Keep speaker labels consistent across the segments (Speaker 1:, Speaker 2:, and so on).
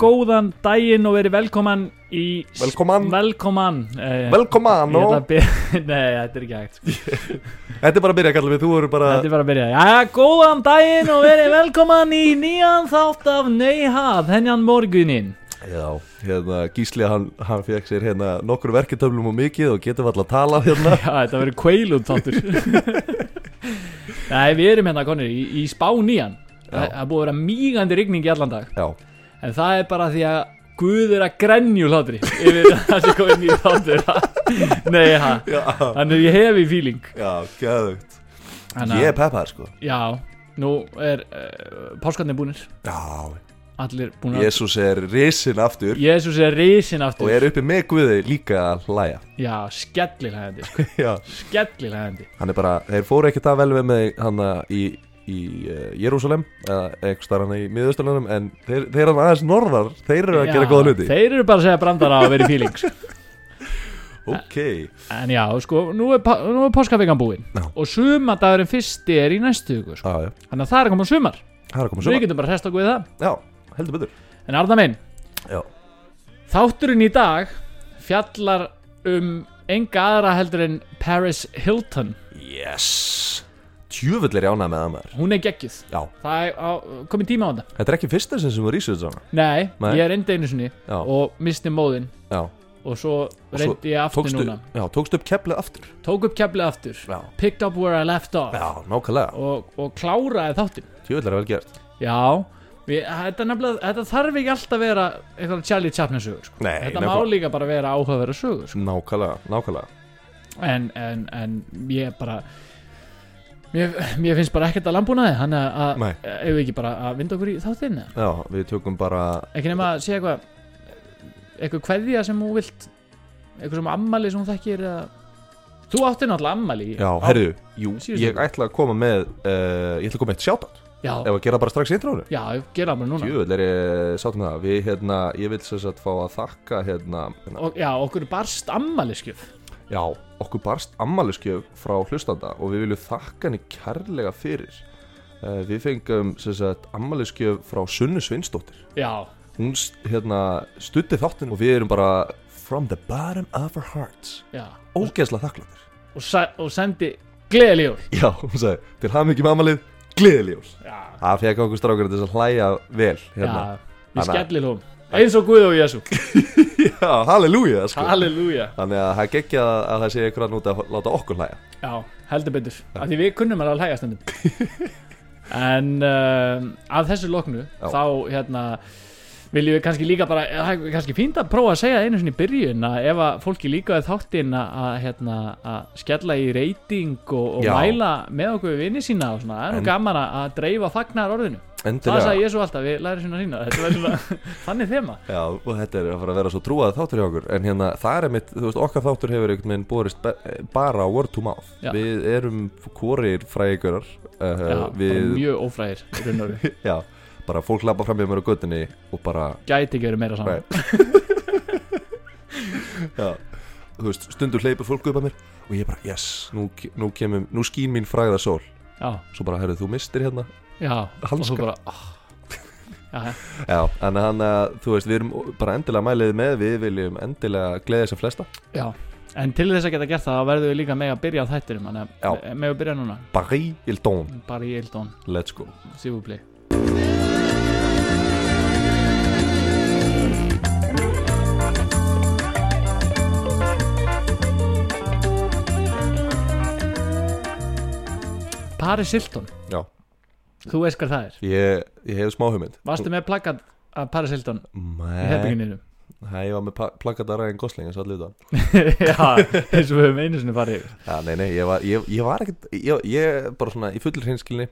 Speaker 1: góðan daginn og verið velkoman í
Speaker 2: Velkoman.
Speaker 1: velkoman eh,
Speaker 2: Velkoman
Speaker 1: ég ætla
Speaker 2: og
Speaker 1: að byrja, nei þetta er ekki hægt sko.
Speaker 2: Þetta er bara að byrja kallum við, þú eru bara
Speaker 1: þetta er bara að byrja, já góðan daginn og verið velkoman í nýjan þátt af Neuhað, henjan morgunin
Speaker 2: Já, hérna Gísli hann, hann fekk sér hérna nokkur verketöflum og mikið og getur alltaf að tala hérna
Speaker 1: já þetta verið kveilum þáttur nei við erum hérna konir í, í spá nýjan
Speaker 2: Já.
Speaker 1: það er búið að vera mígandi rigning í allan dag
Speaker 2: Já,
Speaker 1: En það er bara því að Guð er að grenju hlátri yfir það sem komið nýjum þáttur Nei, ha.
Speaker 2: já,
Speaker 1: hann er ég hefi fíling
Speaker 2: já, gæðugt
Speaker 1: Þannig að-
Speaker 2: Ég er peppar sko
Speaker 1: Já, nú er uh, páskarnir búnir
Speaker 2: Já,
Speaker 1: Allir búnir
Speaker 2: Jésús er risin aftur
Speaker 1: Jésús er risin aftur
Speaker 2: og er uppi með Guði líka að hlæja
Speaker 1: Já, skellilegandi sko.
Speaker 2: Já
Speaker 1: Skellilegandi
Speaker 2: Hann er bara, þeir fóru ekkert að vel við með hann í í uh, Jérúsalem eða eitthvað starf hann í miðausturlunum en þeir, þeir hann aðeins norðar þeir eru að gera góða hluti
Speaker 1: Þeir eru bara að segja brandara að vera í fíling sko.
Speaker 2: ok,
Speaker 1: En já, sko, nú er, pá- nú er páskavegan búin
Speaker 2: Já.
Speaker 1: Og sumadagurinn fyrsti er í næstu viku, sko.
Speaker 2: já, já,
Speaker 1: Þannig að það er að koma sumar
Speaker 2: það er að koma
Speaker 1: Við
Speaker 2: sumar
Speaker 1: getum bara að resta okkur við það
Speaker 2: já, heldur betur
Speaker 1: En Arna minn,
Speaker 2: Já.
Speaker 1: Þátturinn í dag fjallar um enga aðra heldur en Paris Hilton
Speaker 2: Yes Tjöfull er ég ánægð með það maður
Speaker 1: Hún er geggjuð
Speaker 2: Já
Speaker 1: Það er á, komið tíma á þetta
Speaker 2: Þetta er ekki fyrsta sem sem við rísum þetta
Speaker 1: Nei,
Speaker 2: Nei.
Speaker 1: ég reyndi einu sinni
Speaker 2: Já.
Speaker 1: og misti móðin
Speaker 2: Já
Speaker 1: og svo
Speaker 2: svo
Speaker 1: reyndi ég aftur
Speaker 2: tókstu,
Speaker 1: núna
Speaker 2: Já, tókstu upp keflið aftur
Speaker 1: Tók upp keflið aftur
Speaker 2: Já.
Speaker 1: Picked up where I left off
Speaker 2: Já, nákvæmlega
Speaker 1: og, og kláraði þáttin
Speaker 2: Tjöfull er vel gert
Speaker 1: Já Við, þetta, er nefnilega, þetta þarf ekki alltaf að vera eitthvað Charlie Chaplin sögur sko.
Speaker 2: Nei,
Speaker 1: Þetta
Speaker 2: nefnilega.
Speaker 1: má líka bara vera áhugaverða sögur sko.
Speaker 2: Nákvæmlega, nákvæmlega
Speaker 1: en, en, en ég bara mér, mér finnst bara ekkert að landbúnaði hann að, að
Speaker 2: Nei.
Speaker 1: ef við ekki bara að vinda okkur í þáttinn eða?
Speaker 2: Já, við tökum bara
Speaker 1: ekki nema að segja eitthvað eitthvað kveðja sem hún vilt eitthvað sem ammali sem hún þekkir eða... þú áttir náttúrulega ammali í-
Speaker 2: Já,
Speaker 1: á-
Speaker 2: herðu Jú,
Speaker 1: Síðustu
Speaker 2: ég
Speaker 1: viku.
Speaker 2: ætla að koma með uh, Ég ætla að koma með eitt sjátt
Speaker 1: já,
Speaker 2: Ef að gera bara strax í intrónu
Speaker 1: já, gera það bara núna
Speaker 2: Tjöfull er ég sátt með það Við, hérna, ég vil sem sagt fá að þakka hérna, hérna
Speaker 1: og, já, okkur er barst ammaliskjöf
Speaker 2: Já, okkur barst ammaliskjöf frá hlustanda og við viljum þakka henni kærlega fyrir. Uh, við fengum sem sagt, ammaliskjöf frá Sunnu Sveinsdóttir.
Speaker 1: já,
Speaker 2: Hún s- hérna, stutti þáttin og við erum bara from the bottom of our hearts.
Speaker 1: já
Speaker 2: Ógeðslega þakklandir.
Speaker 1: og, sa- og sendi gleðilegur
Speaker 2: Já, hún sagði, til hafði mikið með ammalið, gleðiljós.
Speaker 1: já,
Speaker 2: Það fekk okkur strákur til þess að hlæja vel. Hérna.
Speaker 1: já við
Speaker 2: Þannig að- Sko.
Speaker 1: skellilum eins og Guð og Jésu
Speaker 2: Já, halleluja. Sko.
Speaker 1: halleluja
Speaker 2: Þannig að það gekkja að, að það sé ykkur að núti að láta okkur hlæja.
Speaker 1: Já, heldur betur Af því við kunnum alveg að hlæja stundum En um, að þessu loknu
Speaker 2: Já.
Speaker 1: Þá hérna Viljum við kannski líka bara eh, það er Kannski fínt að prófa að segja einu sinni í byrjun að Ef að fólki líka þáttinn að, að, hérna, að skella í reyting Og, og
Speaker 2: Já.
Speaker 1: mæla með okkur við vinni sína og svona, Það er nú
Speaker 2: En-
Speaker 1: gaman að- að dreifa fagnar orðinu Það sagði ég svo alltaf, við lærum svona sína Þetta var svona þannig þema
Speaker 2: Já, og þetta er að fara að vera svo trúað þáttur hjá okkur En hérna, það er mitt, þú veist, okkar þáttur hefur einhvern veginn borist be- bara word to mouth
Speaker 1: Já.
Speaker 2: Við erum kvorir fræðigurar
Speaker 1: Já,
Speaker 2: uh,
Speaker 1: bara
Speaker 2: Við,
Speaker 1: Mjög ófræðir í raun og veru.
Speaker 2: já, bara fólk lappa fram með mér á göttinni og bara,
Speaker 1: Gæti ekki verið meira saman
Speaker 2: Nei. já Þú veist, stundur hleypur fólk upp að mér og ég bara, yes, nú, ke- nú kemum, nú skín mín fræða sól
Speaker 1: Já,
Speaker 2: Svo bara, herru, þú mistir hérna
Speaker 1: já Og
Speaker 2: Hanska.
Speaker 1: þú bara oh. Já, já
Speaker 2: Já, en hann, uh, þú veist, við erum bara endilega mælið með Við viljum endilega gleðið sem flesta
Speaker 1: Já, en til þess að geta gert það þá verðum við líka með að byrja á þættinum þannig að
Speaker 2: Já.
Speaker 1: með að byrja núna
Speaker 2: Paris, il don,
Speaker 1: bara í Eildón,
Speaker 2: let's go
Speaker 1: sífubli Paris Hilton,
Speaker 2: Já,
Speaker 1: þú veist hvað það er
Speaker 2: ég, ég hef smá hugmynd
Speaker 1: Varstu með plakat af Paris Hilton í
Speaker 2: Nei,
Speaker 1: hefningininu?
Speaker 2: Nei, ég var með plakata ræðin Gosling, þess að allir það
Speaker 1: Já, eins og við höfum einu sinni farið yfir.
Speaker 2: Já, nei, nei, ég var, ég, ég var ekkert ég, ég, bara svona, í fullur hinskilni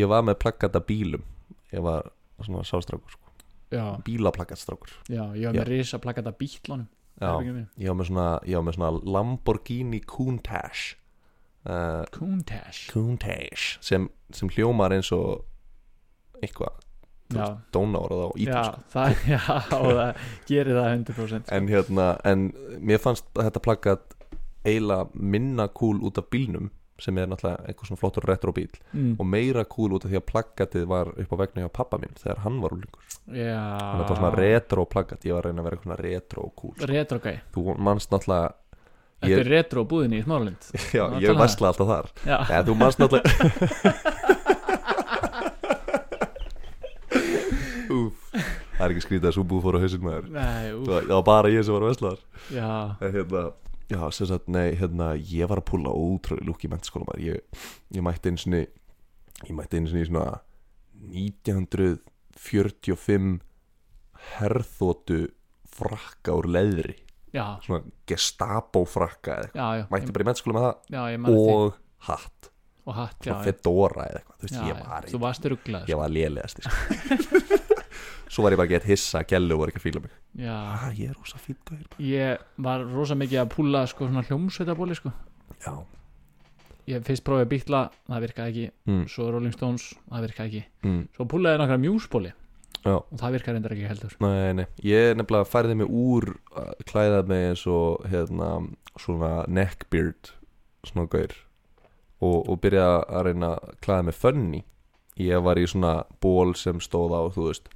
Speaker 2: Ég var með plakata bílum Ég var svona sástrákur, sko
Speaker 1: Já,
Speaker 2: Bílaplakatstrákur
Speaker 1: já, ég var með risa plakat af bítlunum
Speaker 2: Já,
Speaker 1: Herberginu mínu.
Speaker 2: ég var með svona, ég var með svona Lamborghini Countach uh,
Speaker 1: Countach
Speaker 2: Countach sem, sem hljómar eins og eitthvað
Speaker 1: já,
Speaker 2: dónárað á
Speaker 1: já,
Speaker 2: ítalsku
Speaker 1: það, já, og það gerir það 100%
Speaker 2: sko. En hérna, en mér fannst þetta plakat eiginlega minna kúl út af bílnum sem er náttúrulega einhver svona flottur retrobíl
Speaker 1: mm.
Speaker 2: og meira kúl út af því að plaggatið var upp á vegna hjá pappa minn þegar hann var úlingur
Speaker 1: Já
Speaker 2: þannig að það var
Speaker 1: Ah.
Speaker 2: svona retro plaggat ég var að reyna að vera eitthvað retro kúl sko.
Speaker 1: Retro gæ
Speaker 2: þú manst náttúrulega
Speaker 1: Þetta er retro búðinni í Smáralind
Speaker 2: já,
Speaker 1: Ná,
Speaker 2: ég
Speaker 1: talaðu.
Speaker 2: vesla alltaf þar
Speaker 1: Já,
Speaker 2: Nei, þú manst náttúrulega Úf, það er ekki skrítið að svo búið fór á hausinn maður
Speaker 1: nei, ú,
Speaker 2: Það það var bara ég sem var að vesla þar
Speaker 1: já
Speaker 2: En hérna, já, sem sagt, nei, hérna Ég var að púla ótrúlega lúk í mentaskóla maður ég, ég mætti einu sinni Ég mætti einu sinni í svona 1945 herþótu frakka úr leðri
Speaker 1: Já,
Speaker 2: Svona gestapo frakka eða eitthvað
Speaker 1: já, já
Speaker 2: Mætti bara í mentaskóla með það
Speaker 1: Já, ég man eftir
Speaker 2: og hatt
Speaker 1: því Og hatt, já já,
Speaker 2: svona fedora eða eitthvað, þú veist,
Speaker 1: já,
Speaker 2: ég var,
Speaker 1: já. Þú varst rugglaður
Speaker 2: ég var lélegast sko. svo var ég bara að geta hissa gælu og var ekki að fíla mig
Speaker 1: Já
Speaker 2: ah, ég er rosa fínt gæl
Speaker 1: Ég var rosa mikið að púla sko svona hljómsveitabóli sko
Speaker 2: já,
Speaker 1: Ég fyrst prófið að býtla, það virkaði ekki
Speaker 2: mm,
Speaker 1: Svo Rolling Stones, það virkaði ekki
Speaker 2: mm,
Speaker 1: Svo púlaði ég nokkra mjúsbóli
Speaker 2: já
Speaker 1: Og það virkaði reyndar ekki heldur
Speaker 2: Nei, nei, ég nefnilega færði mig úr að klæða mig eins og hérna, svona neckbeard svona gaur og, og byrjaði að reyna að klæða mig funny ég var í svona ból sem stóð á, þú veist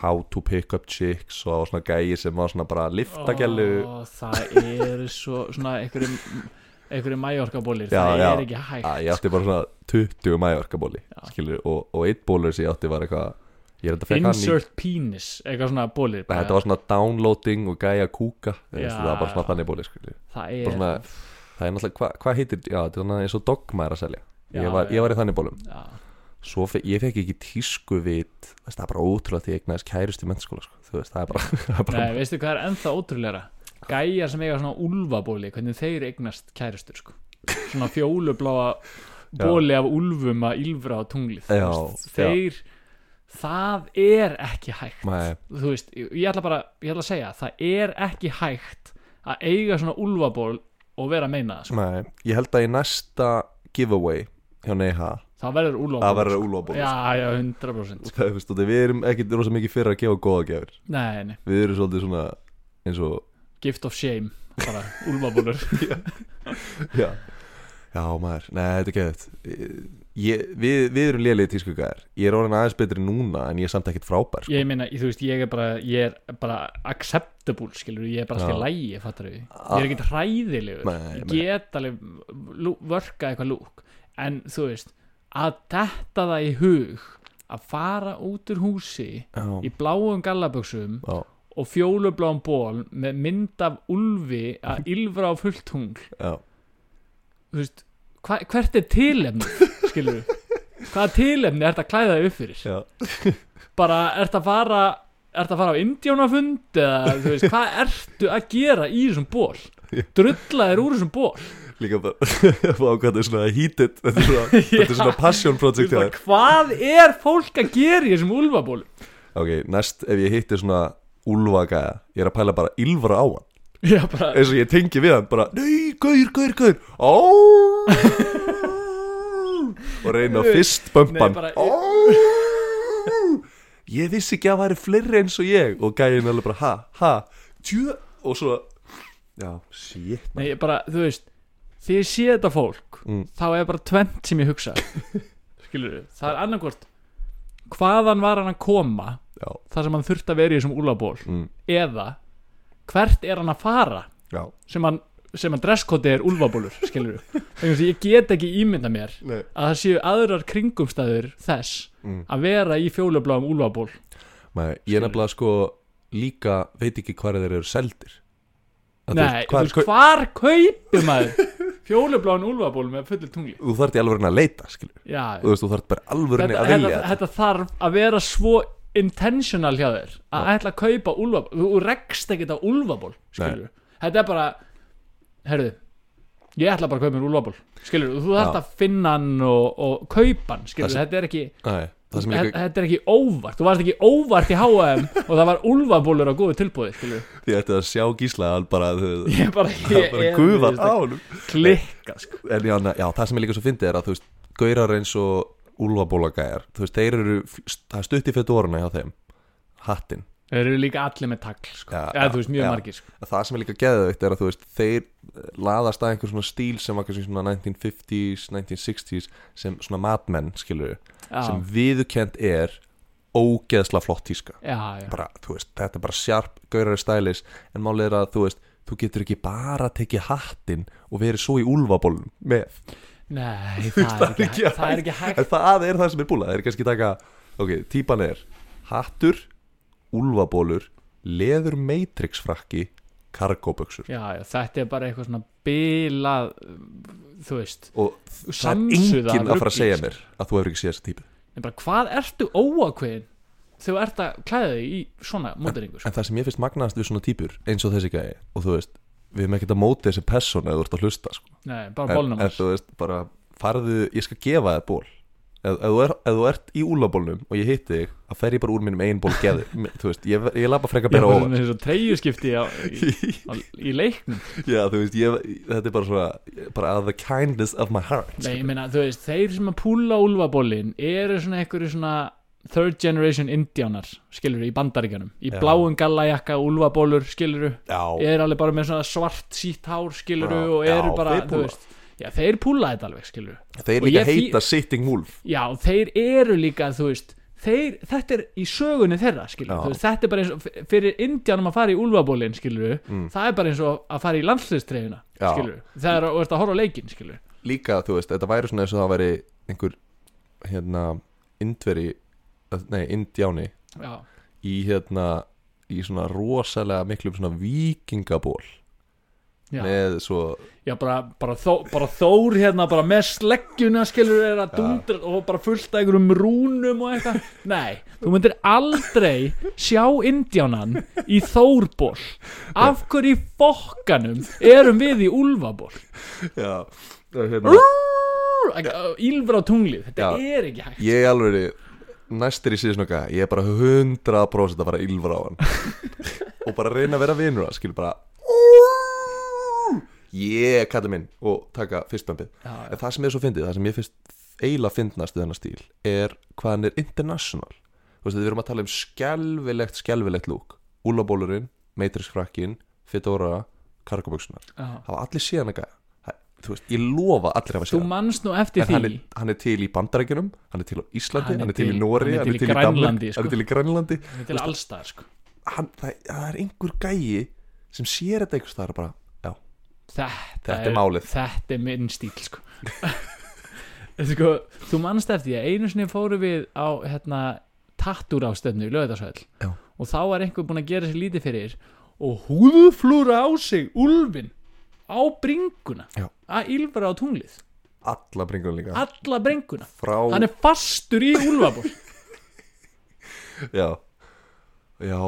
Speaker 2: how to pick up chicks og það var svona gæi sem var svona bara að lifta gælu
Speaker 1: Ó, Það er svo svona einhverjum einhverjum mæjorkabólir,
Speaker 2: Já,
Speaker 1: það
Speaker 2: já.
Speaker 1: er ekki hægt
Speaker 2: að ég átti bara svona 20 mæjorkabóli
Speaker 1: Já.
Speaker 2: skilur, og, og eitt bólur sem ég átti var eitthvað ég er þetta fekk hann í
Speaker 1: Insert penis, eitthvað svona bólir
Speaker 2: Nei, þetta var svona downloading og gæja kúka þú
Speaker 1: Já.
Speaker 2: veist, það var bara svona þannig bóli skilur.
Speaker 1: Það
Speaker 2: bara
Speaker 1: er
Speaker 2: svona- það er náttúrulega, hvað hva heitir já, þetta er svona eins og dogma er að selja
Speaker 1: Já,
Speaker 2: ég, var,
Speaker 1: já.
Speaker 2: ég var í þannig bólum
Speaker 1: Já,
Speaker 2: Svo fe ég fekk ekki tísku vit veist, það er bara ótrúlega því ég egnaðist kærust í mennskóla sko. þú veist, það er bara, það er bara
Speaker 1: Nei, veistu hvað er ennþá ótrúleira? Gæjar sem eiga svona úlfabóli, hvernig þeir eignast kærustur, sko. Svona fjólubláa
Speaker 2: Já.
Speaker 1: bóli af úlfum að ylfra á tunglið.
Speaker 2: Já,
Speaker 1: Þú veist, þeir, það er ekki hægt.
Speaker 2: Nei,
Speaker 1: Þú veist, ég ætla bara, ég ætla að segja, það er ekki hægt að eiga svona úlfaból og vera að meina það, sko.
Speaker 2: nei, ég held að í næsta giveaway hjá Neiha
Speaker 1: Það verður úlfaból.
Speaker 2: það verður úlóból
Speaker 1: sko. Já, já, 100%. Sko.
Speaker 2: Það, veist, og við erum ekkert rosa mikið fyrir að gefa góða gefur
Speaker 1: Nei, nei,
Speaker 2: við erum svolítið svona eins og
Speaker 1: gift of shame, bara úlfabólur.
Speaker 2: já, já maður, nei þetta er geðið við, við erum lélegið tískugæðar ég er orðin aðeins betri núna en ég er samt ekkert frábær sko.
Speaker 1: Ég meina, ég- þú veist, ég er bara, ég er bara acceptable, skilur, ég er bara
Speaker 2: Já. Ah.
Speaker 1: alltaf í lægi, fattar við, ég er ekkert hræðilegur,
Speaker 2: Nei,
Speaker 1: ég
Speaker 2: nei.
Speaker 1: get alveg lú- vörka eitthvað lúk, en þú veist, að detta það í hug, að fara út úr húsi
Speaker 2: já,
Speaker 1: í bláum gallaböksum
Speaker 2: já,
Speaker 1: og fjólubláum ból með mynd af ulfi að ylfra á fullt tungl,
Speaker 2: já,
Speaker 1: þú veist, hva, hvert er tilefni, skilur, hvaða tilefni ert að klæða þig upp fyrir?
Speaker 2: já.
Speaker 1: bara ert að fara ert að fara á indjánafund eða þú veist, hvað ertu að gera í þessum ból drulla þér úr þessum ból
Speaker 2: líka bara Vá, hvað þetta er svona heated þetta er svona, þetta er svona passion
Speaker 1: Þú veist
Speaker 2: project hjá
Speaker 1: bara,
Speaker 2: þér.
Speaker 1: hvað er fólk að gera í þessum úlfaból
Speaker 2: ok, næst ef ég hitti svona úlvagæða, ég er að pæla bara ylfra á hann
Speaker 1: já bara,
Speaker 2: eins og ég tengi við hann bara Nei, gaur, gaur, gaur Á Og reyna að fyrst bömpan
Speaker 1: Nei, bara-
Speaker 2: Á Ég vissi ekki að það væri fleiri eins og ég Og gæin alveg bara ha, ha Tjö Og svo Já, shit
Speaker 1: nei, ég bara, þú veist þegar ég sé þetta fólk
Speaker 2: Mm.
Speaker 1: þá er bara tvent sem ég hugsa skilur það er annarkvort hvaðan var hann að koma
Speaker 2: Já,
Speaker 1: þar sem hann þurfti að vera í þessum úlfaból
Speaker 2: mm,
Speaker 1: eða hvert er hann að fara
Speaker 2: já
Speaker 1: sem hann, sem hann dresskoti er úlfabólur skilur við, ég get ekki ímynda mér
Speaker 2: Nei.
Speaker 1: að það séu aðrar kringumstæður þess
Speaker 2: Mm.
Speaker 1: að vera í fjólubláum úlfaból
Speaker 2: Nei, Ég er nefnilega sko líka Veit ekki hvar þeir eru seldir Að þú veist,
Speaker 1: Nei, þú
Speaker 2: hvar-
Speaker 1: veist, hvar kaupir maður fjólubláum úlfaból með fullu tungli
Speaker 2: Þú þarft í alvörinu að leita, skilur
Speaker 1: Já,
Speaker 2: Þú veist, þú þarft bara alvörinu
Speaker 1: þetta,
Speaker 2: að vilja
Speaker 1: þetta, þetta þarf að vera svo intentional hjá þér að ætla að kaupa úlfaból þú rekst ekkert á úlfaból skilur þetta er bara, herðu ég ætla bara að kaupa mér úlfaból skilur, þú þarft
Speaker 2: Já.
Speaker 1: að finna hann og, og kaupa hann, skilur,
Speaker 2: Það sem-
Speaker 1: þetta er ekki
Speaker 2: Nei, það sem líka
Speaker 1: Þetta þetta er ekki óvart, þú varst ekki óvart í H&M og það var úlfabólur á góðu tilbúði skilur.
Speaker 2: Ég ætti að sjá Gísla hann bara, þau-
Speaker 1: Ég bara,
Speaker 2: bara
Speaker 1: ég
Speaker 2: gufar á honum
Speaker 1: klikka sko.
Speaker 2: en já, na- já, það sem ég líka svo fyndið er að þú veist, gaurar eins og úlfabólagæjar, þú veist, þeir eru f- það er stutt í fettu orðuna hjá þeim hattinn,
Speaker 1: Þeir eru líka allir með tagl sko.
Speaker 2: Já,
Speaker 1: Eða þú veist, mjög
Speaker 2: já.
Speaker 1: margir sko.
Speaker 2: það sem er líka geðveikt er að þú veist þeir eh, laðast að einhver svona stíl sem var kannski svona 1950s, 1960s sem svona matmenn skilur
Speaker 1: já,
Speaker 2: sem viðukent er ógeðsla flott tíska
Speaker 1: já, já.
Speaker 2: bara, þú veist, þetta er bara sjarp gaurari stælis en málið er að þú veist þú getur ekki bara tekið hattinn og verið svo í úlfabólum með
Speaker 1: Nei, það er ekki, það er ekki hægt
Speaker 2: en það er það sem er búla, það er kannski taka ok, típan er hattur, úlfabólur leður matrix frakki kargóböksur
Speaker 1: já, já, Þetta er bara eitthvað svona bilað Þú veist
Speaker 2: og það er
Speaker 1: Samsuða
Speaker 2: enginn að fara að
Speaker 1: rugli,
Speaker 2: segja
Speaker 1: sko.
Speaker 2: mér að þú hefur ekki séð þessa típu
Speaker 1: En bara, hvað ertu óakveðin þegar þú ert að klæða þig í svona móteringu sko?
Speaker 2: en það sem ég finnst magnaðast við svona típur eins og þessi gæi og þú veist, við hefum ekkert að móti þessi persónu eða þú ert að hlusta sko.
Speaker 1: Nei, bara
Speaker 2: en,
Speaker 1: bólnum
Speaker 2: en þú veist, bara farðu ég skal gefa þér ból ef, ef, þú er, ef þú ert í úlabólnum og ég hitti þig þá fer ég bara úr mínum einn ból geði þú veist, ég, ég labba frekar
Speaker 1: Ég
Speaker 2: bera
Speaker 1: var
Speaker 2: ofan
Speaker 1: svona þessu treyjuskipti á, í, á, í leiknum
Speaker 2: já, þú veist, ég, þetta er bara svona bara the kindness of my heart
Speaker 1: Nei, ég meina, þú veist, þeir sem að púla úlfabólin eru svona einhverju svona third generation indiánar, skilur í bandaríkjanum, í
Speaker 2: Já.
Speaker 1: bláum gallajakka úlfabólur, skilur
Speaker 2: já,
Speaker 1: er alveg bara með svona svart sítt hár, skilur
Speaker 2: Já,
Speaker 1: og eru
Speaker 2: já,
Speaker 1: bara,
Speaker 2: þeir
Speaker 1: þú
Speaker 2: púla.
Speaker 1: veist Já, þeir púla þetta alveg, skilur
Speaker 2: þeir
Speaker 1: og
Speaker 2: líka
Speaker 1: ég fí-
Speaker 2: heita sitting wolf
Speaker 1: Já, þeir eru líka, þú veist Þeir, þetta er í sögunni þeirra, skilur
Speaker 2: Já.
Speaker 1: þú veist, Þetta er bara eins og, f- fyrir indjánum að fara í úlfabólin, skilur Það er bara eins og að fara í landsliðstreyfina,
Speaker 2: Mm. Já.
Speaker 1: skilur Það er að, að horfa á leikin, skilur
Speaker 2: líka þú veist, þetta væri svona eins og það væri einhver hérna indveri, eh, nei indjáni
Speaker 1: Já,
Speaker 2: í hérna í svona rosalega miklum svona vikingaból
Speaker 1: já.
Speaker 2: með svo
Speaker 1: Já, bara, bara, þó, bara þór hérna bara með sleggjuna skilur er að dundra og bara fullt af einhverjum rúnum og eitthvað Nei, þú myndir aldrei sjá indjánan í þórból Af hverju í fokkanum erum við í úlfaból
Speaker 2: já, hérna,
Speaker 1: Ílfur á tunglið, þetta
Speaker 2: Já.
Speaker 1: er ekki hægt
Speaker 2: ég alveg næstir í síðan okkar, ég er bara 100% að fara ylfra á hann og bara reyna að vera vinur hann, skilur bara ég yeah, kallið minn og taka fyrstbömbið
Speaker 1: Já,
Speaker 2: en það sem er svo fyndið, það sem ég finnst eiginlega fyndnast í þennan stíl er hvað hann er international þú veist, við erum að tala um skelvilegt, skelvilegt lúk úlabólurinn, meitriskfrakkin fedora, kargoböksunar
Speaker 1: já.
Speaker 2: hafa allir séð hann að gæja Það- þú veist, ég lofa að allir hafa
Speaker 1: Þú
Speaker 2: séð hann
Speaker 1: manst nú
Speaker 2: en
Speaker 1: eftir
Speaker 2: hann
Speaker 1: því
Speaker 2: er, hann er til í Bandarækjunum hann er til á Íslandi, hann er, til, í Nóri
Speaker 1: hann er til í Grænlandi, sko.
Speaker 2: hann er til í Grænlandi
Speaker 1: Þetta er allstaðar sko
Speaker 2: hann, það, það er einhver gæji sem sér þetta einhvers þar bara, já,
Speaker 1: Þetta
Speaker 2: Þetta er málið.
Speaker 1: Þetta er minn stíl sko. sko, Þú manst eftir því að einu sinni fóru við á hérna, tattúr ástöfnu í lögðarsvæl
Speaker 2: Já.
Speaker 1: og þá var einhver búinn að gera sér lítið fyrir og húðflúra á sig úlfin á bringuna
Speaker 2: Já.
Speaker 1: að ylfara á tunglið
Speaker 2: alla bringunum líka
Speaker 1: alla bringuna
Speaker 2: frá,
Speaker 1: hann er fastur í úlfaból
Speaker 2: já já,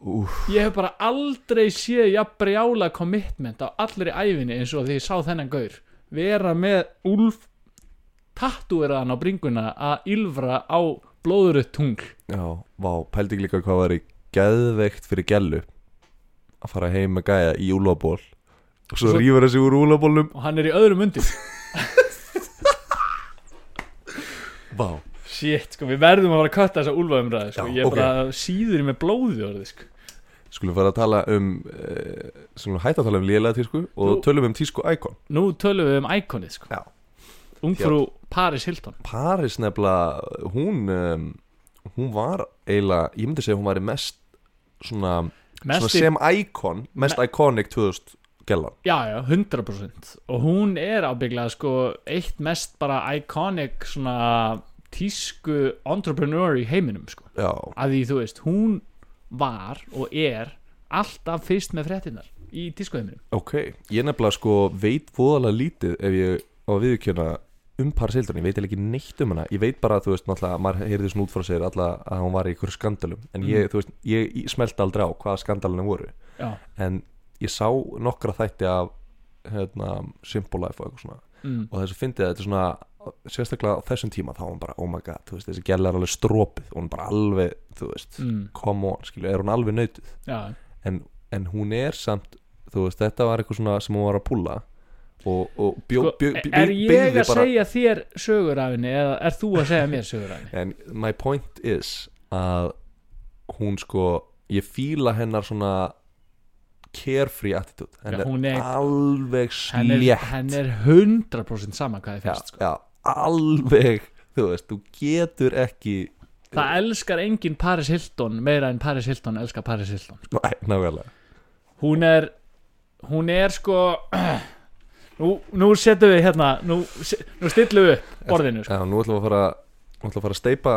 Speaker 2: úf
Speaker 1: ég hef bara aldrei séð jafn brjála commitment á allri æfinni eins og því ég sá þennan gaur vera með úlf tattúeraðan á bringuna að ylfra á blóðurut tungl
Speaker 2: Já, vá, pældi ekki líka hvað var í geðveikt fyrir gellu að fara heim með gæja í úlaból og svo,
Speaker 1: Svo-
Speaker 2: rífur þessi úr úlabólum
Speaker 1: og hann er í öðrum undir
Speaker 2: Vá,
Speaker 1: shit, sko, við verðum að fara að kötta þessa úlfaumræði sko.
Speaker 2: Já,
Speaker 1: ég er
Speaker 2: ok.
Speaker 1: bara síður með blóði orðið sko.
Speaker 2: skulum fara að tala um uh, skulum hætta að tala um lélega tísku og
Speaker 1: Nú-
Speaker 2: tölum um tísku íkon
Speaker 1: nú tölum við um íkonið sko.
Speaker 2: Já.
Speaker 1: ungfrú Paris Hilton
Speaker 2: Paris nefnilega, hún um, hún var eiginlega, ég myndi segja hún var í mest svona, svona
Speaker 1: Mesti,
Speaker 2: sem íkon mest iconic 2000 gellan
Speaker 1: já, já, 100% og hún er ábygglega sko, eitt mest bara iconic svona tísku entrepreneur í heiminum sko.
Speaker 2: Já,
Speaker 1: að því þú veist, hún var og er alltaf fyrst með fréttinnar í tískuheiminum
Speaker 2: ok Ég nefnilega sko veit voðalega lítið ef ég á að viðurkjöna um Paris Hilton, ég veit eiginlega ekki neitt um hana ég veit bara, þú veist, náttúrulega, maður heyrði svona út frá sér alltaf að hún var í einhverju skandalum en ég, þú veist, ég smelti aldrei á hvaða skandalunum voru
Speaker 1: já,
Speaker 2: en ég sá nokkra þætti af hérna, Simple Life og eitthvað svona
Speaker 1: mm,
Speaker 2: og þess að fyndið að þetta er svona sérstaklega á þessum tíma þá var hún bara, oh my god, þú veist, þessi gæla er alveg strópið og hún er bara alveg, þú veist
Speaker 1: mm,
Speaker 2: come on, skilju, er hún alveg nöytuð
Speaker 1: já,
Speaker 2: en, en hún er samt þú veist, þetta var eitthvað svona sem hún var að púla og, og bjó,
Speaker 1: sko,
Speaker 2: bjó, bjó,
Speaker 1: er ég
Speaker 2: byggði
Speaker 1: að segja þér sögur af henni eða er þú að segja mér sögur af henni
Speaker 2: en my point is að hún sko ég fíla hennar svona carefree attitude henn
Speaker 1: Já, hún
Speaker 2: er
Speaker 1: er-
Speaker 2: alveg
Speaker 1: henn er,
Speaker 2: slétt
Speaker 1: henn er 100% sama hvað þið
Speaker 2: já,
Speaker 1: finnst sko.
Speaker 2: já, alveg þú veist, þú getur ekki
Speaker 1: það elskar engin Paris Hilton meira en Paris Hilton elskar Paris Hilton
Speaker 2: Nei, nákvæmlega
Speaker 1: hún er hún er sko nú, nú setjum við hérna nú, se- nú stillum við upp borðinu sko.
Speaker 2: já, nú ætlum við að fara nú ætlum við að fara að steipa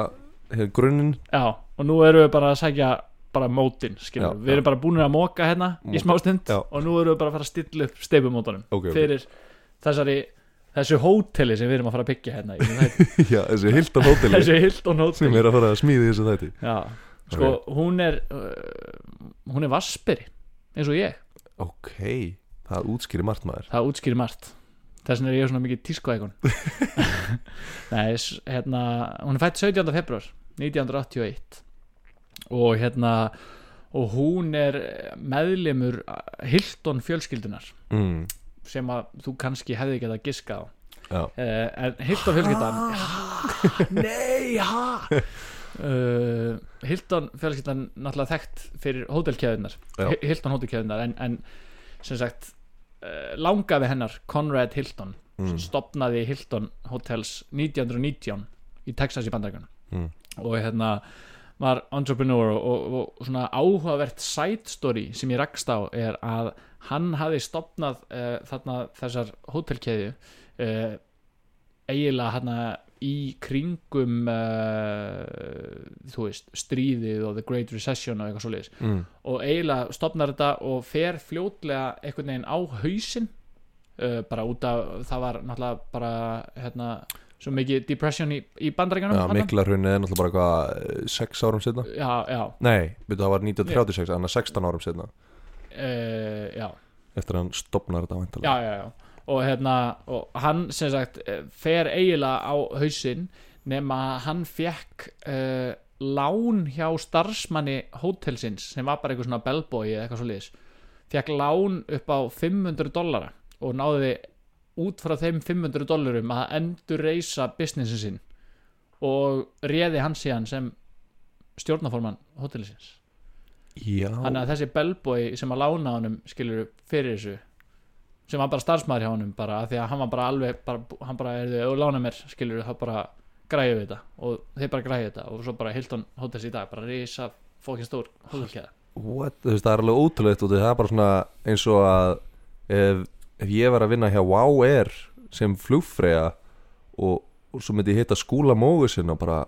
Speaker 2: hér grunninn
Speaker 1: já, og nú erum við bara að segja bara mótin,
Speaker 2: Já,
Speaker 1: skiljum,
Speaker 2: já.
Speaker 1: við erum bara búin að móka hérna í
Speaker 2: Móka,
Speaker 1: smá stund
Speaker 2: já.
Speaker 1: og nú erum við bara að fara að stilla upp steipumótunum
Speaker 2: Ok, ok.
Speaker 1: fyrir þessari þessu hóteli sem við erum að fara að byggja hérna í þætti.
Speaker 2: já, þessi hildan hóteli
Speaker 1: þessu Hilton hóteli
Speaker 2: sem er að fara að smíði þessu þætti
Speaker 1: Já, sko hún er uh, hún er vasperi eins og ég,
Speaker 2: ok, það útskýri margt maður
Speaker 1: það útskýri margt þess vegna er ég svona mikið tískoækun Nei, s- hérna hún er fætt 17. februar 1981 og hérna og hún er meðlimur uh, Hilton fjölskyldunar
Speaker 2: mm,
Speaker 1: sem að þú kannski hefði getað giskað á
Speaker 2: já,
Speaker 1: uh, en Hilton fjölskyldan
Speaker 2: nei, ha
Speaker 1: uh, Hilton fjölskyldan náttúrulega þekkt fyrir hótelkeðunar
Speaker 2: Já.
Speaker 1: Hilton hótelkeðunar en, en sem sagt uh, langaði hennar Conrad Hilton
Speaker 2: Mm.
Speaker 1: sem stopnaði Hilton Hotels 1919 í Texas í bandaríkunum
Speaker 2: Mm.
Speaker 1: og hérna var entrepreneur og, og, og svona áhugavert side story sem ég rakst á er að hann hafi stopnað uh, þarna þessar hótelkeðju uh, eiginlega hérna í kringum uh, þú veist, stríðið og the great recession og eitthvað svoleiðis
Speaker 2: mm,
Speaker 1: og eiginlega stopnar þetta og fer fljótlega einhvern veginn á hausinn uh, bara út af, það var náttúrulega bara hérna, svo mikið depression í, í
Speaker 2: já,
Speaker 1: bandaríkjanum þarna.
Speaker 2: mikla hrunni er náttúrulega bara hvað 6 árum setna
Speaker 1: já, já,
Speaker 2: nei, veitu, það var 1936, annars 16 árum setna
Speaker 1: uh, já
Speaker 2: eftir að hann stopnar þetta væntalega
Speaker 1: já, já, já. Og, hérna, og hann sem sagt eh, fer eiginlega á hausinn nema að hann fekk uh, lán hjá starfsmanni hótelsins sem var bara eitthvað svona bellboy eða eitthvað svo liðis fekk lán upp á 500 dollara og náði út frá þeim 500 dollarum að endur reysa businessin sinn og réði hann síðan sem stjórnaformann hótelsins
Speaker 2: já,
Speaker 1: Þannig að þessi bellboy sem að lána honum skilur fyrir þessu sem var bara starfsmaður hjá honum bara af því að hann var bara alveg bara, hann bara er þau og lána mér skilur þá bara græðu við þetta og þeir bara græðu þetta og svo bara Hilton Hotels í dag bara risa fókin stór hótelkeða
Speaker 2: what, þú veist, það er alveg ótrúlegt og það er bara svona eins og að ef, ef ég var að vinna hjá WOW Air sem flugfreyja og, og svo myndi ég hitta skúla mógu sinna bara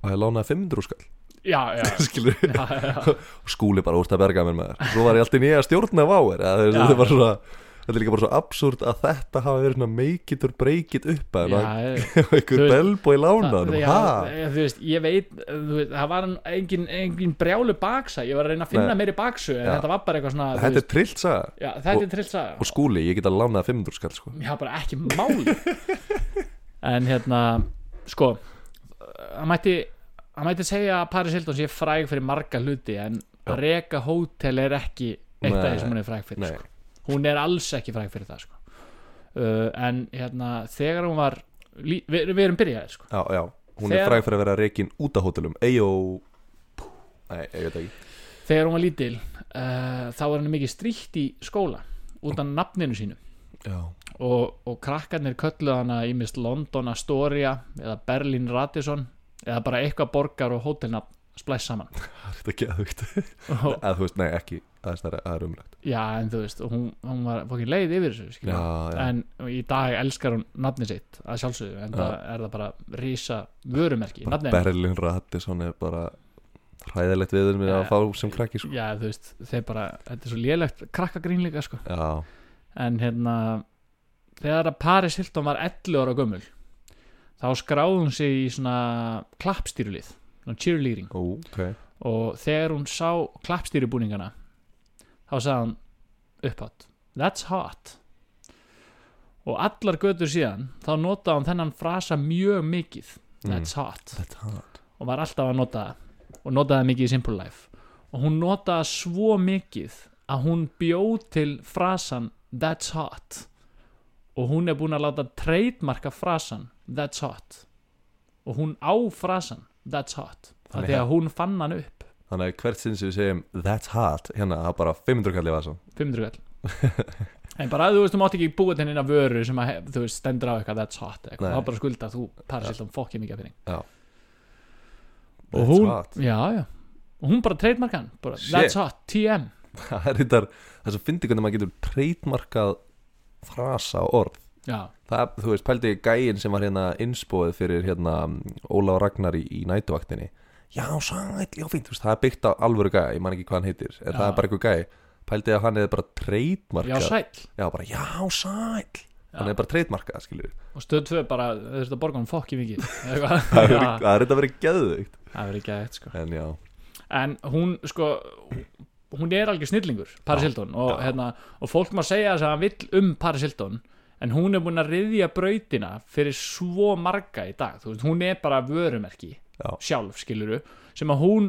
Speaker 2: að ég lánaði 500 skall
Speaker 1: Já, já,
Speaker 2: skilur
Speaker 1: já, já, já.
Speaker 2: og skúli bara úrst að berga mér með þér svo var ég alltaf nýja að stjórna WOW Air eða, þú veist,
Speaker 1: Já.
Speaker 2: þetta er bara svona Þetta er líka bara svo absúrt að þetta hafa verið svona make it or break it upp að hann
Speaker 1: já
Speaker 2: einhver
Speaker 1: þú veist,
Speaker 2: belbói
Speaker 1: Það,
Speaker 2: lánaðum,
Speaker 1: já,
Speaker 2: hæ?
Speaker 1: þú veist, ég veit þú veist, það var engin, engin brjálu baksa ég var að reyna að finna
Speaker 2: Nei.
Speaker 1: meiri baksu en
Speaker 2: Já.
Speaker 1: þetta var bara eitthvað svona þú
Speaker 2: Þetta
Speaker 1: veist,
Speaker 2: er trillt saga
Speaker 1: já, þetta
Speaker 2: og-
Speaker 1: er trillt saga
Speaker 2: og skúli, ég get að lánaði 500 skall sko.
Speaker 1: Já, bara ekki máli En hérna, sko Hann mætti Hann mætti segja að Paris Hilton sé fræg fyrir marga hluti En að reka hótel er ekki Eitt af
Speaker 2: Nei,
Speaker 1: því sem hún er fræg fyrir
Speaker 2: Nei,
Speaker 1: sko. Hún er alls ekki fræg fyrir það sko. uh, En hérna, þegar hún var lí- Við, við erum byrjaði sko.
Speaker 2: Já, já, hún er
Speaker 1: Þegar-
Speaker 2: fræg fyrir að vera reikin út af hótelum Eyjó Pú. Nei, ég veit ekki
Speaker 1: Þegar hún var lítil uh, Þá var henni mikið stríkt í skóla Utan nafninu sínu
Speaker 2: Já,
Speaker 1: og, og krakkarnir kölluð hana í mist London Astoria eða Berlin Radisson eða bara eitthvað borgar og hótelnafn splæst saman
Speaker 2: það er þetta geðugt
Speaker 1: og,
Speaker 2: Eða þú veist, nei, ekki, það er snarra, það er umrætt
Speaker 1: já en þú veist og hún, hún var fókin leið yfir þessu
Speaker 2: Já,
Speaker 1: skilja.
Speaker 2: já,
Speaker 1: en í dag elskar hún nafni sitt að sjálfsögðu en það er það bara rísa vörumerki
Speaker 2: bara
Speaker 1: nafnið hennar.
Speaker 2: Berlin Radisson er bara hræðilegt við þeim að
Speaker 1: Já.
Speaker 2: fá sem krakki sko.
Speaker 1: já þú veist þeir bara þetta er svo lélegt krakkagrín líka sko
Speaker 2: Já,
Speaker 1: en hérna þegar að Paris Hilton var 11 ára gömul þá skráði hún sig í svona klappstýrulið svona cheerleading
Speaker 2: ok
Speaker 1: og þegar hún sá klappstýribúningana þá sagði hann upphátt That's hot og allar götur síðan þá notaði hann þennan frasa mjög mikið That's hot
Speaker 2: Þetta hot
Speaker 1: og var alltaf að nota það og notaði það mikið í Simple Life og hún notaði það svo mikið að hún bjóð til frasan That's hot og hún er búin að láta trademarka frasan That's hot og hún á frasan That's hot
Speaker 2: Þannig
Speaker 1: þannig að hún fann hann upp
Speaker 2: þannig að hvert sinn sem við segjum that's hot, hérna, það er bara 500 kallið vasan
Speaker 1: 500 kall en bara þú veist, þú mátt ekki búa til neina vöru sem að, hef- þú veist, stendur á eitthvað that's hot eða
Speaker 2: Nei.
Speaker 1: eitthvað, þá bara skulda þú parasilt um fokkið mikið af pening
Speaker 2: Já.
Speaker 1: og
Speaker 2: That's
Speaker 1: hún,
Speaker 2: hot.
Speaker 1: já, já og hún bara trademarkan, bara
Speaker 2: Shit.
Speaker 1: that's hot, TM
Speaker 2: það er þetta, það er svo fyndi hvernig maður getur treytmarkað frasa og orð
Speaker 1: já,
Speaker 2: það, þú veist, pældi gæin sem var hérna innspóið fyrir hérna Ólaf Ragnar í, í nætuvaktinni já, sæl, já, fínt, þú veist, það er byggt á alvöru gæ ég man ekki hvað hann heitir, en
Speaker 1: Já.
Speaker 2: það er bara eitthvað gæ pældi að hann hefði bara
Speaker 1: já,
Speaker 2: treytmarkað
Speaker 1: sæll
Speaker 2: já, bara, já, sæl hann hefði bara treytmarkað, skilur
Speaker 1: og stöð 2 bara, þau þurft að borga um fokkið mikið eða eitthvað.
Speaker 2: það er
Speaker 1: Já,
Speaker 2: það er þetta verið geðveikt
Speaker 1: það verður ekki eitt sko
Speaker 2: en já,
Speaker 1: en hún sko hún er algjör snillingur, Paris
Speaker 2: Já,
Speaker 1: Hilton og,
Speaker 2: já.
Speaker 1: hérna, og fólk má segja þess að hann vill um Paris Hilton en hún er búin að riðja brautina fyrir svo marga í dag þú veist, hún er bara vörumerki
Speaker 2: Já.
Speaker 1: sjálf, skiluru, sem að hún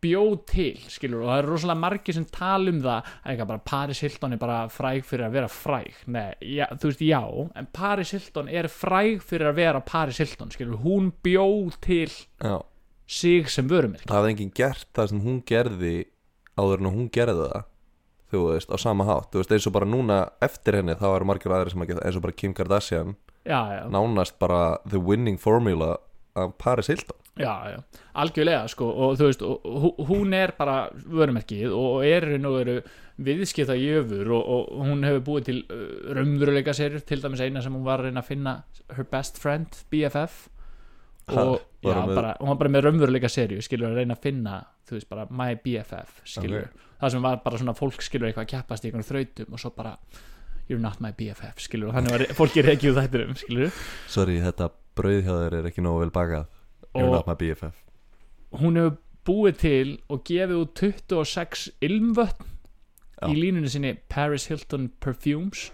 Speaker 1: bjóð til, skiluru, og það eru rosalega margi sem tala um það, eitthvað bara Paris Hilton er bara fræg fyrir að vera fræg nei, já, þú veist, já, en Paris Hilton er fræg fyrir að vera Paris Hilton, skiluru, hún bjóð til
Speaker 2: já,
Speaker 1: sig sem vörumerki
Speaker 2: það hefði enginn gert það sem hún gerði áður en hún gerði það þú veist, á sama hátt, þú veist, eins og bara núna eftir henni, þá eru margir aðri sem að geta eins og bara Kim Kardashian
Speaker 1: já, já,
Speaker 2: nánast bara the winning formula af Paris Hilton
Speaker 1: Já, já, algjörlega sko og þú veist, og, hú- hún er bara vörumerkið og er hún og eru viðskipta jöfur og, og hún hefur búið til uh, raunveruleika serjur til dæmis eina sem hún var að reyna að finna her best friend, BFF
Speaker 2: Ha,
Speaker 1: og
Speaker 2: var
Speaker 1: já,
Speaker 2: hún með-
Speaker 1: bara, hún var bara með raunveruleika serju skilur að reyna að finna, þú veist, bara my BFF, skilur,
Speaker 2: Ok.
Speaker 1: það sem var bara svona fólk skilur eitthvað að keppast í einhvern þrautum og svo bara, you're not my BFF skilur, og þannig var fólki reykjuð þættinum skilur,
Speaker 2: Sorry, þetta brauð hjá þér er ekki nógu vel bakað You're
Speaker 1: Og-
Speaker 2: not my BFF
Speaker 1: hún hefur búið til og gefið út 26 ilmvötn
Speaker 2: Já.
Speaker 1: í línunni sinni Paris Hilton Perfumes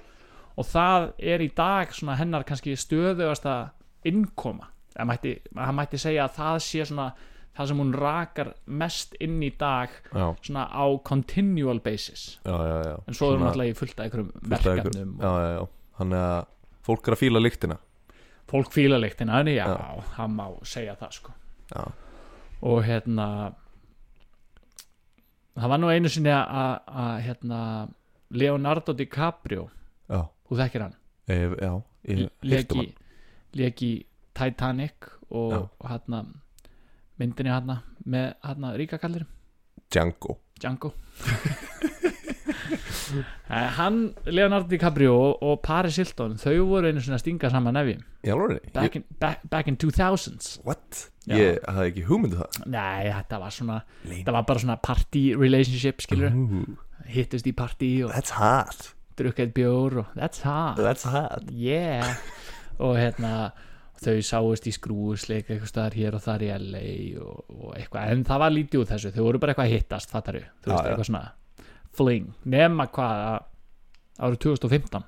Speaker 1: og það er í dag svona hennar kannski stöðugasta innkoma það mætti, það mætti segja að það sé svona það sem hún rakar mest inn í dag
Speaker 2: Já,
Speaker 1: svona á continual basis
Speaker 2: já, já, já.
Speaker 1: en svo er hún
Speaker 2: Svona
Speaker 1: alltaf í fullt af einhverjum
Speaker 2: fullt af ykkur-
Speaker 1: verkefnum
Speaker 2: Já, já, já Þannig að fólk er að fíla lyktina
Speaker 1: og fólk fíla lyktina en já,
Speaker 2: Já.
Speaker 1: það má segja það sko
Speaker 2: Já,
Speaker 1: og hérna það var nú einu sinni að- að að, hérna Leonardo DiCaprio
Speaker 2: já,
Speaker 1: þú þekkir hann
Speaker 2: ég, já ég, heyrt um
Speaker 1: leki, leki Titanic og,
Speaker 2: Já.
Speaker 1: og hérna myndinni hérna með hérna ríkakallir
Speaker 2: hann. Django
Speaker 1: Django Eh, hann, Leonardo DiCaprio og, og Paris Hilton, þau voru einu sinni að stinga saman nefi
Speaker 2: Já, Lóri
Speaker 1: back, in- back, back in 2000s
Speaker 2: What?
Speaker 1: Já.
Speaker 2: Ég hafði ekki hugmyndu það
Speaker 1: nei, þetta var svona
Speaker 2: Lein
Speaker 1: þetta var bara svona party relationship skilur
Speaker 2: Ooh,
Speaker 1: hittust í partí og
Speaker 2: That's hot
Speaker 1: drukkið bjór og that's hot
Speaker 2: That's hot
Speaker 1: yeah og hérna þau sáust í skrúsleik eitthvað staðar hér og þar í LA og, og eitthvað, en það var lítið úr þessu þau voru bara eitthvað að hittast, fattaru þú
Speaker 2: Já,
Speaker 1: veist,
Speaker 2: já.
Speaker 1: eitthvað svona fling, nema hvað að árið 2015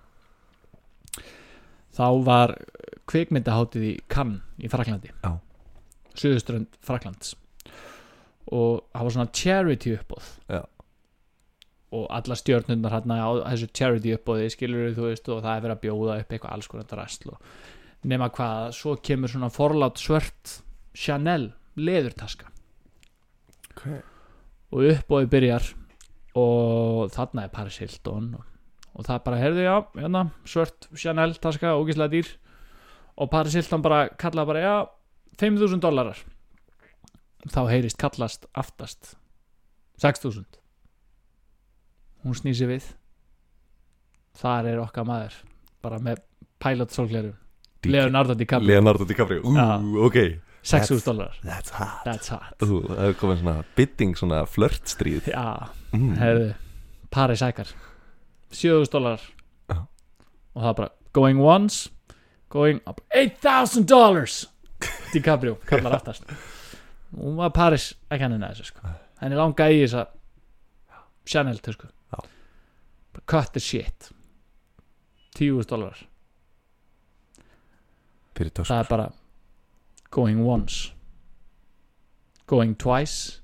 Speaker 1: þá var kvikmyndaháttið í Cannes í Fraklandi
Speaker 2: Já.
Speaker 1: Suðuströnd Fraklands og það var svona charity uppbóð
Speaker 2: Já.
Speaker 1: og alla stjörnundar hérna á þessu charity uppbóði skilur þú veist og það er verið að bjóða upp eitthvað alls konar drasl og nema hvað svo kemur svona forlátt svört Chanel leðurtaska
Speaker 2: okay.
Speaker 1: og uppbóði byrjar og þarna er Paris Hilton og, og það bara heyrðu já hérna, svört Chanel taska ógislega dýr og Paris Hilton bara kallaði bara já 5.000 dólarar þá heyrist kallast aftast 6.000 hún snýsi við þar er okkar maður bara með pilot sólgleru Leonardo DiCaprio
Speaker 2: Leonardo DiCaprio Ú,
Speaker 1: Já.
Speaker 2: ok
Speaker 1: 6.000 dólarar
Speaker 2: That's hot
Speaker 1: that's hot
Speaker 2: Ú, Það er komin svona bidding, svona flörtstríð
Speaker 1: já
Speaker 2: mm.
Speaker 1: Herðu, Paris ækar 7000 dólarar
Speaker 2: Já.
Speaker 1: Og það er bara Going once Going up 8000 dollars DiCaprio kallar aftast Hún var Paris ekki hann henni þessu sko Henni langaði í þessa Chanel tösku
Speaker 2: Já.
Speaker 1: Bara Cut the shit 10.000 dólarar
Speaker 2: Fyrir tösku
Speaker 1: það er bara going once going twice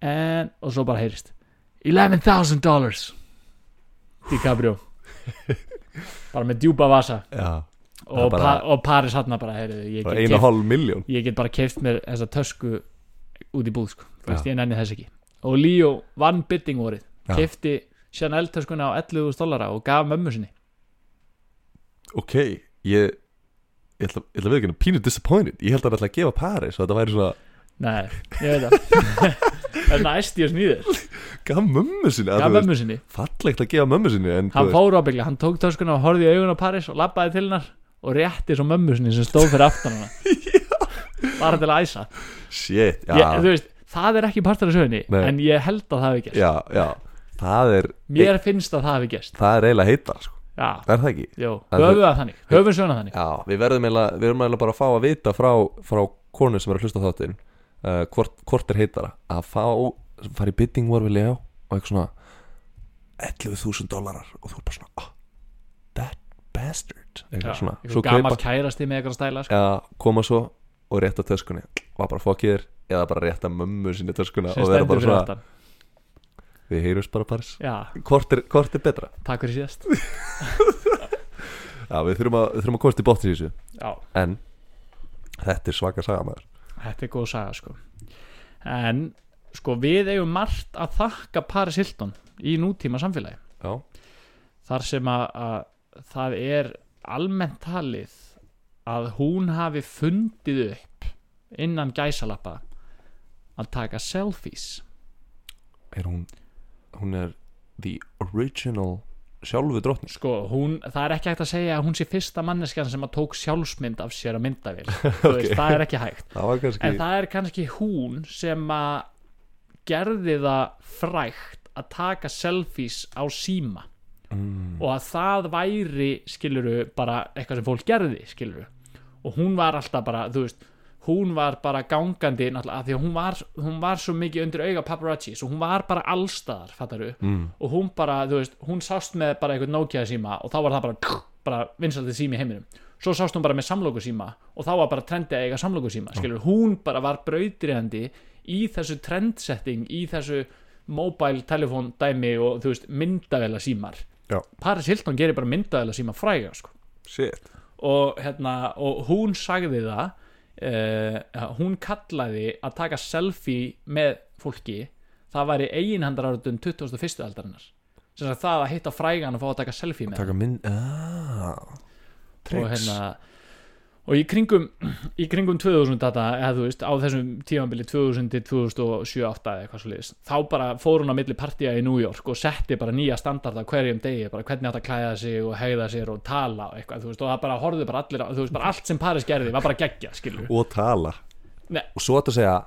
Speaker 1: and og svo bara heyrist $11,000 dollars DiCaprio bara með djúpa vasa
Speaker 2: Já, Það
Speaker 1: og,
Speaker 2: er bara-
Speaker 1: pa og Paris hann bara heyrðu, ég,
Speaker 2: bara
Speaker 1: get
Speaker 2: einu
Speaker 1: keypt-
Speaker 2: hálf miljón
Speaker 1: ég get bara keift mér þessa tösku út í búð sko. Þú veist, ég nenni þess ekki og Leo vann bidding vorið
Speaker 2: Já.
Speaker 1: kefti Chanel töskuna á 11.000 dollara og gaf mömmu sinni
Speaker 2: ok, ég ég ætla, ég ætla að veikina pínu disappointed ég held að hann ætla að gefa Paris og þetta væri svona
Speaker 1: Nei, ég veit það Það er næst í að snýður
Speaker 2: gaf mömmu sinni að
Speaker 1: Gaf
Speaker 2: þú veist,
Speaker 1: mömmu sinni
Speaker 2: fallegt að gefa mömmu sinni en,
Speaker 1: Hann
Speaker 2: þú
Speaker 1: fór ábygglega, hann tók töskuna og horfði í augun á Paris og labbaði til hennar og rétti svo mömmu sinni sem stóð fyrir aftan hana Bara til að æsa
Speaker 2: veist, shit, já,
Speaker 1: ég, þú veist, Það er ekki partur af sögunni
Speaker 2: Nei.
Speaker 1: En ég held að það hafi gerst
Speaker 2: já, já það er, e-
Speaker 1: Mér finnst að það hafi gerst
Speaker 2: það er eiginlega heita sko.
Speaker 1: Já,
Speaker 2: er það ekki?
Speaker 1: jú,
Speaker 2: Það er-
Speaker 1: höfum það þannig Höfum söguna þannig
Speaker 2: Já, við verðum eiginlega, við verðum eiginlega bara að fá að vita frá, frá konu sem er að hlusta á þáttinn uh, hvort, hvort er heitara að fá, fara í bidding war við Leo og eitthvað svona 11.000 dólarar og þú er bara svona oh, that bastard eitthvað svona, svo
Speaker 1: Gamal
Speaker 2: kaupa
Speaker 1: kærasti með eitthvað stæla sko.
Speaker 2: ja, koma svo og rétta töskunni var bara fokkið þér eða bara rétta mömmu sinni töskuna
Speaker 1: sem
Speaker 2: og vera
Speaker 1: stendur
Speaker 2: bara
Speaker 1: fyrir
Speaker 2: svona,
Speaker 1: aftan
Speaker 2: við heyrjumst bara paris
Speaker 1: Já,
Speaker 2: hvort er, hvort er betra?
Speaker 1: takk fyrir síðast
Speaker 2: Já, við þurfum að, við þurfum að komast í bóttis í þessu
Speaker 1: Já,
Speaker 2: en þetta er svaka saga maður
Speaker 1: þetta er góð saga sko En sko við eigum margt að þakka Paris Hilton í nútíma samfélagi
Speaker 2: Já,
Speaker 1: þar sem að, að það er almennt talið að hún hafi fundið upp innan gæsalappa að taka selfies
Speaker 2: er hún hún er the original sjálfu drottning
Speaker 1: sko, hún, það er ekki hægt að segja að hún sé fyrsta manneskjan sem að tók sjálfsmynd af sér að myndavél Þú veist, það er ekki hægt
Speaker 2: það var kannski
Speaker 1: en það er kannski hún sem að gerði það frægt að taka selfies á síma
Speaker 2: mm,
Speaker 1: og að það væri skiluru bara eitthvað sem fólk gerði skiluru og hún var alltaf bara þú veist hún var bara gangandi náttúrulega af því að hún var, hún var svo mikið undir auga paparazzi svo hún var bara allstaðar fattaru
Speaker 2: mm,
Speaker 1: og hún bara, þú veist, hún sást með bara einhvern Nokia síma og þá var það bara bara vinsaldi sími í heiminum svo sást hún bara með samlóku síma og þá var bara trendi að eiga samlóku síma, skilur, hún bara var brautriðandi í þessu trendsetting í þessu mobile telefón dæmi og þú veist, myndavela símar
Speaker 2: Já.
Speaker 1: Paris Hilton gerir bara myndavela síma fræga, sko
Speaker 2: shit
Speaker 1: og, hérna, og hún sagði það uh, hún kallaði að taka selfie með fólki það var í eiginhandarártun 21. aldarinnar sem sagt það að hitta frægan og fá að taka selfie með
Speaker 2: taka mynd ah,
Speaker 1: og,
Speaker 2: tricks
Speaker 1: hérna, og í kringum í kringum 2000 data eða þú veist á þessum tímanbili 2000 til 2007 8 eða eitthvað svo liðis þá bara fór hún á milli partíja í New York og setti bara nýja standarda hverjum degi bara hvernig átt að klæða sig og hegða sér og tala og eitthvað þú veist og það bara horfðu bara allir á þú veist bara allt sem Paris gerði var bara geggja skilur
Speaker 2: og tala
Speaker 1: Nei.
Speaker 2: og svo þetta segja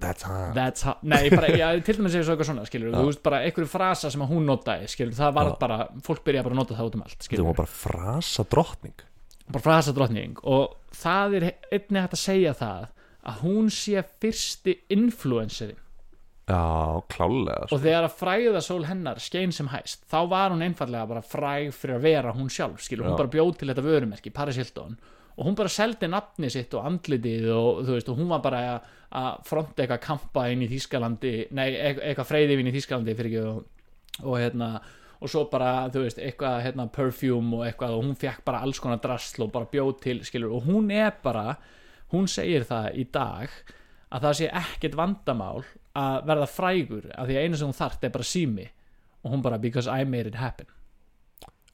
Speaker 2: that's hot
Speaker 1: That's how, nei, bara, já, til dæmis segir svo eitthvað svona, skilur, þú veist, bara einhverju frasa sem að hún notaði, skilur, það var
Speaker 2: Já.
Speaker 1: bara, fólk byrja bara að nota það út um allt,
Speaker 2: þetta
Speaker 1: skilur,
Speaker 2: var bara frasa drottning
Speaker 1: bara frasa drottning og það er einnig hægt að segja það að hún sé fyrsti influencerin
Speaker 2: já, klálega sko.
Speaker 1: og þegar að fræðasól hennar skein sem hæst þá var hún einfallega bara fræg fyrir að vera hún sjálf skilur, hún
Speaker 2: Já.
Speaker 1: bara bjóð til þetta vörumerki Paris Hilton og hún bara seldi nafni sitt og andlitið og þú veist og hún var bara að- að fronta eitthvað kampa inn í Þýskalandi nei, eit- eitthvað freyðivinn í Þýskalandi fyrir ekki og, og hérna og svo bara, þú veist, eitthvað hérna, perfume og eitthvað og hún fekk bara alls konar drasl og bara bjóð til, skilur, og hún er bara hún segir það í dag að það sé ekkert vandamál að verða frægur af því að einu sem hún þart er bara sími og hún bara because I made it happen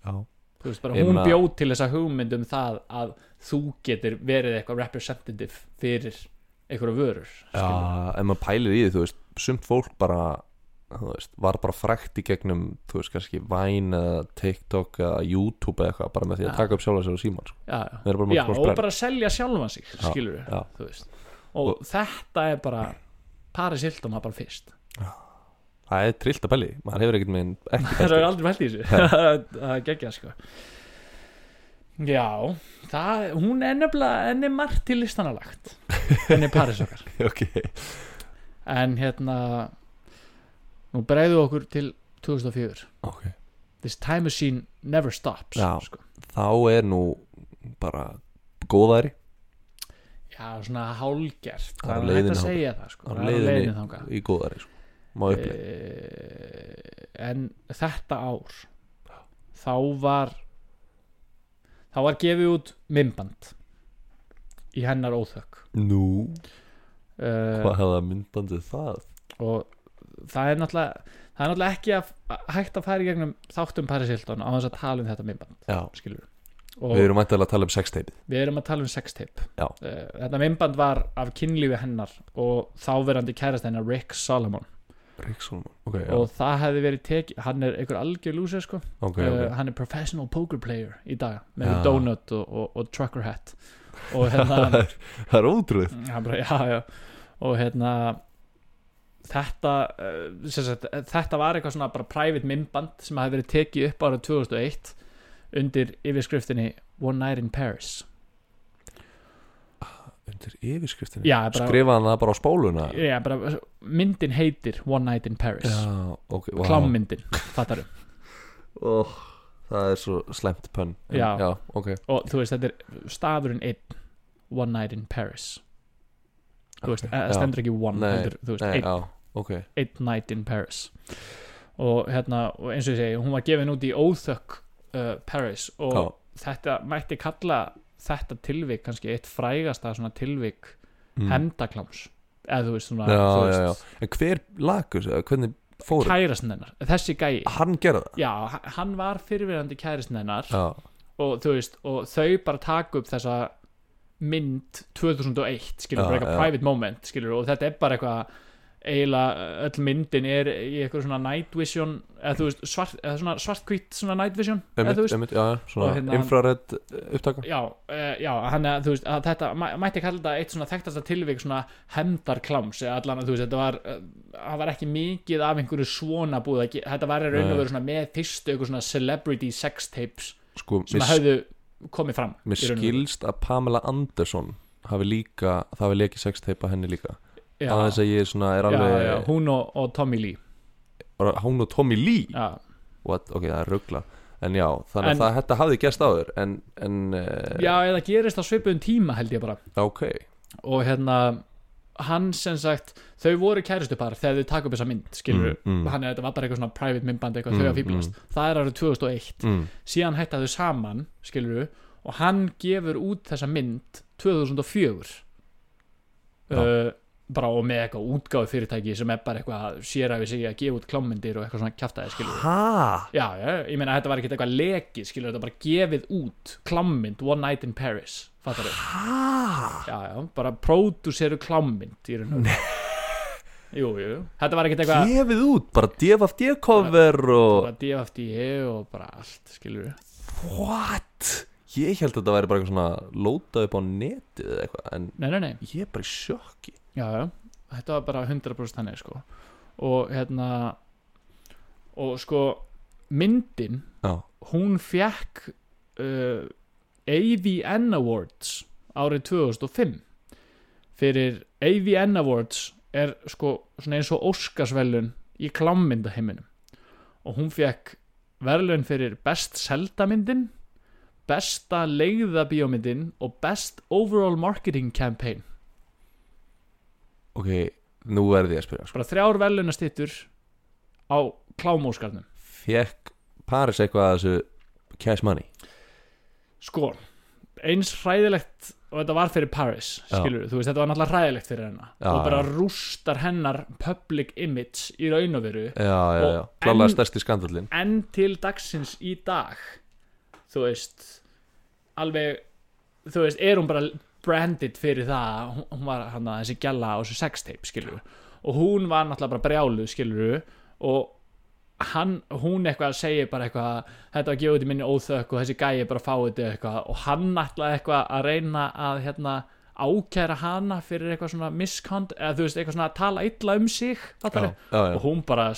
Speaker 2: já.
Speaker 1: Þú veist, bara,
Speaker 2: Ég
Speaker 1: hún
Speaker 2: meina-
Speaker 1: bjóð til þessa hugmynd um það að þú getur verið eitthvað representative fyrir einhverja vörur
Speaker 2: já,
Speaker 1: skilurðu.
Speaker 2: en maður pælir í því þú veist, sumt fólk bara þú veist, var bara frækt í gegnum þú veist, kannski Vine eða TikTok eða YouTube eða eitthvað, bara með því að
Speaker 1: Já.
Speaker 2: taka upp sjálf sér og síman, sko.
Speaker 1: já,
Speaker 2: Þeir eru bara
Speaker 1: já.
Speaker 2: með
Speaker 1: já
Speaker 2: svona
Speaker 1: og
Speaker 2: sprell.
Speaker 1: bara selja sjálfan sig
Speaker 2: Já,
Speaker 1: skilur
Speaker 2: já.
Speaker 1: þú veist og, þetta er bara Paris Hilton var bara fyrst
Speaker 2: það er trillt að pæli, í, maður hefur ekkert með ekki
Speaker 1: það
Speaker 2: pælt í
Speaker 1: er
Speaker 2: því.
Speaker 1: aldrei pælt í þessu það er geggjað sko já það, hún er nefnilega henni er margt til listanalagt henni er Paris okkar
Speaker 2: ok,
Speaker 1: en hérna nú breyðu okkur til 2004
Speaker 2: ok
Speaker 1: this time machine never stops
Speaker 2: Já.
Speaker 1: sko.
Speaker 2: þá er nú bara góðæri
Speaker 1: já svona hálgert
Speaker 2: Á
Speaker 1: það er hægt
Speaker 2: leiðinni
Speaker 1: að
Speaker 2: þangað.
Speaker 1: segja það sko.
Speaker 2: á
Speaker 1: Það er á
Speaker 2: leiðinni
Speaker 1: þangað.
Speaker 2: í góðæri sko. má upplega
Speaker 1: Eh, en þetta ár þá var þá var gefið út mymband í hennar óþökk
Speaker 2: nú,
Speaker 1: uh,
Speaker 2: Hvað hefða myndandi það?
Speaker 1: og það er náttúrulega það er náttúrulega ekki að, að hægt að fara í gegnum þáttum Paris Hilton á þess að tala um þetta minnband
Speaker 2: Já,
Speaker 1: skilur og
Speaker 2: við erum mættilega að tala um sexteipið
Speaker 1: að tala um sextip
Speaker 2: Já.
Speaker 1: þetta minnband var af kynlífi hennar og þáverandi kærast hennar Rick Solomon
Speaker 2: Ríksson, ok, já,
Speaker 1: og það hefði verið tekið, hann er einhver algjör lúsir sko,
Speaker 2: ok,
Speaker 1: okay,
Speaker 2: ok
Speaker 1: hann er professional poker player í dag með
Speaker 2: Já.
Speaker 1: donut og, og, og trucker hat og hérna
Speaker 2: Það er- það er ótrúð
Speaker 1: hann bara, já, já og hérna þetta, eh, sem sagt, þetta var eitthvað svona bara private mymband sem hafði verið tekið upp árið 2001 undir yfirskriftinni One Night in Paris
Speaker 2: Undir yfirskriftinu
Speaker 1: já, bara,
Speaker 2: Skrifaði hann það bara á spóluna
Speaker 1: já, bara myndin heitir One Night in Paris
Speaker 2: Já, ok, vá.
Speaker 1: klámmyndin, fattarum
Speaker 2: Ó, Oh, Það er svo slemt pönn En-
Speaker 1: Já.
Speaker 2: já, ok
Speaker 1: og þú veist, þetta er stafurinn einn One Night in Paris þú veist,
Speaker 2: Ok,
Speaker 1: það
Speaker 2: já.
Speaker 1: stendur ekki one
Speaker 2: Nei,
Speaker 1: heldur, þú veist,
Speaker 2: Nei,
Speaker 1: einn
Speaker 2: já, ok
Speaker 1: Eight Night in Paris og hérna, og eins og ég segi hún var gefin út í Óþökk uh, Paris og
Speaker 2: Já,
Speaker 1: þetta mætti kalla þetta tilvik kannski eitt frægasta svona tilvik
Speaker 2: mm.
Speaker 1: hefndakláms eða þú veist svona
Speaker 2: Já,
Speaker 1: þú
Speaker 2: já, En hver lagur, eða hvernig fór
Speaker 1: kærastin hennar, þessi gæi
Speaker 2: Hann gerði það
Speaker 1: já, h- hann var fyrirverandi kærastin hennar
Speaker 2: Ah. Já,
Speaker 1: og þú veist, og þau bara taka upp þessa mynd 2001 skilur,
Speaker 2: Já,
Speaker 1: bara eitthvað
Speaker 2: já.
Speaker 1: private moment skilur, og þetta er bara eitthvað eiginlega öll myndin er í eitthvað svona night vision eða þú veist, svart, eða svona svartkvít svona night vision, eða
Speaker 2: einmitt,
Speaker 1: þú veist
Speaker 2: einmitt, já, já, svona
Speaker 1: Og hérna-
Speaker 2: infrared eh, upptaka
Speaker 1: já, uh, já, hann að þú veist að þetta, mæ- mætti kalla þetta eitt svona þekktasta tilvik svona hemdarkláms eða allan að þú veist, þetta var eh, það var ekki mikið af einhverju svona búið að ge- þetta var í raun og
Speaker 2: Nei.
Speaker 1: veru svona með fyrstu eitthvað svona celebrity sex tapes
Speaker 2: Sko,
Speaker 1: sem
Speaker 2: mér,
Speaker 1: höfðu komið fram
Speaker 2: mér
Speaker 1: í raun og veru.
Speaker 2: skilst að Pamela Anderson hafi líka, það hafi lekið sexteipa henni líka
Speaker 1: já,
Speaker 2: aðeins að ég svona er
Speaker 1: já,
Speaker 2: alveg
Speaker 1: já, hún og, og Tommy Lee
Speaker 2: bara hún og Tommy Lee
Speaker 1: já,
Speaker 2: What? ok, það er ruggla en já, þannig
Speaker 1: En-
Speaker 2: að það, þetta hafði gerst áður en, en uh,
Speaker 1: já eða gerist á svipuðum tíma held ég bara
Speaker 2: ok
Speaker 1: og hérna hann sem sagt, þau voru kæristupar þegar þau taka upp þessa mynd, skilur mm,
Speaker 2: Mm, mm.
Speaker 1: hann er þetta var bara eitthvað svona private myndband eitthvað
Speaker 2: Mm,
Speaker 1: þau að fýblast, það er árið 2001
Speaker 2: mm,
Speaker 1: síðan hætta þau saman, skilur og hann gefur út þessa mynd 2004
Speaker 2: Já.
Speaker 1: uh, bara og með eitthvað útgáðu fyrirtæki sem er bara eitthvað séræfi sig að gefa út klámyndir og eitthvað svona kjaftaði, skilur
Speaker 2: ha?
Speaker 1: já, já, ég meina þetta var ekkert eitthvað leki, skilur þetta var bara gefið út klámynd One Night in Paris, fattar þau
Speaker 2: ha?
Speaker 1: já, já, bara pródúseru klámynd í raun og veru. jú, jú, þetta var ekkert eitthvað
Speaker 2: gefið út, bara DFFD cover og
Speaker 1: bara DFDE E og bara allt, skilur
Speaker 2: what? ég held að þetta væri bara eitthvað svona lótað upp á netið eða eitthvað en
Speaker 1: nei, nei, nei
Speaker 2: ég er bara í sjokki
Speaker 1: já, já, þetta var bara 100% þannig sko og hérna og sko myndin,
Speaker 2: já,
Speaker 1: hún fekk uh, AVN Awards árið 2005 fyrir AVN Awards er sko svona eins og Óskarsvelun í klámmyndaheiminum og hún fekk verðlun fyrir best selda myndin besta leiða bíómyndin og best overall marketing campaign
Speaker 2: ok, nú verði ég að spyrja sko.
Speaker 1: bara þrjár velunastittur á klámóskarnum
Speaker 2: fekk sko. Paris eitthvað að þessu cash money
Speaker 1: sko, eins hræðilegt og þetta var fyrir Paris,
Speaker 2: Já.
Speaker 1: skilur þú veist, þetta var náttúrulega hræðilegt fyrir hennar
Speaker 2: Já,
Speaker 1: og bara
Speaker 2: já.
Speaker 1: rústar hennar public image í raun og veru
Speaker 2: já, já,
Speaker 1: Og
Speaker 2: já, klálega
Speaker 1: en-
Speaker 2: stærsti skandallin
Speaker 1: en til dagsins í dag þú veist alveg, þú veist, er hún bara branded fyrir það að hún- hún var hann að þessi gjalla á þessu sextape, skilur og hún var náttúrulega bara brjálu, skilur og hann, hún eitthvað segir bara eitthvað þetta var gefið út í minni óþökk og þessi gæi bara fáið þetta eitthvað og hann ætlaði eitthvað að reyna að hérna ákæra hana fyrir eitthvað svona miskond eða þú veist, eitthvað svona að tala illa um sig
Speaker 2: já,
Speaker 1: fattarðu?
Speaker 2: já, já,
Speaker 1: og hún bara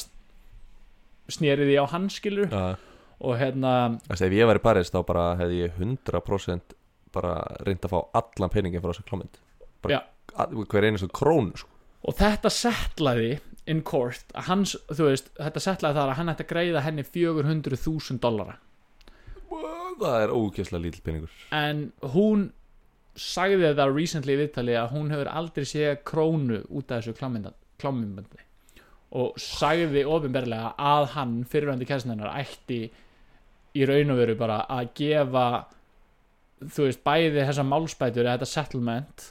Speaker 1: snýrið því á hann skilur
Speaker 2: já.
Speaker 1: og hérna
Speaker 2: Þessi, ef ég væri Paris þá bara hefði ég 100% bara reynd að fá allan peningin frá þessu klámynd bara
Speaker 1: Já.
Speaker 2: að, hver einu svo krón sko.
Speaker 1: og þetta settlaði in court að hans, þú veist, þetta settlaði þar að hann ætti að greiða henni 400.000 dollara
Speaker 2: það er ógeðslega lítill peningur
Speaker 1: en hún sagði það recently í viðtali að hún hefur aldrei séð krónu út af þessu klámyndbandi og sagði ofinberlega að hann fyrirvændi kæsninnar ætti í raun og veru bara að gefa þú veist bæði þessa málsbætur eða þetta settlement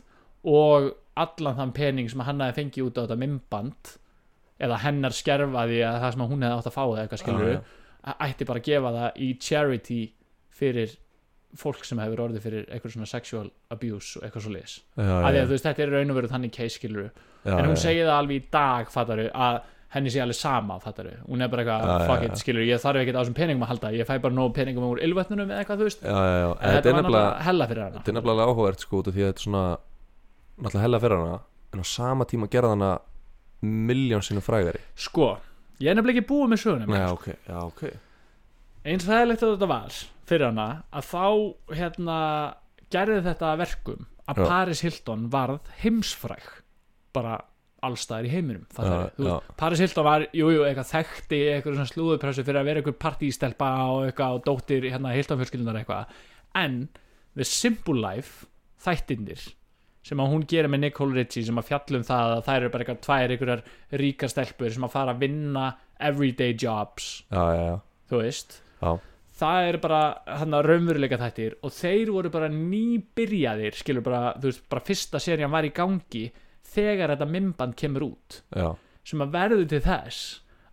Speaker 1: og allan þann pening sem hann hafi fengið út á þetta mymband eða hennar skerfaði að það sem hún hefði átt að fá það eitthvað skilur
Speaker 2: Já, já.
Speaker 1: ætti bara að gefa það í charity fyrir fólk sem hefur orðið fyrir eitthvað svona sexual abuse og eitthvað svo lis
Speaker 2: já,
Speaker 1: að
Speaker 2: já,
Speaker 1: því að þú veist þetta er raun og veru þannig case skilur
Speaker 2: já,
Speaker 1: en hún
Speaker 2: já.
Speaker 1: segir það alveg í dag fattaru að henni sé alveg sama fattaru hún er bara eitthvað
Speaker 2: Já, já,
Speaker 1: fuck
Speaker 2: já.
Speaker 1: it skilur ég þarf ekkert á þessum peningum að halda ég fæ bara nóg peningum úr ylvetnunum eða eitthvað þú veist
Speaker 2: já, já, já.
Speaker 1: en
Speaker 2: Þetta
Speaker 1: þetta
Speaker 2: er
Speaker 1: var
Speaker 2: nefnilega
Speaker 1: náttúrulega hella fyrir hana
Speaker 2: Þetta er nefnilega alveg áhugavert sko út af því að þetta er svona náttúrulega hella fyrir hana en á sama tíma gerða hana miljón sinnum frægari
Speaker 1: sko ég er nefnilega ekki búið með sögunum
Speaker 2: Já, ok, já, ok
Speaker 1: eins ræðilegt að þetta var fyrir hana að þá hérna gerði þetta að verkum að
Speaker 2: Já.
Speaker 1: Paris Hilton varð heimsfræg bara allstaðar í heiminum
Speaker 2: Já,
Speaker 1: fattar þú?
Speaker 2: já.
Speaker 1: veist, Paris Hilton var, jújú, jú, eitthvað þekkti eitthvað svona slúðupressu fyrir að vera eitthvað partístelpa og eitthvað og dóttir hérna Hilton fjölskyldunar eitthvað en The Simple Life þættindir sem að hún gerir með Nicole Richie sem að fjallum það að þær eru bara eitthvað tvær einhverjar ríkar stelpur sem að fara að vinna everyday jobs
Speaker 2: Já, já, já,
Speaker 1: þú veist
Speaker 2: já,
Speaker 1: það er bara hann að raunveruleika þættir og þeir voru bara nýbyrjaðir skilur bara, þú veist, bara fyrsta serían var í gangi þegar þetta mymband kemur út
Speaker 2: já,
Speaker 1: sem að verður til þess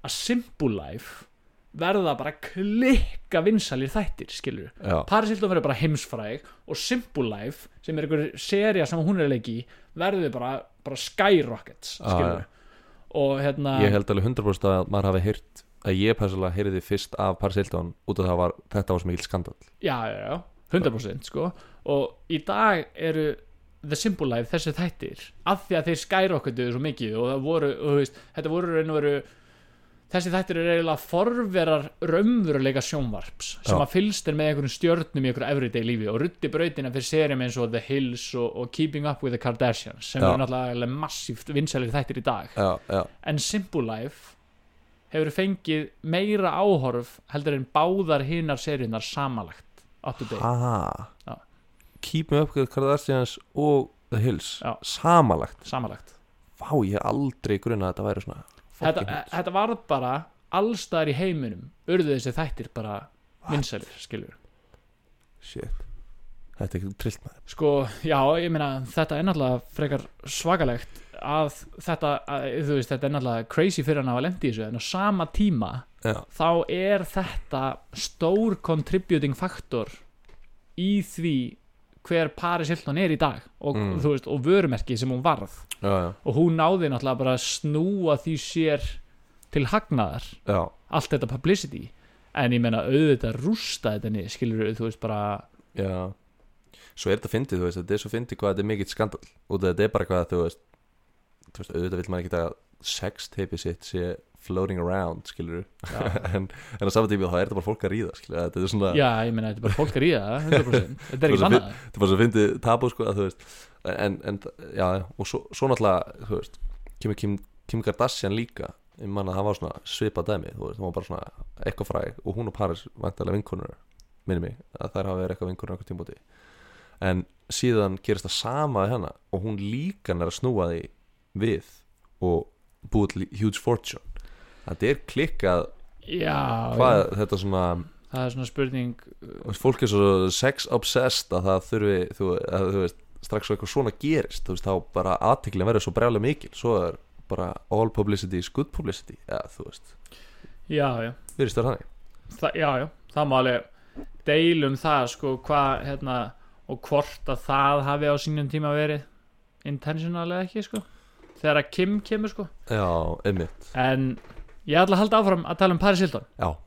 Speaker 1: að Simple Life verða bara klikka vinsalir þættir, skilur
Speaker 2: já,
Speaker 1: Paris Hilton verður bara heimsfræg og Simple Life, sem er einhver seria sem hún er að leiki, verður bara, bara skyrockets,
Speaker 2: Ah, Já,
Speaker 1: skilur og hérna,
Speaker 2: Ég held alveg 100% að maður hafi heyrt að ég persónulega heyrði fyrst af Paris Hilton út af það var, þetta var svo mikil skandal
Speaker 1: já, já, já, 100% sko. og í dag eru The Simple Life, þessi þættir af því að þeir skyrocketuðu svo mikið og það voru, og þú veist, þetta voru raun og veru þessi þættir eru eiginlega forverar raunveruleika sjónvarps sem
Speaker 2: Já.
Speaker 1: að fylgst er með einhverjum stjörnum í einhverju everyday lífi og rutti brautina fyrir serium eins og The Hills og, og Keeping Up with the Kardashians sem
Speaker 2: Já.
Speaker 1: eru náttúrulega massíft vinsælir þættir í dag
Speaker 2: Já, já,
Speaker 1: en Simple Life hefur fengið meira áhorf heldur en báðar hinar seriunar samanlagt up to date
Speaker 2: ha
Speaker 1: Já.
Speaker 2: Keep me up with Kardashians og The Hills
Speaker 1: Já.
Speaker 2: samanlagt,
Speaker 1: samanlagt
Speaker 2: vá ég hef aldrei grunað að þetta væri svona
Speaker 1: þetta, eh,
Speaker 2: fucking hits.
Speaker 1: þetta var bara allstaðar í heiminum urðu þessi þættir bara vinsælir skilur
Speaker 2: Shit, þetta er ekki trillt maður
Speaker 1: sko já ég meina þetta er náttúrulega frekar svakalegt að þetta að, þú veist þetta er náttúrulega crazy fyrir hann að hafa lendi í þessu en á sama tíma
Speaker 2: Já,
Speaker 1: þá er þetta stór contributing faktor í því hver Paris Hilton er í dag og,
Speaker 2: Mm.
Speaker 1: þú veist, og vörumerki sem hún varð
Speaker 2: já, já,
Speaker 1: og hún náði náttúrulega bara að snúa því sér til hagnaðar
Speaker 2: já.
Speaker 1: allt þetta publicity en ég meina auðvitað rústa þetta niður skilur þú veist bara
Speaker 2: Já Svo er þetta fyndið, þú veist, þetta er svo fyndið hvað þetta er mikill skandal Út af þetta er bara hvað, þú veist Þú veist, auðvitað vil maður ekki að sexteipi sitt sé floating around, skilur en, en á saman tími þá er þetta bara fólk að ríða, skilur Þetta er svona,
Speaker 1: já ég meina þetta er bara fólk er í það 100% þetta er
Speaker 2: Þú
Speaker 1: ekki
Speaker 2: veist,
Speaker 1: annað
Speaker 2: þetta er bara svo fyndið tabu, sko, að þú veist En, en já, já, og svo, svo náttúrulega, þú veist Kim, Kim, Kim Kardashian líka Ég man að það var svona svipað dæmi, þú veist Hún var bara svona eitthvað fræg Og hún og Paris vantarlega vinkonur minni mig að þær hafa verið eitthvað vinkurinn okkur tímbúti en síðan gerist það sama að hennar og hún líka nær að snúa því við og búið til huge fortune þetta er klikkað
Speaker 1: já,
Speaker 2: hvað
Speaker 1: já,
Speaker 2: þetta svona
Speaker 1: það er svona spurning
Speaker 2: þú veist, fólk er svo sex obsessed að það þurfi þú, að, þú veist strax svo eitthvað svona gerist þú veist þá bara aðteklin verður svo brjálega mikil svo er bara all publicity is good publicity eða þú veist
Speaker 1: já já
Speaker 2: við erum stöður þannig
Speaker 1: Þa, já, já, það má alveg deilum það sko hvað hérna og hvort að það hafi á sínum tíma verið intentional eða ekki sko þegar að Kim kemur sko
Speaker 2: já, einmitt
Speaker 1: en ég ætla að halda áfram að tala um Paris Hilton
Speaker 2: já
Speaker 1: af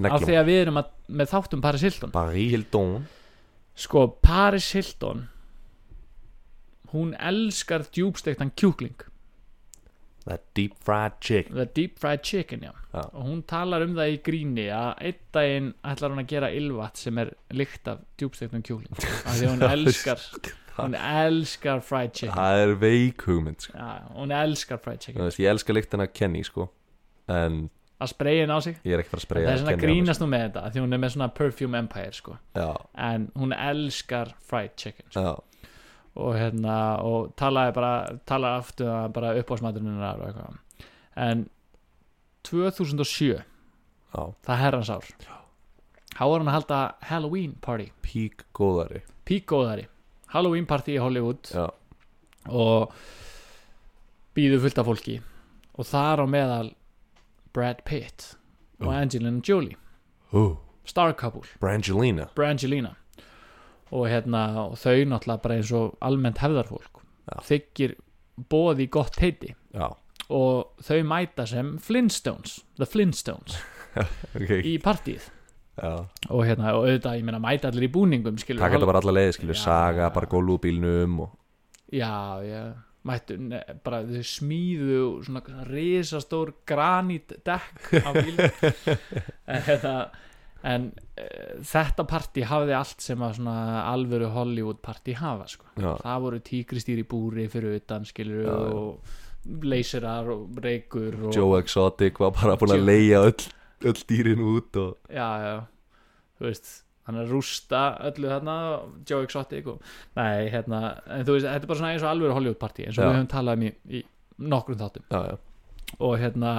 Speaker 1: því
Speaker 2: neglum
Speaker 1: að við erum að, með þáttum Paris Hilton
Speaker 2: Paris Hilton
Speaker 1: sko Paris Hilton hún elskar djúbstektan kjúkling
Speaker 2: that deep fried chick
Speaker 1: The Deep Fried Chicken, já.
Speaker 2: Já.
Speaker 1: og hún talar um það í gríni að einn daginn ætlar hún að gera ylvat sem er lykt af djúbsteknum kjúling af því að hún elskar hún elskar fried chicken
Speaker 2: Það er veik hugmynd sko.
Speaker 1: já, hún elskar fried
Speaker 2: Þú
Speaker 1: chicken
Speaker 2: veist, Ég elska lyktina af Kenny sko. En
Speaker 1: að spreyja henn á sig
Speaker 2: ég er ekki fara að
Speaker 1: það
Speaker 2: spreja
Speaker 1: er svona
Speaker 2: Kenny á mig,
Speaker 1: grínast nú með þetta af því hún er með svona perfume empire sko
Speaker 2: sko. Já,
Speaker 1: en hún elskar fried chicken sko.
Speaker 2: já,
Speaker 1: og hérna og talaði bara talaði aftur að bara uppásmaturinn hennar og eitthvað en 2007
Speaker 2: já
Speaker 1: það er herrans ár þá var hann að halda Halloween party
Speaker 2: Pík góðari
Speaker 1: píkóðari Halloween party í Hollywood
Speaker 2: Já,
Speaker 1: og býður fullt af fólki og þar á meðal Brad Pitt og
Speaker 2: Ó.
Speaker 1: Angelina Jolie
Speaker 2: Hú,
Speaker 1: star couple,
Speaker 2: Brangelina
Speaker 1: Brangelina og hérna og þau náttúrulega bara eins og almennt hefðarfólk
Speaker 2: Já.
Speaker 1: þykir bóði gott heiti
Speaker 2: Já,
Speaker 1: og þau mæta sem Flintstones The Flintstones
Speaker 2: ok
Speaker 1: í partíð
Speaker 2: Já.
Speaker 1: og hérna og auðvitað, ég meina mæta allir í búningum skilur
Speaker 2: Takk þetta bara alla leiði, skilju,
Speaker 1: Já.
Speaker 2: saga, bara gólu úr bílnum og...
Speaker 1: Já, já, mættu ne, bara þau smíðu svona, svona risastór granítdekk á bíl en, hérna, en e, þetta partí hafði allt sem að svona alvöru Hollywood partí hafa sko.
Speaker 2: Já,
Speaker 1: það voru tígristýr í búri fyrir utan skilur
Speaker 2: Já, já.
Speaker 1: og leysirar og reykur og,
Speaker 2: Joe Exotic var bara búin
Speaker 1: Joe-
Speaker 2: að leiða öll, öll dýrin út og...
Speaker 1: já, já, þú veist hann er að rústa öllu þarna Joe Exotic og, nei, hérna en þú veist, þetta er bara svona eins og alvöru Hollywood partí eins og
Speaker 2: Já.
Speaker 1: við höfum talað um í, í nokkrum þáttum
Speaker 2: Já, já,
Speaker 1: og hérna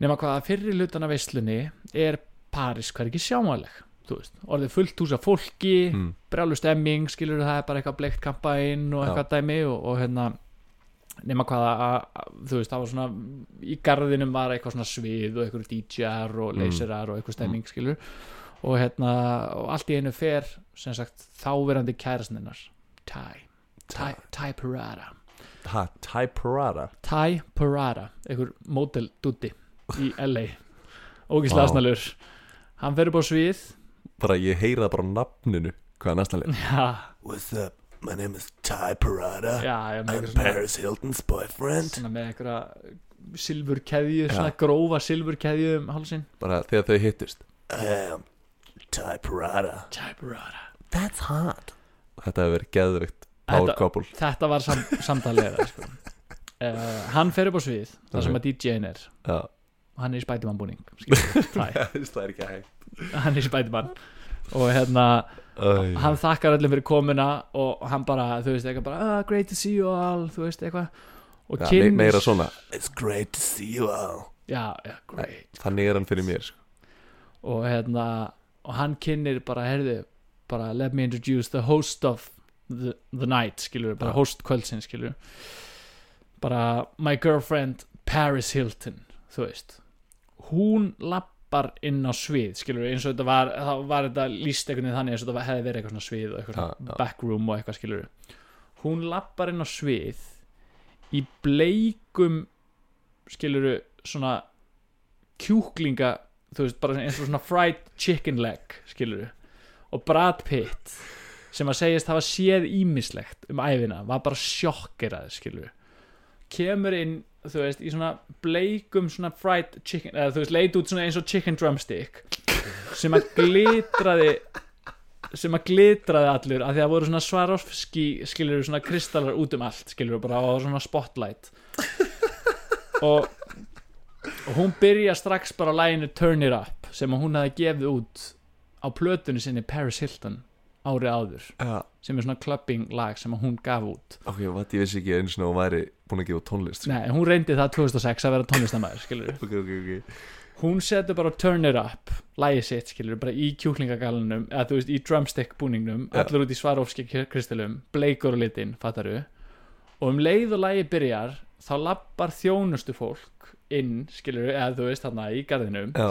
Speaker 1: nema hvað að fyrri hlutan af veislunni er París hvergi sjámanleg þú veist, orðið fullt hús af fólki mm.
Speaker 2: mm.
Speaker 1: brjálu stemming, skilur það er bara eitthvað bleikt kampain og
Speaker 2: Já.
Speaker 1: eitthvað dæmi og, og hérna nema hvað að, að, þú veist, það var svona í garðinum var eitthvað svona svið og eitthvað DJ-ar og
Speaker 2: Mm.
Speaker 1: leysirar og eitthvað stemming, skilur og hérna, og allt í einu fer sem sagt, þáverandi kærasninnar Ty, Ty, Ty Parada
Speaker 2: Ha, Ty Parada
Speaker 1: Ty Parada einhver mótel dutti í LA ógislega
Speaker 2: Vá.
Speaker 1: snalur hann fer upp á svið
Speaker 2: Bara ég heyra það bara á nafninu Hvað er næsta leið?
Speaker 1: já,
Speaker 2: What's up? My name is Ty Parada
Speaker 1: já, já með einhver svona,
Speaker 2: Hilton's boyfriend
Speaker 1: svona með einhverja silfurkeðju, svona grófa silfurkeðju um hálsinn
Speaker 2: Bara þegar þau hittust I am Ty Parada
Speaker 1: Ty Parada
Speaker 2: That's hot Þetta hefur verið geðveikt
Speaker 1: Þetta-
Speaker 2: Power couple
Speaker 1: þetta var sam, samtalið sko. uh, hann fer upp á svið þar sem að DJ-in er
Speaker 2: Já
Speaker 1: og hann er í Spiderman búning skilur, Ty,
Speaker 2: Það er ekki hægt
Speaker 1: hann er í Spiderman og hérna
Speaker 2: Æ,
Speaker 1: hann þakkar öllum fyrir komuna og hann bara, þú veist, eitthvað bara ah, great to see you all, þú veist, eitthvað og
Speaker 2: Já, me-
Speaker 1: kynnist
Speaker 2: Meira svona It's great to see you all
Speaker 1: já, já, great
Speaker 2: Þannig er hann fyrir mér sko.
Speaker 1: og hérna, og hann kynnir bara, heyrðu, bara let me introduce the host of the, the night skilur, bara
Speaker 2: Já.
Speaker 1: host kvöldsinn, skilur bara my girlfriend Paris Hilton, þú veist hún lappar inn á svið, skilur, eins og þetta var þá var þetta líst einhvern veginn þannig eins og þetta var- hefði verið eitthvað svona svið og eitthvað svona
Speaker 2: Já, já.
Speaker 1: backroom og eitthvað skilur hún lappar inn á svið í bleikum skilur svona kjúklinga þú veist bara eins og svona fried chicken leg skilur og Brad Pitt sem að segjast hafa séð ímislegt um æfina var bara sjokkerað skilur kemur inn þú veist í svona bleikum svona fried chicken eða þú veist leit út svona eins og chicken drumstick sem að glitraði sem að glitraði allur af því að það voru svona svarofski skilur svona kristallar út um allt skilur bara á svona spotlight og, og hún byrja strax bara á læginu Turn It Up sem að hún hafi gefið út á plötunni sinni Paris Hilton árið áður
Speaker 2: Já
Speaker 1: sem er svona clubbing lag sem að hún gaf út
Speaker 2: Ok, vat, ég vissi ekki eins og hún væri búin að gefa út tónlist sko.
Speaker 1: Nei, hún reyndi það 2006 að vera tónlistamæður skilur
Speaker 2: Ok, ok, ok
Speaker 1: hún setur bara turn it up lægi sitt skilur, bara í kjúklingagallunum eða þú veist, í drumstick búningnum
Speaker 2: Já.
Speaker 1: allir út í svarofski kristalum, bleikur og litin fattaru, og um leið og lægi byrjar, þá lappar þjónustu fólk inn, skilur eða þú veist, þarna í garðinum
Speaker 2: Já,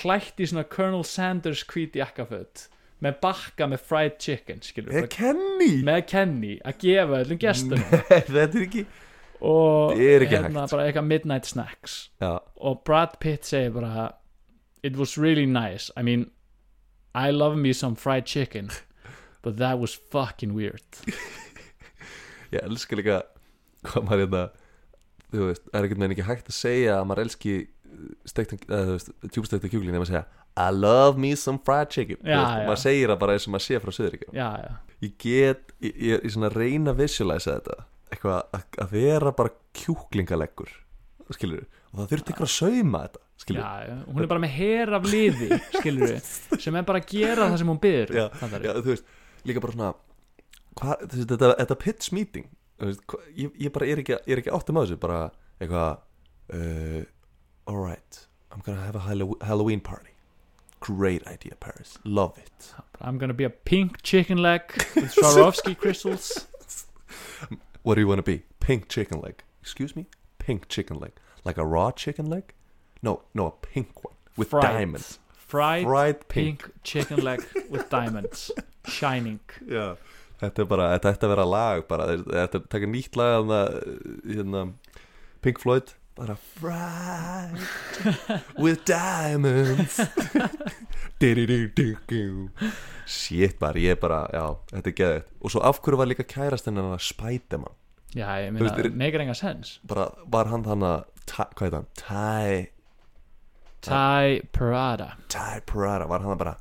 Speaker 1: klætt í svona Colonel Sanders hvít jakkaföt, með bakka með fried chicken, skilur,
Speaker 2: er
Speaker 1: bara,
Speaker 2: Kenny
Speaker 1: með Kenny að gefa öllum gestum
Speaker 2: Nei, þetta er ekki
Speaker 1: og hérna
Speaker 2: Það er Mm. ekki hægt.
Speaker 1: bara eitthvað midnight snacks
Speaker 2: Já,
Speaker 1: og Brad Pitt segir bara it was really nice I mean I love me some fried chicken but that was fucking weird
Speaker 2: ég elska líka hvað maður hérna þú veist, það er ekkert meðan ekki hægt að segja að maður elski eh, steiktan, eða þú veist, djúbstekta kjúklin ef maður segja I love me some fried chicken Þú
Speaker 1: Já,
Speaker 2: veist,
Speaker 1: já.
Speaker 2: maður segir það bara eins og maður sé frá Suðuríkjum
Speaker 1: já, já,
Speaker 2: ég get, ég, ég, ég svona reyna að visualisa þetta eitthvað að, að vera bara kjúklingaleggur skilur, og það þurfti eitthvað að sauma þetta
Speaker 1: já,
Speaker 2: skilur,
Speaker 1: já hún er bara með her af liði skilur við sem er bara að gera það sem hún um. byður
Speaker 2: Já,
Speaker 1: það
Speaker 2: já, þú veist, líka bara svona hva, þú veist, þetta, þetta pitch meeting þú veist, hva, ég, ég bara er ekki, ég er ekki áttum á þessu bara eitthvað uh, alright, I'm gonna have a Hallow- Halloween party great idea Paris, love it
Speaker 1: I'm gonna be a pink chicken leg with Swarovski crystals
Speaker 2: What do you want to be? Pink chicken leg. Excuse me? Pink chicken leg. Like a raw chicken leg? No, no, a pink one with
Speaker 1: Fried.
Speaker 2: diamonds.
Speaker 1: Fried,
Speaker 2: Fried pink.
Speaker 1: pink chicken leg with diamonds Shining
Speaker 2: Já. Þetta er bara, þetta ætti að vera lag bara, þeir- þetta er taka nýtt lag um hérna, Pink Floyd bara Fried with diamonds Du-du-du-du-du. Shit bara, ég er bara, já, þetta er geðið Og svo af hverju var líka kærastinn hennar Spiderman
Speaker 1: Já, ég
Speaker 2: Þú veist,
Speaker 1: meina,
Speaker 2: er-
Speaker 1: meikar enga sens
Speaker 2: bara, var hann þann að hvað heit hann, Ty
Speaker 1: Thai Parada
Speaker 2: Ty Parada, var hann bara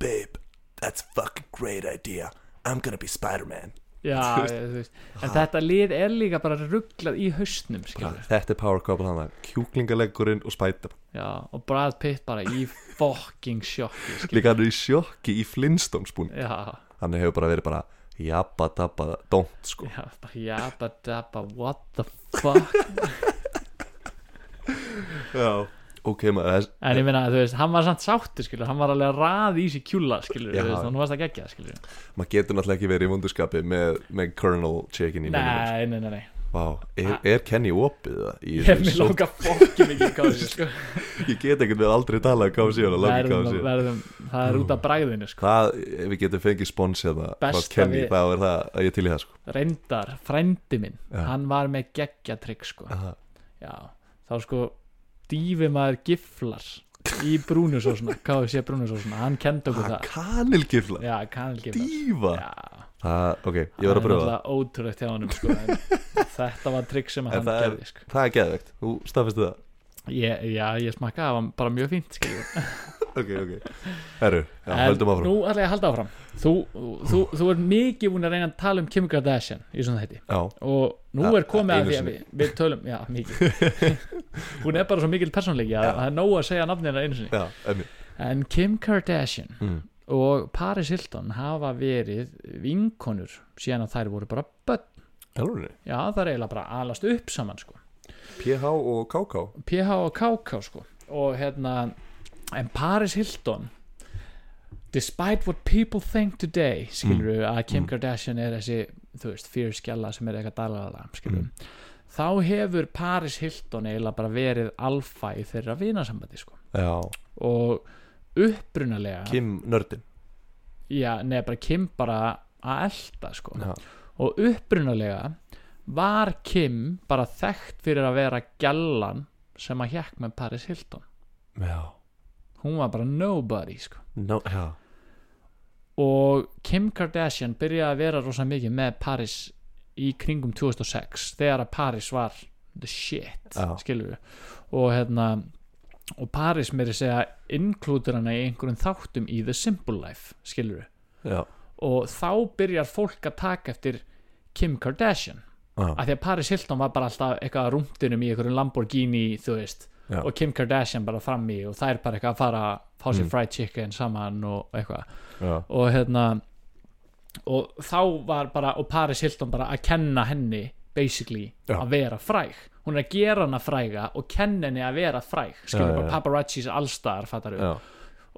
Speaker 2: Babe, that's a fucking great idea I'm gonna be Spider-Man
Speaker 1: Já, ég, þú veist En þetta lið er líka bara rugglað í haustnum
Speaker 2: bara,
Speaker 1: skilur.
Speaker 2: þetta er power couple hann að kjúklingaleggurinn og spæta
Speaker 1: Já, og Brad Pitt bara í fucking sjokki skilur.
Speaker 2: líka hann er í sjokki í Flintstones búin
Speaker 1: Já,
Speaker 2: hann hefur bara verið bara jabba dabba don't sko
Speaker 1: já, bara jabba dabba What the fuck
Speaker 2: já. ok eh, maður þess,
Speaker 1: En ég meina, þú veist, hann var samt sáttur skilur Hann var alveg að raða í sér kjúla skilur
Speaker 2: Já.
Speaker 1: Þú veist, hann varst að gegja skilur
Speaker 2: maður getur náttúrulega ekki verið í vundurskapi með, með Colonel Chicken í minnum
Speaker 1: Nei, nei, nei, nei
Speaker 2: Vá, er, er Kenny opið það? Í,
Speaker 1: Ég mér
Speaker 2: þessu?
Speaker 1: lóka fokkin ekki kási sko.
Speaker 2: ég get ekkert við aldrei talað um KFC og láta
Speaker 1: verðum,
Speaker 2: KFC
Speaker 1: verðum, Það er út af bræðinu sko.
Speaker 2: hvað, ef við getum fengið spons hérna frá
Speaker 1: Besta
Speaker 2: Kenny,
Speaker 1: við-
Speaker 2: þá er það að ég til í það sko
Speaker 1: Reyndar, frændi minn
Speaker 2: Já.
Speaker 1: Hann var með geggja trygg sko.
Speaker 2: Aha.
Speaker 1: Já, þá sko dýfi maður giflar í brúnusósuna, KFC brúnusósuna hann kenda okkur
Speaker 2: Ah,
Speaker 1: það
Speaker 2: kanilgifla,
Speaker 1: Já, kanilgiflar
Speaker 2: dífa
Speaker 1: Já,
Speaker 2: Ah, ok, ég var
Speaker 1: Það er
Speaker 2: að pröfa það.
Speaker 1: náttúrulega ótrúlegt hjá honum sko, en þetta var trygg sem
Speaker 2: En
Speaker 1: hann
Speaker 2: það er-
Speaker 1: gerði sko.
Speaker 2: það er geðvegt, þú staðfistu það
Speaker 1: ég, Já, ég smakkaði, það var bara mjög fínt skilur.
Speaker 2: ok, ok Herru, já,
Speaker 1: En
Speaker 2: höldum áfram
Speaker 1: Nú ætla ég að halda áfram Þú, þú, þú er mikið búin að reyna að tala um Kim Kardashian í svona þetta
Speaker 2: Já,
Speaker 1: og nú
Speaker 2: Ja,
Speaker 1: er komið
Speaker 2: einu
Speaker 1: að því að
Speaker 2: sinni.
Speaker 1: við, við tölum já, mikið hún er bara svo mikil persónleiki að
Speaker 2: Já.
Speaker 1: það er nóg að segja nafnina einu sinni
Speaker 2: já, emmi
Speaker 1: en Kim Kardashian
Speaker 2: mm.
Speaker 1: og Paris Hilton hafa verið vinkonur síðan að þær voru bara börn
Speaker 2: Elrunni
Speaker 1: já það er eiginlega bara að alast upp saman sko.
Speaker 2: PH og KK
Speaker 1: PH og KK sko. og hérna en Paris Hilton despite what people think today skilur að Kim
Speaker 2: Mm.
Speaker 1: Kardashian er þessi þú veist fyrskjalla sem er eitthvað dalalala skilur
Speaker 2: Mm.
Speaker 1: þá hefur Paris Hilton eiginlega bara verið alfa í þeirra vinasambandi sko.
Speaker 2: Já,
Speaker 1: og upprunalega
Speaker 2: Kim Nördin
Speaker 1: já, neða bara Kim bara að elta sko.
Speaker 2: Já,
Speaker 1: og upprunalega var Kim bara þekkt fyrir að vera gjallan sem að hjekk með Paris Hilton
Speaker 2: já,
Speaker 1: hún var bara nobody sko.
Speaker 2: no, já.
Speaker 1: og Kim Kardashian byrjaði að vera rosa mikið með Paris í kringum 2006 þegar að Paris var the shit
Speaker 2: Já.
Speaker 1: skilur við og hérna og Paris meiri segja inklútur hana í einhverjum þáttum í The Simple Life skilur við
Speaker 2: já.
Speaker 1: og þá byrjar fólk að taka eftir Kim Kardashian
Speaker 2: Ah,
Speaker 1: af því að Paris Hilton var bara alltaf eitthvað að rúmdunum í einhverjum Lamborghini þú veist
Speaker 2: Já.
Speaker 1: og Kim Kardashian bara fram í og það er bara eitthvað að fara að fá sér
Speaker 2: Mm.
Speaker 1: fried chicken saman og eitthvað
Speaker 2: já,
Speaker 1: og hérna og þá var bara og Paris Hilton bara að kenna henni basically
Speaker 2: Já.
Speaker 1: að vera fræg hún er að gera hana fræga og kenna henni að vera fræg skilur
Speaker 2: Já, já,
Speaker 1: bara
Speaker 2: já.
Speaker 1: paparazzis allstar fattar við
Speaker 2: já,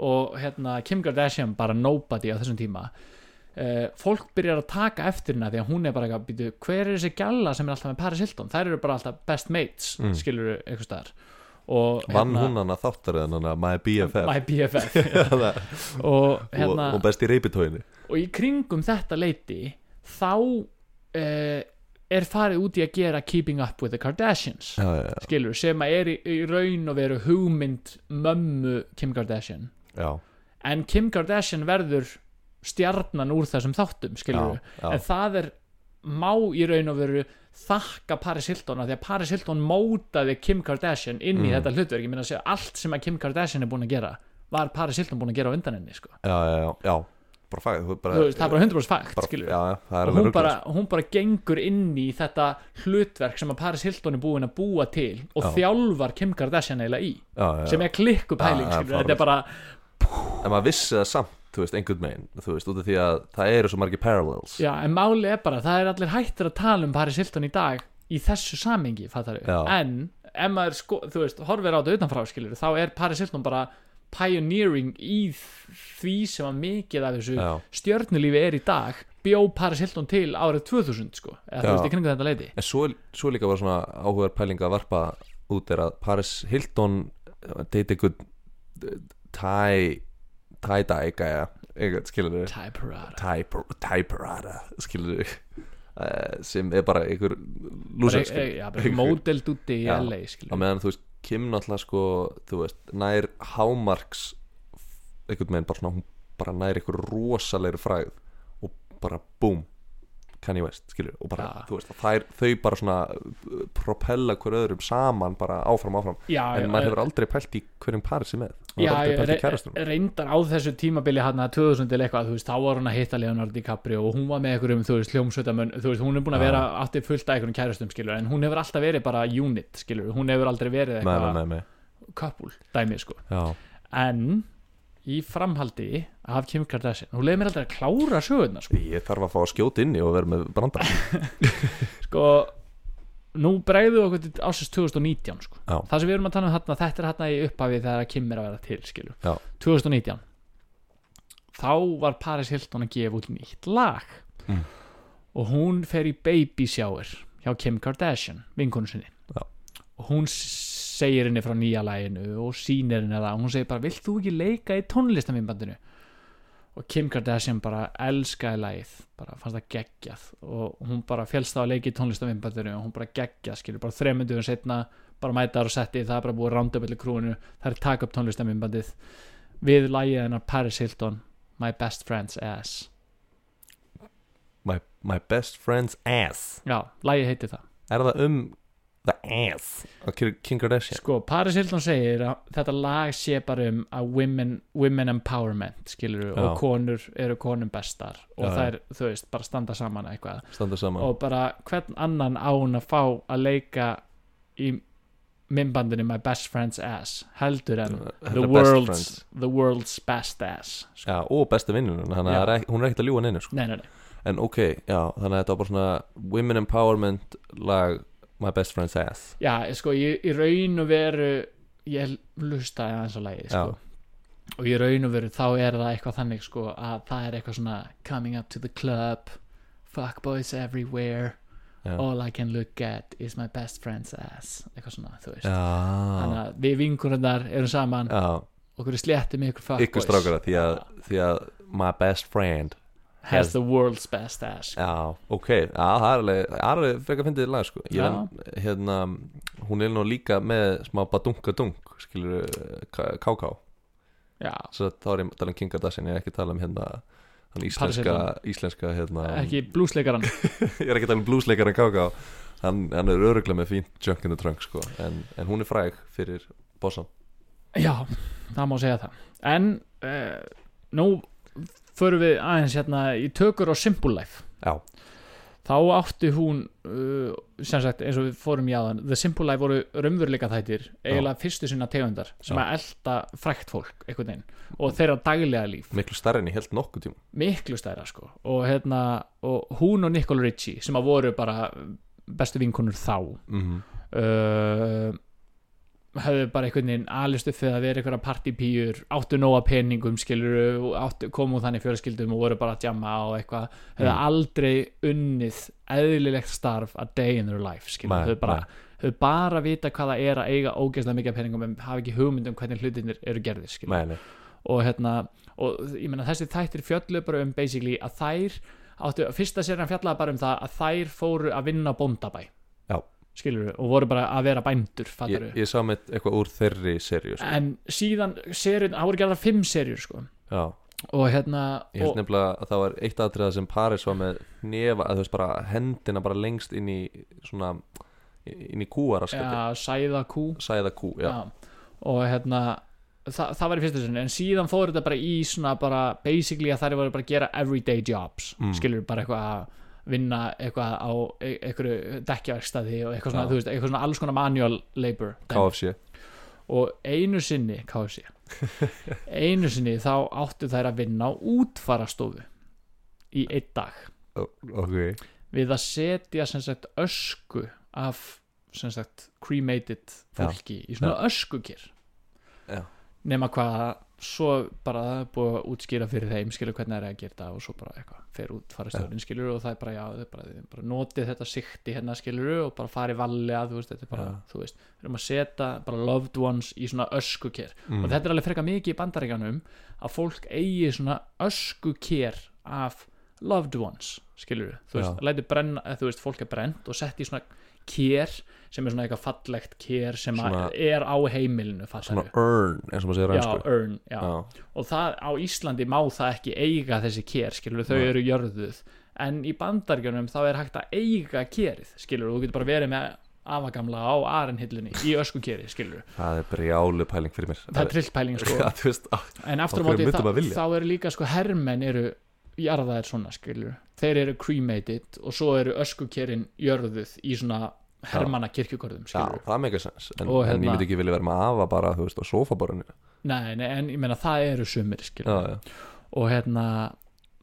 Speaker 1: og hérna Kim Kardashian bara nobody á þessum tíma uh, fólk byrjar að taka eftir hérna því að hún er bara eitthvað, býtu, hver er þessi gælla sem er alltaf með Paris Hilton, þær eru bara alltaf best mates
Speaker 2: Mm.
Speaker 1: mm. skilur eitthvað staðar og hérna-
Speaker 2: Vann hún hana þáttar eða hana My BFF
Speaker 1: my BFF
Speaker 2: hérna,
Speaker 1: og, hérna,
Speaker 2: og, og best í reypitóinu
Speaker 1: og í kringum þetta leiti þá uh, er farið út í að gera Keeping Up With The Kardashians
Speaker 2: Já, já,
Speaker 1: skilur, sem að er í, í raun og veru hugmynd mömmu Kim Kardashian
Speaker 2: já,
Speaker 1: en Kim Kardashian verður stjarnan úr þessum þáttum skilur við,
Speaker 2: já, já.
Speaker 1: en það er má í raun og veru þakka Paris Hilton af því að Paris Hilton mótaði Kim Kardashian inn í
Speaker 2: Mm.
Speaker 1: þetta hlutverk, ég meina að segja allt sem að Kim Kardashian er búin að gera var Paris Hilton búin að gera á undan henni sko.
Speaker 2: já, já, já, já Bara fæ, þú
Speaker 1: Þú veist, það er bara 100% fakt
Speaker 2: bara- sko.
Speaker 1: skilur við.
Speaker 2: Já, já,
Speaker 1: og
Speaker 2: það er alveg
Speaker 1: hún
Speaker 2: ruggla
Speaker 1: bara, hún bara gengur inn í þetta hlutverk sem að Paris Hilton er búin að búa til og
Speaker 2: Já.
Speaker 1: þjálfar Kim Kardashian eiginlega í
Speaker 2: já,
Speaker 1: sem
Speaker 2: já.
Speaker 1: er klikku pæling
Speaker 2: Já, já,
Speaker 1: skilur við. þetta er bara,
Speaker 2: En maður vissi það samt, þú veist, einhvern megin Þú veist, út af því að það eru svo margir parallels
Speaker 1: Já, en máli er bara, það er allir hættir að tala um Paris Hilton í dag í þessu samengi, fattar við,
Speaker 2: Já.
Speaker 1: en ef maður, sko, þú veist, horfir á þetta utanfrá skilur, þá er Paris Hilton bara pioneering í því sem að mikið af þessu
Speaker 2: Já.
Speaker 1: stjörnulífi er í dag bjó Paris Hilton til árið 2000 sko, eða þú
Speaker 2: Já.
Speaker 1: veist í kringu þetta leiti
Speaker 2: En svo, svo líka var svona áhugaður pæling að varpa út er að Paris Hilton uh, date ykkur Thai Thai dye gæja eitthvað skilur við
Speaker 1: Typerada
Speaker 2: Thai par- Thai parada skilur við sem er bara ykkur lúsar skilur
Speaker 1: Já, e- bara módeld úti í
Speaker 2: sko. Já.
Speaker 1: LA
Speaker 2: á
Speaker 1: skilur
Speaker 2: meðan þú veist Kim náttúrulega sko þú veist nær hámarks einhvern veginn bara svona hún bara nær ykkur rosalegri fræð og bara búm Kanye West skilur og bara
Speaker 1: Ja.
Speaker 2: þú veist þær, þau bara svona uh, propella hver öðrum saman bara áfram áfram
Speaker 1: Já,
Speaker 2: en
Speaker 1: já,
Speaker 2: maður hefur aldrei pælt í hverjum Parisi með maður
Speaker 1: Já,
Speaker 2: hefur aldrei
Speaker 1: ég
Speaker 2: pælt í kærastunum
Speaker 1: re reyndar á þessu tímabili hann að 2000 til eitthvað, þú veist, þá var hann að hitta Leonardo DiCaprio og hún var með einhverjum, þú veist, hljómsveitamönn þú veist, hún er búin að
Speaker 2: Já.
Speaker 1: vera alltaf fullt af einhverjum kærastum, skilur, en hún hefur alltaf verið bara unit, skilur, hún hefur aldrei verið
Speaker 2: nei, nei,
Speaker 1: eitthvað
Speaker 2: nei, nei,
Speaker 1: couple, dæmi, sko,
Speaker 2: já,
Speaker 1: en í framhaldi af Kim Kardashian, hún leiði mér aldrei að klára sögurnar, sko,
Speaker 2: ég þarf að fá að skjóta inn í og vera með brandar
Speaker 1: sko nú bregðu okkur til ásins 2019, sko,
Speaker 2: Já.
Speaker 1: það sem við erum að tala um þarna, þetta er þarna í upphafi þegar að Kim er að vera til, skilur
Speaker 2: já,
Speaker 1: 2019 þá var Paris Hilton að gefa út nýtt lag
Speaker 2: Mm.
Speaker 1: og hún fer í baby shower hjá Kim Kardashian, vinkonu sinni
Speaker 2: Já.
Speaker 1: og hún s- segir henni frá nýja laginu og sýnir henni það og hún segir bara, vilt þú ekki leika í tónlistamimbandinu og Kim Kardashian bara elskaði lagið bara fannst það geggjað og hún bara félst á að leika í tónlistamimbandinu og hún bara geggjað, skilur, bara þremunduðum setna bara mæta þar og setti, það er bara búið að randa upp allir krúinu, það er taka upp tónlistamimbandið við lægið hennar Paris Hilton My Best Friend's Ass
Speaker 2: my, my best friend's ass
Speaker 1: já, lægið heiti það
Speaker 2: er það um the ass og Kim Kardashian
Speaker 1: sko, Paris Hilton segir að þetta lag sé bara um að women, women empowerment skilur
Speaker 2: Já.
Speaker 1: og konur eru konum bestar og
Speaker 2: Já, já.
Speaker 1: þær, þú veist, bara standa saman eitthvað
Speaker 2: standa saman
Speaker 1: og bara hvern annan án að fá að leika í mymbandinu My Best Friend's Ass heldur en the
Speaker 2: Þetta er Uh, best friends.
Speaker 1: world's, the world's Best Ass sko.
Speaker 2: já, og besta vinnunum þannig að
Speaker 1: Já.
Speaker 2: það er ekki- hún er ekkert að ljúa neina sko.
Speaker 1: nei, nei, nei,
Speaker 2: en ok, já, þannig að þetta var bara svona women empowerment lag my best friend's ass
Speaker 1: já, sko, í, í raun og veru ég lustaði aðeins að lagið sko.
Speaker 2: já,
Speaker 1: og í raun og veru þá er það eitthvað þannig sko að það er eitthvað svona coming up to the club fuckboys everywhere
Speaker 2: já.
Speaker 1: all I can look at is my best friend's ass eitthvað svona þú veist þannig
Speaker 2: já,
Speaker 1: að við vingurinnar erum saman
Speaker 2: já
Speaker 1: okkur er sléttum ykkur fuckboys
Speaker 2: ykkur strákara því að,
Speaker 1: Ah.
Speaker 2: því að my best friend
Speaker 1: has the world's best ass
Speaker 2: já, ok, já, það er alveg það er alveg frekar fyndið lag sko ég,
Speaker 1: Já.
Speaker 2: en, hérna, hún er nú líka með smá badunkadunk skilur káká
Speaker 1: já
Speaker 2: Svo þá er ég að tala um King Kardashian ég er ekki að tala um hérna þann íslenska, íslenska hérna,
Speaker 1: ekki blúsleikaran
Speaker 2: ég er ekki að tala um bluesleikaran Káká hann, hann er öruglega með fínt junk in the trunk sko. en, en hún er fræg fyrir bossan
Speaker 1: já það má segja það en uh, nú förum við aðeins hérna í tökur á Simple Life
Speaker 2: já,
Speaker 1: þá átti hún uh, sem sagt eins og við fórum í aðan The Simple Life voru raunveruleika þættir eiginlega fyrstu sinna tegundar sem
Speaker 2: Já.
Speaker 1: að elta frækt fólk einhvern veginn og þeirra daglega líf
Speaker 2: miklu starri en ég held nokkuð tíma
Speaker 1: miklu stærra sko og hérna og hún og Nicole Richie sem að voru bara bestu vinkonur þá
Speaker 2: mm
Speaker 1: uh, höfðu bara einhvern veginn alist upp fyrir að vera einhverja partypýjur áttu nóa peningum skilur áttu, komu úr þannig fjölskyldum og voru bara að jamma og eitthvað höfðu
Speaker 2: Mm.
Speaker 1: aldrei unnið eðlilegt starf a day in their life skilur
Speaker 2: Nei,
Speaker 1: höfðu bara, höfðu bara vita hvað það er að eiga ógeðslega mikið af peningum en hafa ekki hugmynd um hvernig hlutinir eru gerðir skilur
Speaker 2: nei, nei,
Speaker 1: og hérna og ég meina þessi þættir fjöllu bara um basically að þær áttu, fyrsta serið fjallaði bara um það að þær fóru að vinna á bóndabæ
Speaker 2: Já.
Speaker 1: skilur og voru bara að vera bændur
Speaker 2: ég,
Speaker 1: fattar
Speaker 2: ég sá með eitthvað úr þeirri serju sko.
Speaker 1: en síðan serið, það voru gerðar fimm serjur sko
Speaker 2: já,
Speaker 1: og hérna
Speaker 2: ég held
Speaker 1: og,
Speaker 2: nefnilega að það var eitt aðtriða sem Paris var með nefa, að þú veist bara hendina bara lengst inn í svona inn í kúaraskati,
Speaker 1: ja, sæða kú
Speaker 2: sæða kú já,
Speaker 1: já. og hérna Þa, það var í fyrsta sinni, en síðan fór þetta bara í svona bara, basically að þær voru bara að gera everyday jobs,
Speaker 2: Mm.
Speaker 1: skilur bara eitthvað að vinna eitthvað á e- einhverju dekkjaverkstæði og eitthvað svona,
Speaker 2: Já.
Speaker 1: þú veist, eitthvað svona alls konar manual labor dæmi.
Speaker 2: KFC
Speaker 1: og einu sinni, KFC einu sinni þá áttu þær að vinna á útfarastofu í einn dag
Speaker 2: ok,
Speaker 1: við að setja sem sagt ösku af sem sagt cremated fólki í svona öskukir
Speaker 2: Já.
Speaker 1: nema hvað svo bara það er búið að útskýra fyrir þeim skilur hvernig það er að gera þetta og svo bara eitthvað fer út, farið stjórnin skilur og það er bara já, þau bara, þau bara notið þetta sikti hérna skilur og bara farið valega, þú veist, þetta er bara þú veist, við erum að setja bara loved ones í svona öskuker
Speaker 2: Mm.
Speaker 1: og þetta er alveg freka mikið í bandaríkanum að fólk eigi svona öskuker af loved ones skilur þú veist,
Speaker 2: Já.
Speaker 1: læti brenna, eða þú veist, fólk er brent og sett í svona kér sem er svona eitthvað fallegt kér sem
Speaker 2: Svona-
Speaker 1: að er á heimilinu
Speaker 2: Svona
Speaker 1: fattar
Speaker 2: earn, eins og maður segir á
Speaker 1: Já,
Speaker 2: ensku.
Speaker 1: urn, já.
Speaker 2: Já.
Speaker 1: og það á Íslandi má það ekki eiga þessi kér, skilur, þau
Speaker 2: Nei.
Speaker 1: eru jörðuð en í bandargjörnum þá er hægt að eiga kérið, skilur, þú getur bara verið með afagamla á arinhillinni í öskukeri, skilur,
Speaker 2: Það er brjálu pæling fyrir mér
Speaker 1: það er trillpæling sko,
Speaker 2: Já, þú veist, á-
Speaker 1: en aftur á
Speaker 2: Af
Speaker 1: móti
Speaker 2: hverju myndum að
Speaker 1: þá,
Speaker 2: vilja?
Speaker 1: þá eru líka sko hermenn eru jarðaðir svona, skilur þeir eru cremated og svo eru öskukerin jörðuð í svona hermanna kirkjugörðum,
Speaker 2: já,
Speaker 1: skilur
Speaker 2: það meikar sens en,
Speaker 1: Og
Speaker 2: en ég
Speaker 1: hérna-
Speaker 2: myndi ekki vilja vera með afa bara, þú veist, á sofaborinu
Speaker 1: nei, nei, en ég meina það eru sumir, skilur
Speaker 2: Já, já,
Speaker 1: og hérna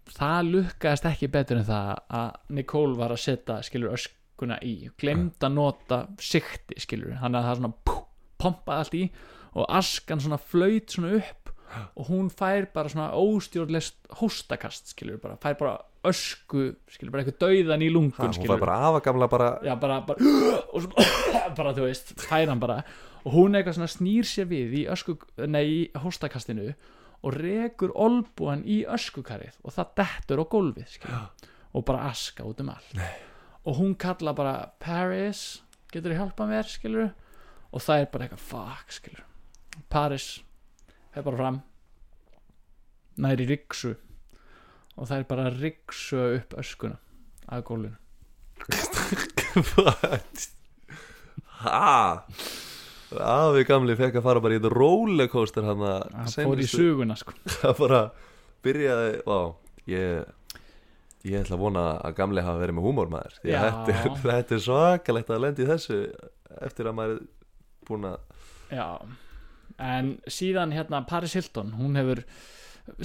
Speaker 1: það lukkaðist ekki betur en það að Nicole var að setja skilur öskuna í, glemd að nota sikti skilur, hann að það svona pú, pompaði allt í og askan svona flöyt svona upp og hún fær bara svona óstjórnlest hóstakast skilur, bara, fær bara ösku skilur, bara eitthvað dauðan í lungun
Speaker 2: ha, hún
Speaker 1: skilur
Speaker 2: var bara afa gamla bara
Speaker 1: já, bara, bara, og svo, bara þú veist, fær hann bara og hún eitthvað svona snýr sér við í ösku, nei, í hóstakastinu og rekur olbúan í öskukarið og það dettur á gólfið skilur, og bara aska út um allt nei. og hún kalla bara Paris, getur þú hjálpað mér skilur, og það er bara eitthvað fuck, skilur, Paris fer bara fram nær í riksu og það er bara að riksu upp öskuna að gólfinu
Speaker 2: What? Ha Afi gamli fekk að fara bara í þetta rollercoaster hann
Speaker 1: hann fór í söguna sko
Speaker 2: Það bara byrjaði, vá, ég Ég ætla að vona að gamli hafa verið með húmór maður Því að
Speaker 1: Já.
Speaker 2: þetta, er- þetta er svakalegt að lendi þessu eftir að maður er búin að
Speaker 1: Já, en síðan hérna Paris Hilton, hún hefur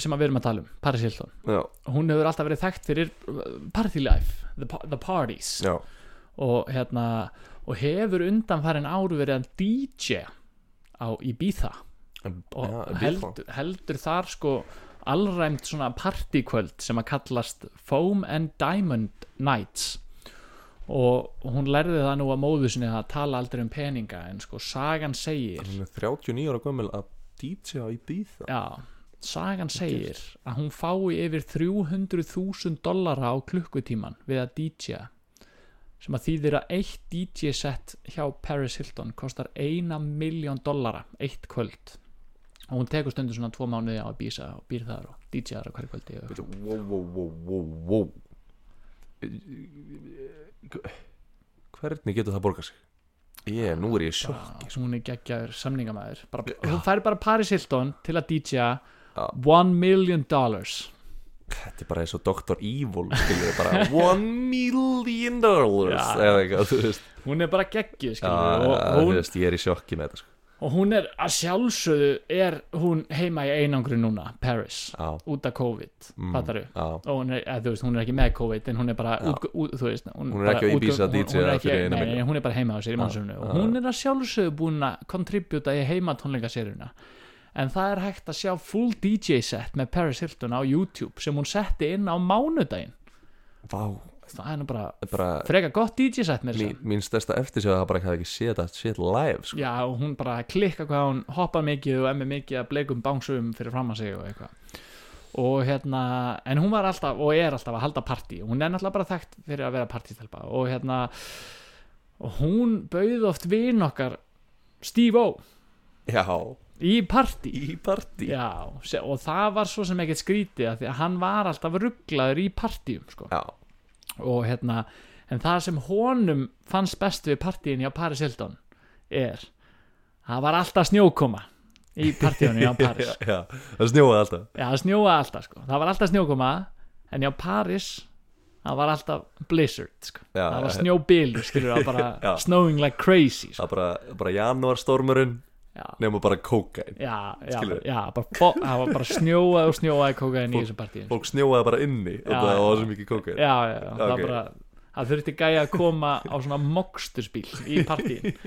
Speaker 1: sem að við erum að tala um, Paris Hilton
Speaker 2: Já,
Speaker 1: hún hefur alltaf verið þekkt fyrir uh, party life, the, pa- the parties
Speaker 2: já,
Speaker 1: og hérna og hefur undanfærin áru verið að DJ á Ibiza og
Speaker 2: já,
Speaker 1: held, heldur þar sko allræmt svona partykvöld sem að kallast Foam and Diamond Nights og hún lærði það nú að móðu sinni að tala aldrei um peninga en sko sagan segir
Speaker 2: Hún er 39 ára gömul að DJ á Ibiza
Speaker 1: Já, sagan segir að hún fái yfir 300.000 dollara á klukkutíman við að DJ sem að þýðir að eitt DJ set hjá Paris Hilton kostar eina miljón dollara, eitt kvöld og hún tekur stundu svona tvo mánuði á að býsa og býr þar og DJ-ar á hverju kvöldi og-
Speaker 2: Bíddu, wow, wow, wow, wow, wow. Hvernig getur það borgað sig? Ah. Ég, nú er ég í sjokki
Speaker 1: hún er geggjaður samningamæður bara, hún fær bara Paris Hilton til að DJ-a
Speaker 2: Já.
Speaker 1: one million dollars
Speaker 2: Þetta er bara eins og Dr. Evil skilur bara One million dollars eða eitthvað, þú veist
Speaker 1: hún er bara geggjuð
Speaker 2: Já,
Speaker 1: skilur, og, og
Speaker 2: þú
Speaker 1: hún
Speaker 2: veist, ég er í sjokki með þetta sko.
Speaker 1: Og hún er að sjálfsögðu er hún heima í einangri núna, Paris,
Speaker 2: Já,
Speaker 1: út af COVID, mm. fattar við?
Speaker 2: já,
Speaker 1: Og hún er, eða, þú veist, hún er ekki með COVID en hún er bara, út, út, þú veist
Speaker 2: Hún er
Speaker 1: bara
Speaker 2: ekki á
Speaker 1: útgö-
Speaker 2: Ibiza
Speaker 1: hún- hún
Speaker 2: DJ
Speaker 1: er ekki-
Speaker 2: fyrir eina
Speaker 1: Nei,
Speaker 2: milljón.
Speaker 1: nei, hún er bara heima á sér í mannsöfnu og hún er að sjálfsögðu búin að kontribjúta í heima tónleikaserjuna en það er hægt að sjá full DJ set með Paris Hilton á YouTube sem hún setti inn á mánudaginn
Speaker 2: vá
Speaker 1: það er nú bara
Speaker 2: Þetta er bara,
Speaker 1: freka gott DJ set með
Speaker 2: mín,
Speaker 1: þessu
Speaker 2: mín stærsta eftirsjá að það bara hefði ekki séð þetta shit live sko.
Speaker 1: Já, og hún bara klikka hvað hún hoppar mikið og emmi mikið að bleikum bánsum fyrir fram að sig og eitthvað og hérna, en hún var alltaf og er alltaf að halda partí, hún er náttúrulega bara þekkt fyrir að vera partístelpa og hérna og hún bauð oft vin okkar Steve O
Speaker 2: Já,
Speaker 1: í partí
Speaker 2: í partí
Speaker 1: Já, se- og það var svo sem ekkert skrítið af því að hann var alltaf rugglaður í partíum sko.
Speaker 2: Já,
Speaker 1: og hérna en það sem honum fannst best við partíin hjá Paris Hilton er það var alltaf snjókoma í partíunum hjá Paris
Speaker 2: já, já. það snjóaði alltaf
Speaker 1: já, það snjóaði alltaf sko, það var alltaf snjókoma en hjá Paris það var alltaf blizzard sko.
Speaker 2: Já,
Speaker 1: það var
Speaker 2: já.
Speaker 1: snjóbili, skilur það var bara
Speaker 2: Já.
Speaker 1: snowing like crazy sko.
Speaker 2: Það bara, bara janúarstormurinn
Speaker 1: já,
Speaker 2: nema bara kókain
Speaker 1: já, já,
Speaker 2: Skilurðu?
Speaker 1: já bara, bo- það var bara snjóað og snjóaði kókaðin í
Speaker 2: Fólk-
Speaker 1: þessu partíin
Speaker 2: Fólk snjóaði bara inni og
Speaker 1: Já,
Speaker 2: það
Speaker 1: já.
Speaker 2: var svo mikið kókain
Speaker 1: já, já, já, það
Speaker 2: Ok.
Speaker 1: bara það þurfti gæja að koma á svona mokstusbíl í partíin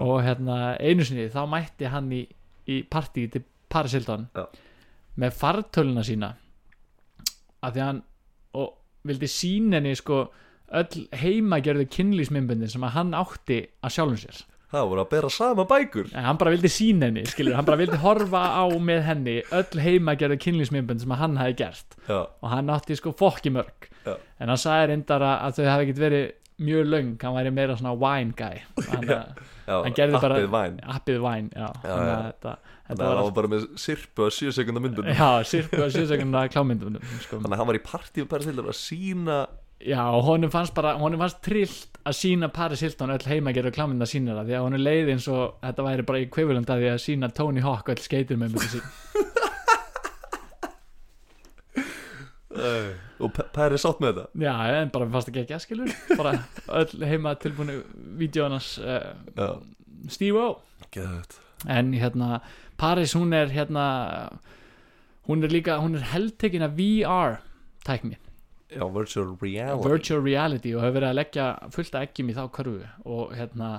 Speaker 1: og hérna einu sinni þá mætti hann í, í partíi til Paris Hilton
Speaker 2: Já.
Speaker 1: með fartöluna sína að því að hann og vildi sín henni sko öll heimagerðu kynlýsmyndböndin sem að hann átti að sjálfum sér
Speaker 2: það voru að bera sama bækur
Speaker 1: en hann bara vildi sín henni skilur, hann bara vildi horfa á með henni öll heimagerðu kynlýsmyndbönd sem að hann hafi gert
Speaker 2: já,
Speaker 1: og hann átti sko fokki mörg
Speaker 2: Já.
Speaker 1: en hann sagði reyndar að- að þau hafi ekkert verið mjög löng, hann væri meira svona wine guy hann,
Speaker 2: Já. já
Speaker 1: hann gerði bara
Speaker 2: appið væn
Speaker 1: appið wine, já,
Speaker 2: Já,
Speaker 1: Þannig að
Speaker 2: já.
Speaker 1: Þetta,
Speaker 2: þannig
Speaker 1: þetta
Speaker 2: að
Speaker 1: var
Speaker 2: hann var bara með sirpu að 7 sekundar myndum
Speaker 1: Já, sirka síðsökunna klámyndunum sko.
Speaker 2: þannig að hann var í partíu bara til að sína
Speaker 1: Já, og honum fannst bara, honum fannst trillt að sína Paris Hilton öll heimagerðu klámynda sínara því að honum leið eins og þetta væri bara í kveifulanda því að sína Tony Hawk öll skeitir með mér
Speaker 2: og P- Perry sátt með þetta
Speaker 1: Já, en bara fannst ekki ekki að skilur bara öll heima tilbúinu vídjónas uh,
Speaker 2: já,
Speaker 1: Steve-O
Speaker 2: geðvægt
Speaker 1: en hérna, Paris hún er hérna hún er líka, hún er heldtekin af VR tækni
Speaker 2: já, virtual reality
Speaker 1: virtual reality og hefur verið að leggja fullt af eggjum í þá körfu og hérna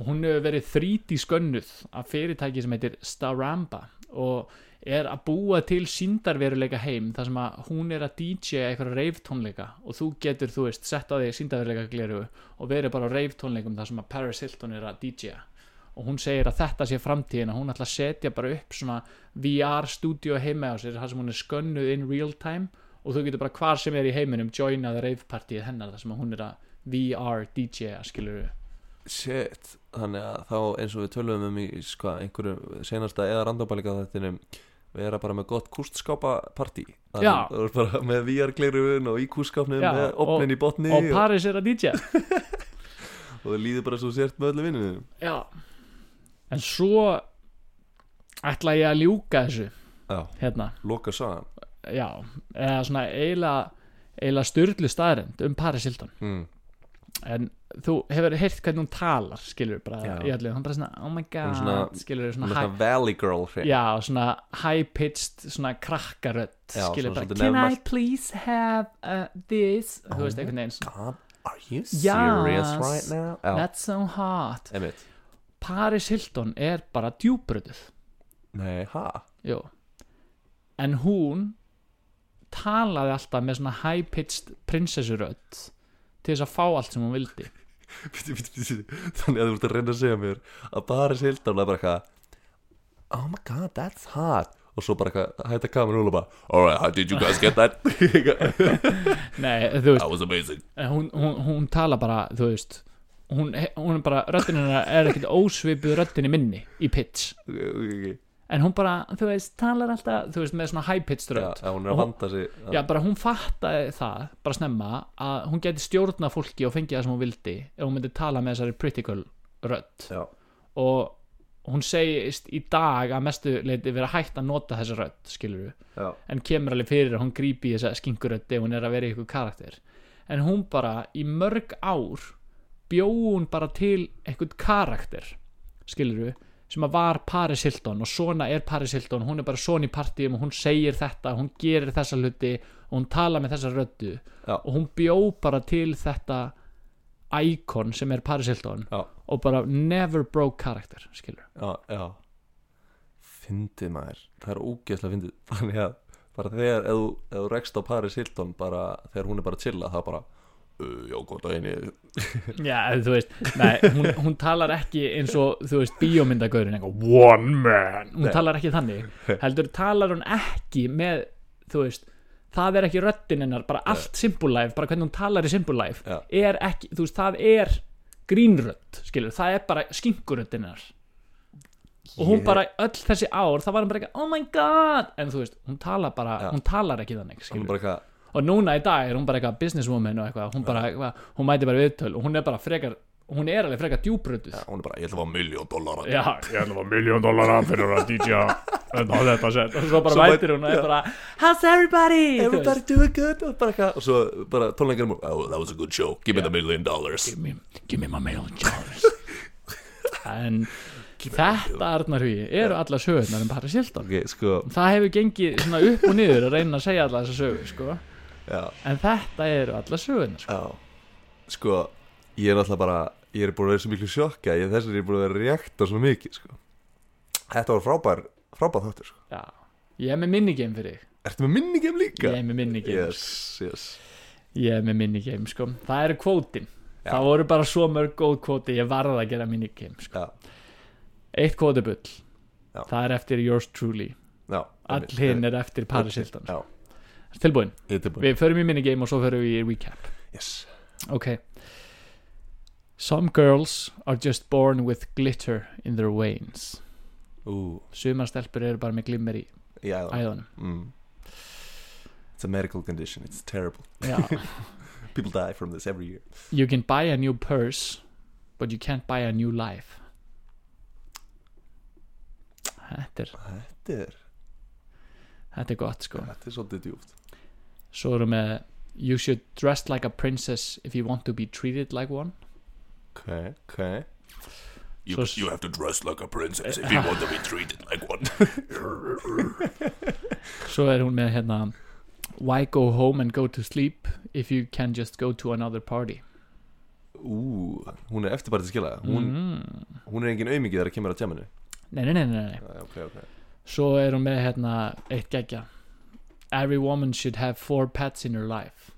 Speaker 1: og hún hefur verið 3D skönnuð af fyrirtæki sem heitir Staramba og er að búa til síndarveruleika heim þar sem að hún er að DJ eitthvað reyftónleika og þú getur, þú veist, sett á þig síndarveruleika gleru og verið bara á reyftónleikum þar sem að Paris Hilton er að DJ og hún segir að þetta sé framtíðin að hún ætla að setja bara upp svona VR stúdíu heima á sér þar sem hún er skönnuð in real time og þú getur bara hvar sem er í heiminum joinað reyfpartíið hennar þar sem hún er að VR DJ skilur við
Speaker 2: Shit, þannig að þá eins og við tölum um í sko, einhverju senasta eða randóbalíka þettinum vera bara með gott kústskápa partí Þannig
Speaker 1: Já.
Speaker 2: þú ert bara með VR-gleruðun og í kústskápnum
Speaker 1: Já,
Speaker 2: með opnin í botni
Speaker 1: og
Speaker 2: og, og,
Speaker 1: Paris er að DJ
Speaker 2: það líður bara svo sért með öllu vinnum
Speaker 1: já en svo ætla ég að ljúka þessu
Speaker 2: Já,
Speaker 1: hérna,
Speaker 2: loka sagan
Speaker 1: já eða svona eiginlega eiginlega styrlu staðrind um Paris Hilton
Speaker 2: mm.
Speaker 1: en þú hefur heyrt hvernig hún talar skilur við bara
Speaker 2: Já.
Speaker 1: í öllu, hún bara svona oh my god,
Speaker 2: Hún er svona-
Speaker 1: skilur við
Speaker 2: Hún
Speaker 1: svona,
Speaker 2: er
Speaker 1: hæ,
Speaker 2: svona Valley Girl hrein
Speaker 1: Já, svona high-pitched, svona krakkarödd
Speaker 2: Já,
Speaker 1: skilur
Speaker 2: svona
Speaker 1: bara,
Speaker 2: svolítið
Speaker 1: can
Speaker 2: Oh
Speaker 1: I
Speaker 2: nefmælt."
Speaker 1: please have uh, this þú veist einhvern veginn, svona,
Speaker 2: God, are you
Speaker 1: Já.
Speaker 2: serious right now? Já,
Speaker 1: that's so hot
Speaker 2: emitt
Speaker 1: Paris Hilton er bara djúbröduð
Speaker 2: Nei, ha?
Speaker 1: jú. en hún talaði alltaf með svona high-pitched prinsessurödd til þess að fá allt sem hún vildi
Speaker 2: Bíddu, bíddu, bíddu. Þannig að þú ert að reyna að segja mér að Paris Hilton er bara eitthvað Oh my god, that's hot og svo bara eitthvað hætta kamerun og hún bara Alright, how did you guys get that? that
Speaker 1: Nei, þú veist,
Speaker 2: was amazing
Speaker 1: en hún, hún, hún tala bara, þú veist hún, hún er bara, röddin hennar er ekkert ósvipuð röddinni minni í pitch
Speaker 2: Ok, ok, ok.
Speaker 1: en hún bara, þú veist, talar alltaf þú veist, með svona high-pitched
Speaker 2: Já,
Speaker 1: rödd
Speaker 2: já, hún er að vanda sig
Speaker 1: Já, bara hún fattaði það, bara snemma að hún geti stjórna fólki og fengið það sem hún vildi ef hún myndi tala með þessari pretty girl rödd
Speaker 2: já,
Speaker 1: og hún segist í dag að mestu leiti vera hægt að nota þessa rödd, skilur
Speaker 2: já,
Speaker 1: en kemur alveg fyrir að hún grípi í þessa skinkurödd ef hún er að vera í ykkur karakter en hún bara í mörg ár bjó hún bara til einhvern karakter skilur sem að var Paris Hilton og svona er Paris Hilton, hún er bara svona í partíum og hún segir þetta, hún gerir þessa hluti og hún tala með þessa röddu
Speaker 2: Já.
Speaker 1: og hún bjó bara til þetta íkon sem er Paris Hilton
Speaker 2: já,
Speaker 1: og bara never broke karakter skilur
Speaker 2: já, já. Fyndið maður, það er ógeðslega fyndið Þannig að bara þegar ef þú, ef þú rekst á Paris Hilton bara, þegar hún er bara að chilla það bara uh, Já, góð daginn ég
Speaker 1: Já, þú veist, nei, hún, hún talar ekki eins og, þú veist, bíómyndagaurin eitthvað,
Speaker 3: One man.
Speaker 1: hún talar ekki þannig heldur talar hún ekki með þú veist, það er ekki röddin hennar bara allt Simple Life, bara hvernig hún talar í Simple Life
Speaker 2: Já.
Speaker 1: er ekki, þú veist, það er grínrödd, skilur, það er bara skinkuröddin hennar og hún
Speaker 2: Ég-
Speaker 1: bara öll þessi ár, það var hann bara ekki oh my god, en þú veist, hún talar bara
Speaker 2: Já.
Speaker 1: hún talar ekki þannig,
Speaker 2: Hún
Speaker 1: skilur
Speaker 2: er bara eitthvað
Speaker 1: og núna í dag er hún bara eitthvað businesswoman og eitthvað, hún bara, eitthvað, hún mæti bara í viðtöl og hún er bara frekar, hún er alveg frekar djúbrödduð
Speaker 2: hún er bara, ég ætla að fá miljón dólar
Speaker 1: já,
Speaker 3: Ég ætla að fá miljón dólara fyrir að DJ þetta og þetta sett.
Speaker 1: og svo bara
Speaker 2: Svo
Speaker 1: mætir hún og er bara how's everybody
Speaker 2: Everybody doing good og bara eitthvað og svo bara tónleikar mú oh, that was a good show, give me the million dollars
Speaker 1: give me, give me my mail jars en þetta Arnar Hugi eru allar sögurnar um Paris Hilton
Speaker 2: ok, sko,
Speaker 1: það hefur gengið svona upp og niður að reyna að segja allar þessar sögur sko.
Speaker 2: já,
Speaker 1: en þetta eru allar sögurnar sko.
Speaker 2: já sko, ég er alltaf bara ég er búin að vera í svo miklu sjokka, ég þess að ég er búin að vera rékt og svo mikið, sko þetta var frábær frábæð þáttur sko.
Speaker 1: Já. Ég er með minigame fyrir þig
Speaker 2: Ertu með minningem líka?
Speaker 1: Ég er með minigame
Speaker 2: yes, yes
Speaker 1: Ég er með minigame sko Það eru kvótin
Speaker 2: Já.
Speaker 1: Það voru bara svo mörg góð kvóti Ég varð að gera minigame sko.
Speaker 2: Já,
Speaker 1: Eitt kvótibull
Speaker 2: Já.
Speaker 1: Það er eftir yours truly
Speaker 2: já
Speaker 1: All hinn er eftir Paris Hilton
Speaker 2: Já,
Speaker 1: Tilbúin,
Speaker 2: ég er tilbúin
Speaker 1: við förum í minigame og svo förum við í recap
Speaker 2: Yes
Speaker 1: Ok Some girls are just born with glitter in their veins
Speaker 2: Ú,
Speaker 1: Sumar stelpur eru bara með glimmer í
Speaker 2: já
Speaker 1: æðunum
Speaker 2: mm. It's a medical condition, it's terrible
Speaker 1: Já.
Speaker 2: People die from this every year
Speaker 1: You can buy a new purse But you can't buy a new life Þetta er,
Speaker 2: Þetta er,
Speaker 1: þetta er gott sko
Speaker 2: þetta er svolítið djúft
Speaker 1: Svo erum við You should dress like a princess if you want to be treated like one
Speaker 2: Ok, ok
Speaker 1: You- Svo- Eh, ah. you
Speaker 2: have to dress like a princess if you want to be treated like one
Speaker 1: Svo er hún með hérna Why go home and go to sleep if you can just go to another party
Speaker 2: Ú, hún er eftirbæri til skila hún,
Speaker 1: mm.
Speaker 2: hún er engin auðmikið þegar að kemur að tjáminu
Speaker 1: Eh. Nei, nei, nei, nei, nei
Speaker 2: Ok, ok
Speaker 1: Svo er hún með hérna eitt geggja Every woman should have four pets in her life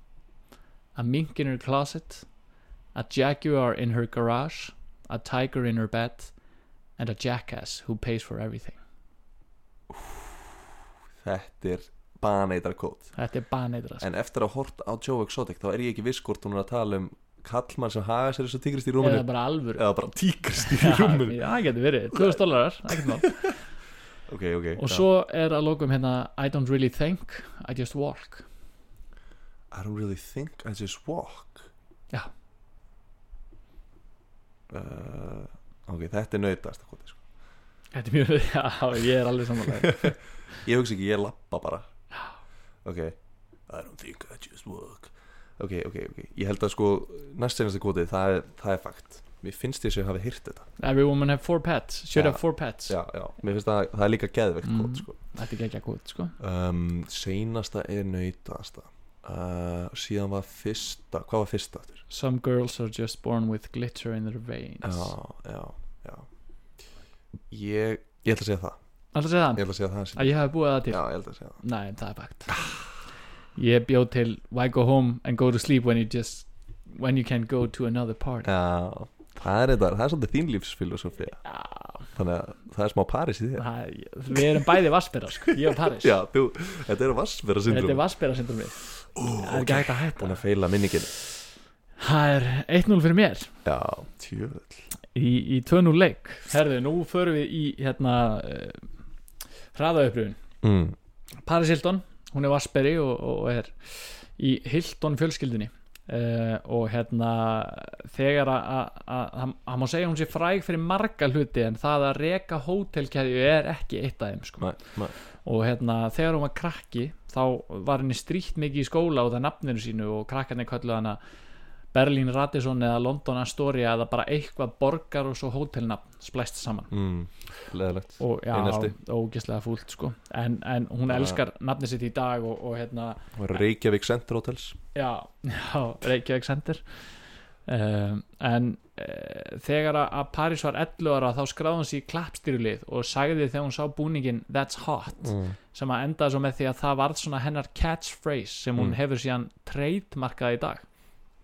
Speaker 1: A mink in her closet A jaguar in her garage A tiger in her bed And a jackass who pays for everything
Speaker 2: Þetta er baneitarkót
Speaker 1: Þetta er baneitra sko.
Speaker 2: En eftir að horta á Joe Exotic þá er ég ekki viss hvort hún er að tala um kallmann sem haga sér eins og tíkrist í rúminu
Speaker 1: Eða bara alvöru
Speaker 2: eða bara tíkrist í
Speaker 1: Já,
Speaker 2: rúminu
Speaker 1: já, það getur verið, 2000 dólarar ekkert mál.
Speaker 2: Ok, ok
Speaker 1: Og svo er að lokum hérna I don't really think, I just walk
Speaker 2: I don't really think I just walk
Speaker 1: Já.
Speaker 2: uh, Ok, þetta er nautast sko.
Speaker 1: Þetta er mjög, já, ég er alveg samanlega
Speaker 2: Ég hugsa ekki, ég lappa bara Ok I don't think I just walk Ok, ok, ok Ég held að sko næst senast kvotið, það er, það er fakt Mér finnst ég sem hafi hýrt þetta
Speaker 1: Every woman have four pets, should
Speaker 2: Já.
Speaker 1: have four pets
Speaker 2: Já, já, mér finnst það, það er líka geðvegt
Speaker 1: Mhm.
Speaker 2: mm. kvot sko.
Speaker 1: Þetta er ekki ekki út, sko
Speaker 2: um, Seinasta er nautasta uh, Síðan var fyrsta Hvað var fyrsta aftur?
Speaker 1: Some girls are just born with glitter in their veins
Speaker 2: Já, já, já Ég, ég ætla að segja það
Speaker 1: Alltaf segja
Speaker 2: Ég
Speaker 1: það,
Speaker 2: ætla að segja það sem-
Speaker 1: að ég hafi búið það til
Speaker 2: Já, ég ætla að segja það
Speaker 1: Nei, það er fakt Ég bjóð til Why go home and go to sleep when you just When you can go to another party
Speaker 2: Já, það er þetta, það er svolítið þín lífsfilosófía
Speaker 1: Já,
Speaker 2: Þannig að það er smá París í þér
Speaker 1: það, við erum bæði vassbera, sko Ég og Paris
Speaker 2: Já, þú, þetta er vassverða syndrom
Speaker 1: Þetta er vassbera syndromi Það er ekki hægt að hætta
Speaker 2: Búin að feila minninginu
Speaker 1: Það er 1-0 fyrir mér
Speaker 2: Já, tjöfull
Speaker 1: í, í 2-0 leik Herðu, nú förum við í hérna uh, hraðauppröfun
Speaker 2: mm.
Speaker 1: Paris Hilton, hún er Vasperi og, og, og er í Hilton fjölskyldinni uh, og hérna þegar að- að að- það- það má segja að hún sé fræg fyrir marga hluti en það að reka hótelkeðju er ekki eitt af þeim sko
Speaker 2: Mæ, mæ
Speaker 1: og hérna þegar hún var krakki þá var henni stríkt mikið í skóla út af nafninu sínu og krakkarnir kölluð hana Berlín Radisson eða London Astoria eða bara eitthvað borgar og svo hótelnafn splæst saman
Speaker 2: mm. Leðilegt
Speaker 1: og já,
Speaker 2: Einelti.
Speaker 1: ógislega fúlt sko en, en hún
Speaker 2: Ja.
Speaker 1: elskar nafni sitt í dag og, og hérna,
Speaker 2: Það var Reykjavík Center Hotels
Speaker 1: já, já Reykjavík sendir um, en uh, þegar að- að Paris var 11 ára þá skráði hún sér í klappstýrulið og sagði þegar hún sá búningin That's hot
Speaker 2: mm.
Speaker 1: sem að endaði svo með því að það varð svona hennar catchphrase sem hún
Speaker 2: Mm.
Speaker 1: hefur síðan trademarkað í dag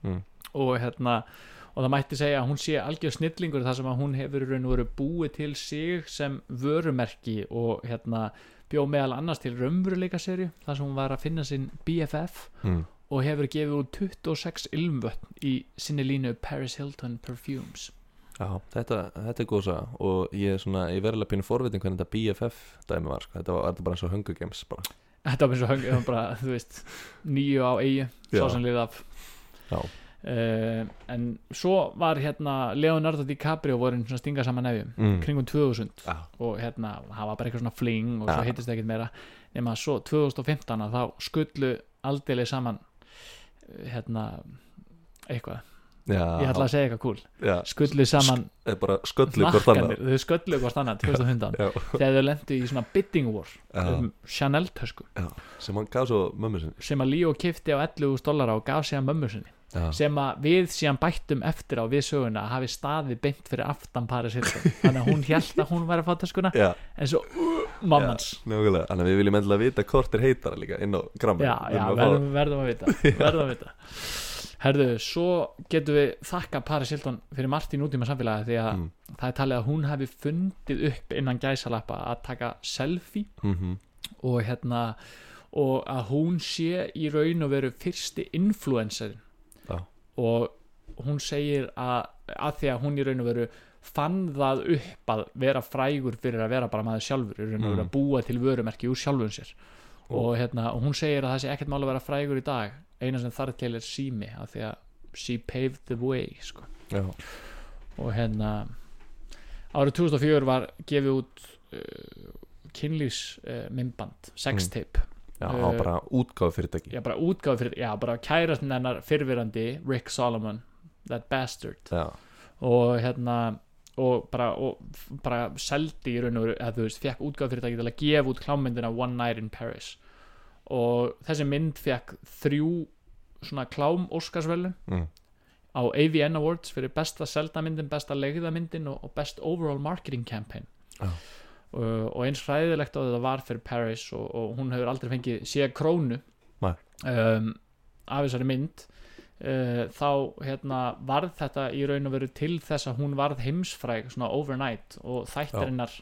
Speaker 2: Mm.
Speaker 1: og hérna og það mætti segja að hún sé algjör snillingur þar sem að hún hefur í raun og veru búið til sig sem vörumerki og hérna bjó meðal annars til raunveruleika serju þar sem hún var að finna sinn BFF
Speaker 2: Mm.
Speaker 1: og hefur gefið út 26 ilmvötn í sinni línu Paris Hilton Perfumes
Speaker 2: Já, þetta, þetta er góð saga og ég er svona, ég verðilega pínu forvitin hvernig þetta BFF dæmi var, sko. þetta var þetta bara eins og Hunger Games bara.
Speaker 1: Þetta var eins og hangið hann bara, þú veist, nýju á eigi,
Speaker 2: Já.
Speaker 1: sá sem liðið af.
Speaker 2: Já.
Speaker 1: Eh, en svo var hérna Leonardo DiCaprio vorin svona stinga saman nefjum
Speaker 2: Mm.
Speaker 1: kringum 2000
Speaker 2: Já,
Speaker 1: og hérna það var bara eitthvað svona fling og
Speaker 2: Já.
Speaker 1: svo heitist það ekkert meira nema svo 2015 að þá skullu aldeilig saman eh, hérna eitthvað,
Speaker 2: já,
Speaker 1: ég ætla að segja eitthvað cool
Speaker 2: já,
Speaker 1: skullu saman
Speaker 2: eða bara sköllu hvort
Speaker 1: nakkanir,
Speaker 2: annað
Speaker 1: þau skullu hvort annað 2015
Speaker 2: Já,
Speaker 1: þegar þau lendu í svona bidding war
Speaker 2: Já.
Speaker 1: um Chanel tösku
Speaker 2: já, sem hann gaf svo mömmu sinni
Speaker 1: sem að Leo kifti á 11.000 dollara og gaf sig að mömmu sinni
Speaker 2: já,
Speaker 1: sem að við síðan bættum eftir á við söguna að hafi staði beint fyrir aftan Paris Hilton þannig að hún held að hún væri að fá töskuna
Speaker 2: já
Speaker 1: en svo uh, mammans
Speaker 2: Nákvæmlega, þannig að við viljum endilega vita hvort er heitara líka inn á gramma
Speaker 1: já, já, verðum, verðum að vita verðum að vita herðu, svo getum við þakka Paris Hilton fyrir margt í nútíma samfélagi því að
Speaker 2: Mm.
Speaker 1: það er talið að hún hafi fundið upp innan gæsalappa að taka selfie
Speaker 2: mm -hmm.
Speaker 1: og hérna og að hún sé í raun og veru fyrsti influencerin
Speaker 2: Já.
Speaker 1: og hún segir að, að því að hún í raun og veru fann það upp að vera frægur fyrir að vera bara maður sjálfur í raun og veru
Speaker 2: Mm.
Speaker 1: að búa til vörumerki úr sjálfum sér og hérna, og hún segir að það sé ekkert mál að vera frægur í dag eina sem þar til er sími að því að she paved the way sko.
Speaker 2: já,
Speaker 1: og hérna árið 2004 var gefið út uh, kynlýs uh, minnband, sextape
Speaker 2: já
Speaker 1: Eh,
Speaker 2: á bara útgáð fyrirtæki
Speaker 1: já, bara útgáfi fyrir, já, bara kærastinn hennar fyrrverandi Rick Solomon that bastard
Speaker 2: já,
Speaker 1: og hérna og bara, og f- bara seldi í raun og veru, eða þú veist, fekk útgáfi fyrirtæki til að gefa út klámyndina One Night in Paris og þessi mynd fekk þrjú svona klám Óskarsvelun
Speaker 2: Mm.
Speaker 1: á AVN Awards fyrir besta seldamyndin, besta legðamyndin og, og best overall marketing campaign
Speaker 2: Já.
Speaker 1: Uh, og eins hræðilegt á þetta var fyrir Paris og, og hún hefur aldrei fengið séð krónu
Speaker 2: Nei.
Speaker 1: um, af þessari mynd uh, þá hérna varð þetta í raun og veru til þess að hún varð heimsfræg svona overnight og
Speaker 2: Já.
Speaker 1: þættarinnar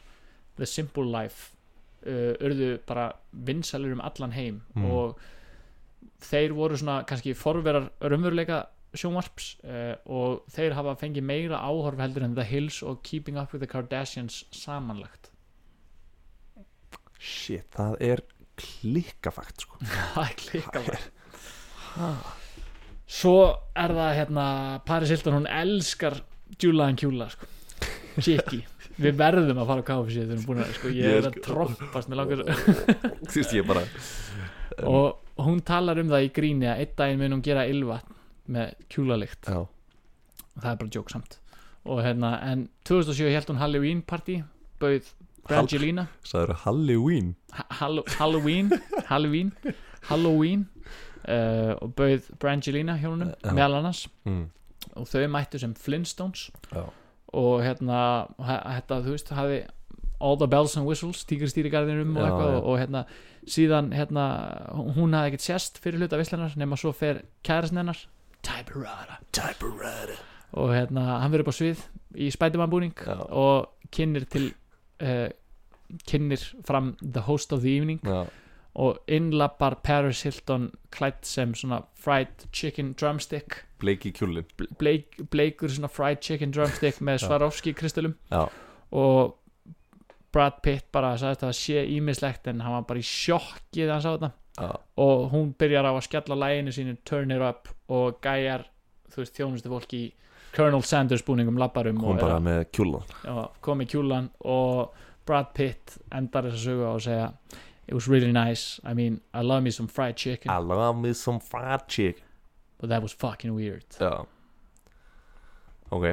Speaker 1: The Simple Life uh, urðu bara vinsalir um allan heim
Speaker 2: Mm.
Speaker 1: og þeir voru svona kannski forverar raunveruleika sjónvarps uh, og þeir hafa fengið meira áhorf heldur en The Hills og Keeping Up With The Kardashians samanlagt
Speaker 2: shit, það er klikkafakt sko
Speaker 1: Það er klikkað bara. Svo er það hérna Paris Hilton, hún elskar Júla en Kjúla sko. Kiki, við verðum að fara á KFC þegar við erum búin að sko, ég er að troppast mér langar
Speaker 2: þú veist ég bara
Speaker 1: og hún talar um það í gríni að einn daginn mun hún gera ylvatn með kjúlalikt
Speaker 2: já,
Speaker 1: það er bara jóksamt og hérna, en 2007 held hún Halloween party bauð
Speaker 2: Hall-
Speaker 1: Brangelina
Speaker 2: sagður Halloween
Speaker 1: Ha- Hall- Halloween Halloween Halloween uh, og bauð Brangelina hjónunum
Speaker 2: Já.
Speaker 1: meðal annars
Speaker 2: mm.
Speaker 1: og þau mættu sem Flintstones
Speaker 2: já,
Speaker 1: og hérna hæ- þetta þú veist hafi all the bells and whistles tíkristýrigarðinum og
Speaker 2: Já,
Speaker 1: eitthvað
Speaker 2: já.
Speaker 1: og hérna síðan hérna hún hafði ekkert sérst fyrir hluta visslanar nema svo fer kærasn hennar Typerada og hérna hann verður upp á svið í Spiderman búning
Speaker 2: Já.
Speaker 1: og kynir til uh, kynir fram the host of the evening
Speaker 2: já,
Speaker 1: og innlappar Paris Hilton klætt sem svona fried chicken drumstick
Speaker 2: bleiki kjúlin
Speaker 1: bleik, bleikur svona fried chicken drumstick með
Speaker 2: Já.
Speaker 1: Swarovski kristallum
Speaker 2: já,
Speaker 1: og Brad Pitt bara sagðist að það sé ímislegt en hann var bara í sjokki þegar hann sá þetta
Speaker 2: já,
Speaker 1: og hún byrjar á að skella læginu sínu Turn It Up og gæjar þú veist þjónustu fólki í Colonel Sanders búningum labbarum
Speaker 2: hún
Speaker 1: og er
Speaker 2: bara
Speaker 1: að-
Speaker 2: með kjúlan
Speaker 1: já, kom í kjúlan og Brad Pitt endar þess að sögu á að segja It was really nice, I mean, I love me some fried chicken
Speaker 2: I love me some fried chicken
Speaker 1: but that was fucking weird
Speaker 2: já ok,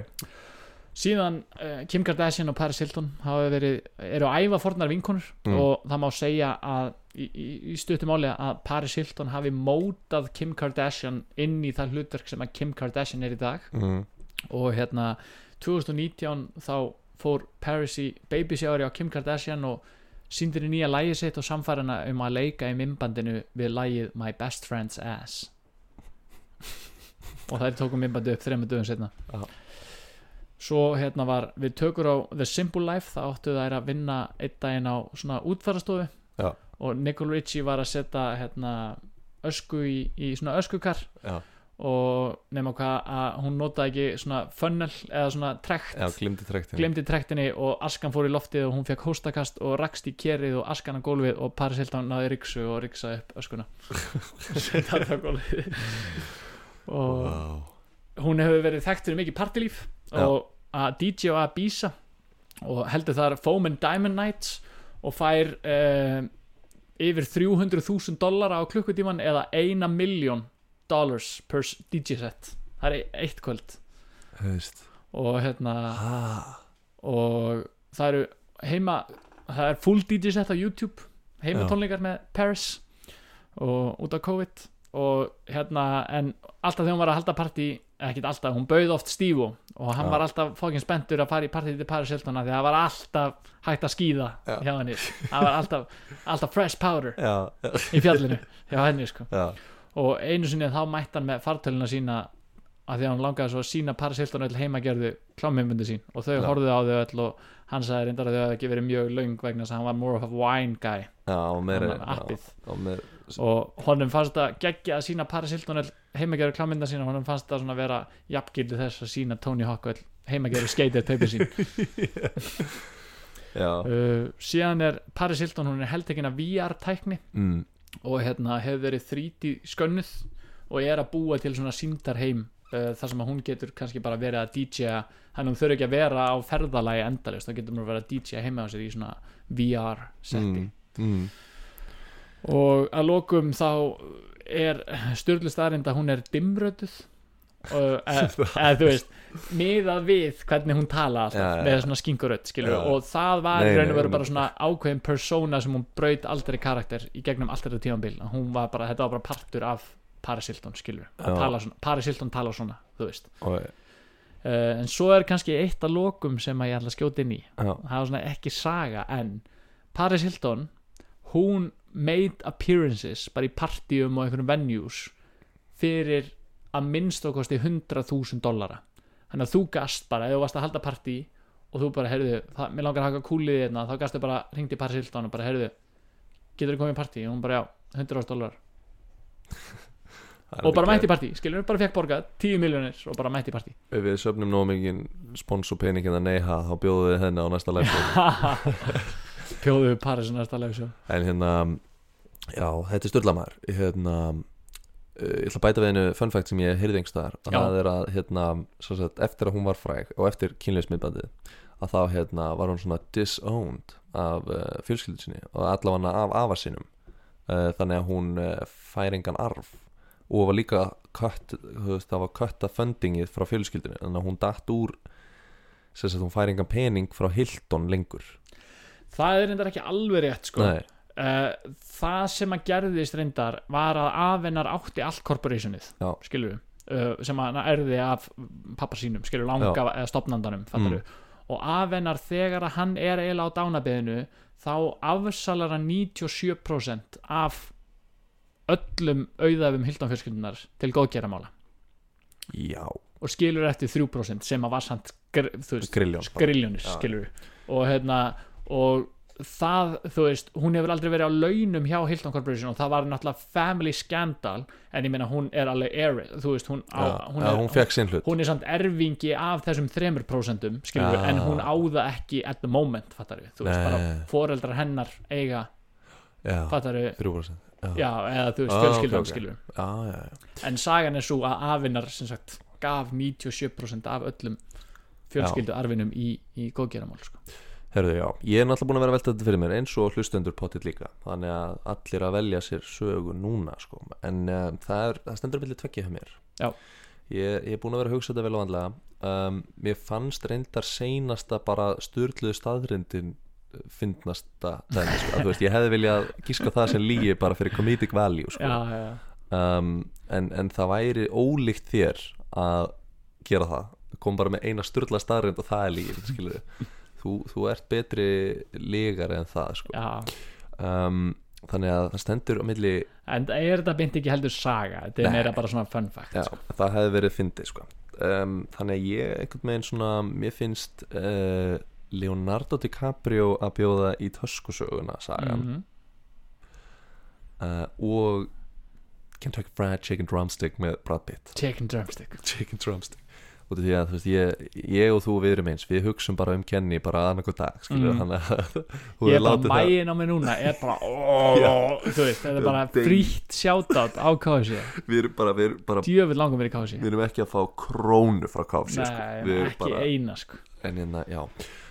Speaker 1: síðan uh, Kim Kardashian og Paris Hilton hafa verið, eru að æfa fornar vinkonur
Speaker 2: Mm.
Speaker 1: og það má segja að í, í, í stuttum áli að Paris Hilton hafi mótað Kim Kardashian inn í það hlutverk sem að Kim Kardashian er í dag
Speaker 2: mm.
Speaker 1: og hérna 2019 þá fór Paris í babysjári á Kim Kardashian og síndir í nýja lægi sitt og samfærana um að leika í mymbandinu við lægið My Best Friend's Ass og þær tókum mymbandi upp þremmu dögum setna
Speaker 2: Já.
Speaker 1: svo hérna var við tökur á The Simple Life þá áttu þær að vinna einn daginn á svona útfærastofu
Speaker 2: Já.
Speaker 1: og Nicole Richie var að setja hérna ösku í, í svona öskukar
Speaker 2: já,
Speaker 1: og nema hvað að hún notaði ekki svona funnel eða svona trekt
Speaker 2: já, glimti trektin
Speaker 1: glemdi trektinni og askan fór í loftið og hún fekk hóstakast og rakst í kerið og askan á gólfið og Paris Hilton náði riksu og riksaði upp öskuna og setaði það á gólfið og
Speaker 2: wow.
Speaker 1: hún hefur verið þekkt fyrir mikið partilíf
Speaker 2: Já.
Speaker 1: og að DJ og að býsa og heldur þar Foam and Diamond Nights og fær uh, yfir 300.000 dollara á klukkutíman eða 1 million dollars per s- DJ set það er eitt kvöld
Speaker 2: Hefist.
Speaker 1: og hérna
Speaker 2: ah,
Speaker 1: og það eru heima það er full DJ set á YouTube
Speaker 2: Já.
Speaker 1: heimatónleikar með Paris og út af COVID og hérna en alltaf þegar hún var að halda partí ekkert alltaf, hún bauð oft Stívo og hann
Speaker 2: Já.
Speaker 1: var alltaf fókin spenntur að fara í partí til Paris Hiltona því að það var alltaf hægt að skýða
Speaker 2: Já.
Speaker 1: hjá henni það var alltaf, alltaf fresh powder
Speaker 2: Já, já,
Speaker 1: í fjallinu hjá henni sko
Speaker 2: já,
Speaker 1: og einu sinni þá mætti hann með fartöluna sína að því að hann langaði svo að sína Paris Hilton öll heimagerðu klámyndbundi sín og þau
Speaker 2: Já.
Speaker 1: horfðu á þau öll og hann sagði reyndar að þau hefði ekki verið mjög löng vegna þess að hann var more of a wine guy
Speaker 2: já og meira
Speaker 1: Hann var appið.
Speaker 2: já, og meira,
Speaker 1: og honum fannst það geggja að sína Paris Hilton öll heimagerðu klámynda sína og honum fannst það svona vera jafngildi þess að sína Tony Hawk öll heimagerðu skeitið paupir sín
Speaker 2: já,
Speaker 1: uh, síðan er Paris Hilton hún er heldekina VR tækni
Speaker 2: mm,
Speaker 1: og hérna hefur verið 3D skönnuð og er að búa til svona síndarheim uh, þar sem að hún getur kannski bara verið að DJ-a þannig að hún þurfi ekki að vera á ferðalagi endalist þá getur hún að vera að DJ-a heima á sér í svona VR setti
Speaker 2: mm, mm,
Speaker 1: og að lokum þá er styrlust aðrind að hún er dimmrötuð og eða þú veist miðað við hvernig hún tala alltaf
Speaker 2: Já, já,
Speaker 1: með
Speaker 2: já.
Speaker 1: svona skinkurödd skilur
Speaker 2: Já.
Speaker 1: og það var
Speaker 2: Nei,
Speaker 1: í raun
Speaker 2: nei,
Speaker 1: og veru
Speaker 2: hún-
Speaker 1: bara svona ákveðin persóna sem hún braut aldrei karakter í gegnum alltaf þetta tímanbíl hún var bara, þetta var bara partur af Paris Hilton skilur
Speaker 2: Já.
Speaker 1: tala svona, Paris Hilton tala svona þú veist
Speaker 2: og,
Speaker 1: uh, en svo er kannski eitt að lokum sem að ég ætla að skjóta inn í
Speaker 2: já,
Speaker 1: það var svona ekki saga en Paris Hilton hún made appearances bara í partíum og einhverjum venues fyrir að minnst okkosti 100.000 dollara þannig að þú gast bara, ef þú varst að halda partí og þú bara, heyrðu, það, mér langar að haka kúlið þérna, þá gastu bara, hringdi í Paris Hilton og bara, heyrðu, getur þú komið í partí og hún bara, já, 100.000 dollara
Speaker 2: það er
Speaker 1: og bara
Speaker 2: mikið-
Speaker 1: mætti í partí, skilur, bara fekk borgað 10 miljonir og bara mætti í partí
Speaker 2: ef við söfnum nóg mikið spons og pening en að neyha þá bjóðum við henni á næsta live
Speaker 1: Pjóðu Paris næsta leifsjó
Speaker 2: en hérna já, þetta er styrlamar hérna, uh, ég ætla að bæta við einu fun fact sem ég heyrði einhvers þar
Speaker 1: Já.
Speaker 2: það er að hérna, sem sagt, eftir að hún var fræg og eftir kynleismyndbandið að þá hérna, var hún svona disowned af uh, fjölskyldu sinni og allavega af afa sinum uh, þannig að hún uh, fær engan arf og var líka kött, þú veist, það var kötta fundingið frá fjölskyldunni þannig að hún datt úr sem sagt hún fær engan pening frá Hilton lengur
Speaker 1: Það er reyndar ekki alveg rétt sko
Speaker 2: Nei,
Speaker 1: Eh, það sem að gerðist reyndar var að afennar átti allt korporationið
Speaker 2: Já.
Speaker 1: skilur við sem að hann erði af pappa sínum skilur við, langa eða stopnandanum mm. og afennar þegar að hann er eiginlega á dánabeðinu þá afsalar hann 97% af öllum auðafum hildanfjörskildunar til góðgeramála
Speaker 2: já,
Speaker 1: og skilur eftir 3% sem að var samt gr- þú veist,
Speaker 2: grilljón
Speaker 1: skriljónir
Speaker 2: Já.
Speaker 1: skilur og hérna og það, þú veist, hún hefur aldrei verið á launum hjá Hilton Corporation og það var náttúrulega family scandal, en ég meina hún er alveg air, þú veist, hún,
Speaker 2: Já,
Speaker 1: á, hún,
Speaker 2: já,
Speaker 1: er,
Speaker 2: hún fekk sinn hlut
Speaker 1: hún er samt erfingi af þessum 3% skilur
Speaker 2: Ah.
Speaker 1: en hún áða ekki at the moment, fattar við, þú veist,
Speaker 2: Nei.
Speaker 1: bara foreldrar hennar eiga,
Speaker 2: já,
Speaker 1: fattar við
Speaker 2: 3%
Speaker 1: já, eða þú veist,
Speaker 2: Ah,
Speaker 1: fjölskyldan
Speaker 2: ok, ok.
Speaker 1: skilur
Speaker 2: já, já, já.
Speaker 1: en sagan er svo að afinnar, sem sagt, gaf 97% af öllum fjölskyldu arfinum í, í góðgeramál, sko
Speaker 2: Herðu, já, ég er náttúrulega búin að vera að velta þetta fyrir mér eins og hlustendur potið líka þannig að allir að velja sér sögu núna sko. en uh, það, er, það stendur vilja tveggja hjá mér
Speaker 1: Já.
Speaker 2: ég, ég er búin að vera að hugsa þetta vel og vandlega um, mér fannst reyndar seinasta bara styrluðu staðrindin fyndnasta dæmi, sko. Að þú veist, ég hefði viljað gíska það sem lígi bara fyrir comedic value sko.
Speaker 1: já, já, já.
Speaker 2: um, en, en það væri ólíkt þér að gera það kom bara með eina styrla staðrind og það er lígin skilur þú, þú ert betri lígar en það sko.
Speaker 1: Já,
Speaker 2: um, þannig að það stendur á milli
Speaker 1: en er þetta beint ekki heldur saga þetta er
Speaker 2: Nei.
Speaker 1: meira bara svona fun fact
Speaker 2: já,
Speaker 1: sko.
Speaker 2: það hefði verið fyndið sko. um, þannig að ég einhvern veginn svona mér finnst uh, Leonardo DiCaprio að bjóða í töskusöguna sagan
Speaker 1: Mhm.
Speaker 2: uh, og Kentucky Fried Chicken Drumstick með Brad Pitt
Speaker 1: Chicken drumstick
Speaker 2: chicken drumstick út af því að þú veist, ég, ég og þú við erum eins við hugsum bara um Kenny bara annað hvort dag
Speaker 1: Mm.
Speaker 2: skilur mm. hann að þú
Speaker 1: Ég er bara
Speaker 2: hefur látið það
Speaker 1: mæin á mig núna er bara, ó, þú veist þetta er bara
Speaker 2: Ding.
Speaker 1: frítt sjátátt á kási
Speaker 2: við erum bara, við erum, bara,
Speaker 1: djöfitt langar mér í kási
Speaker 2: við erum ekki að fá krónu frá KFC sko.
Speaker 1: Nei,
Speaker 2: Við erum
Speaker 1: ekki eina sko
Speaker 2: en hérna, já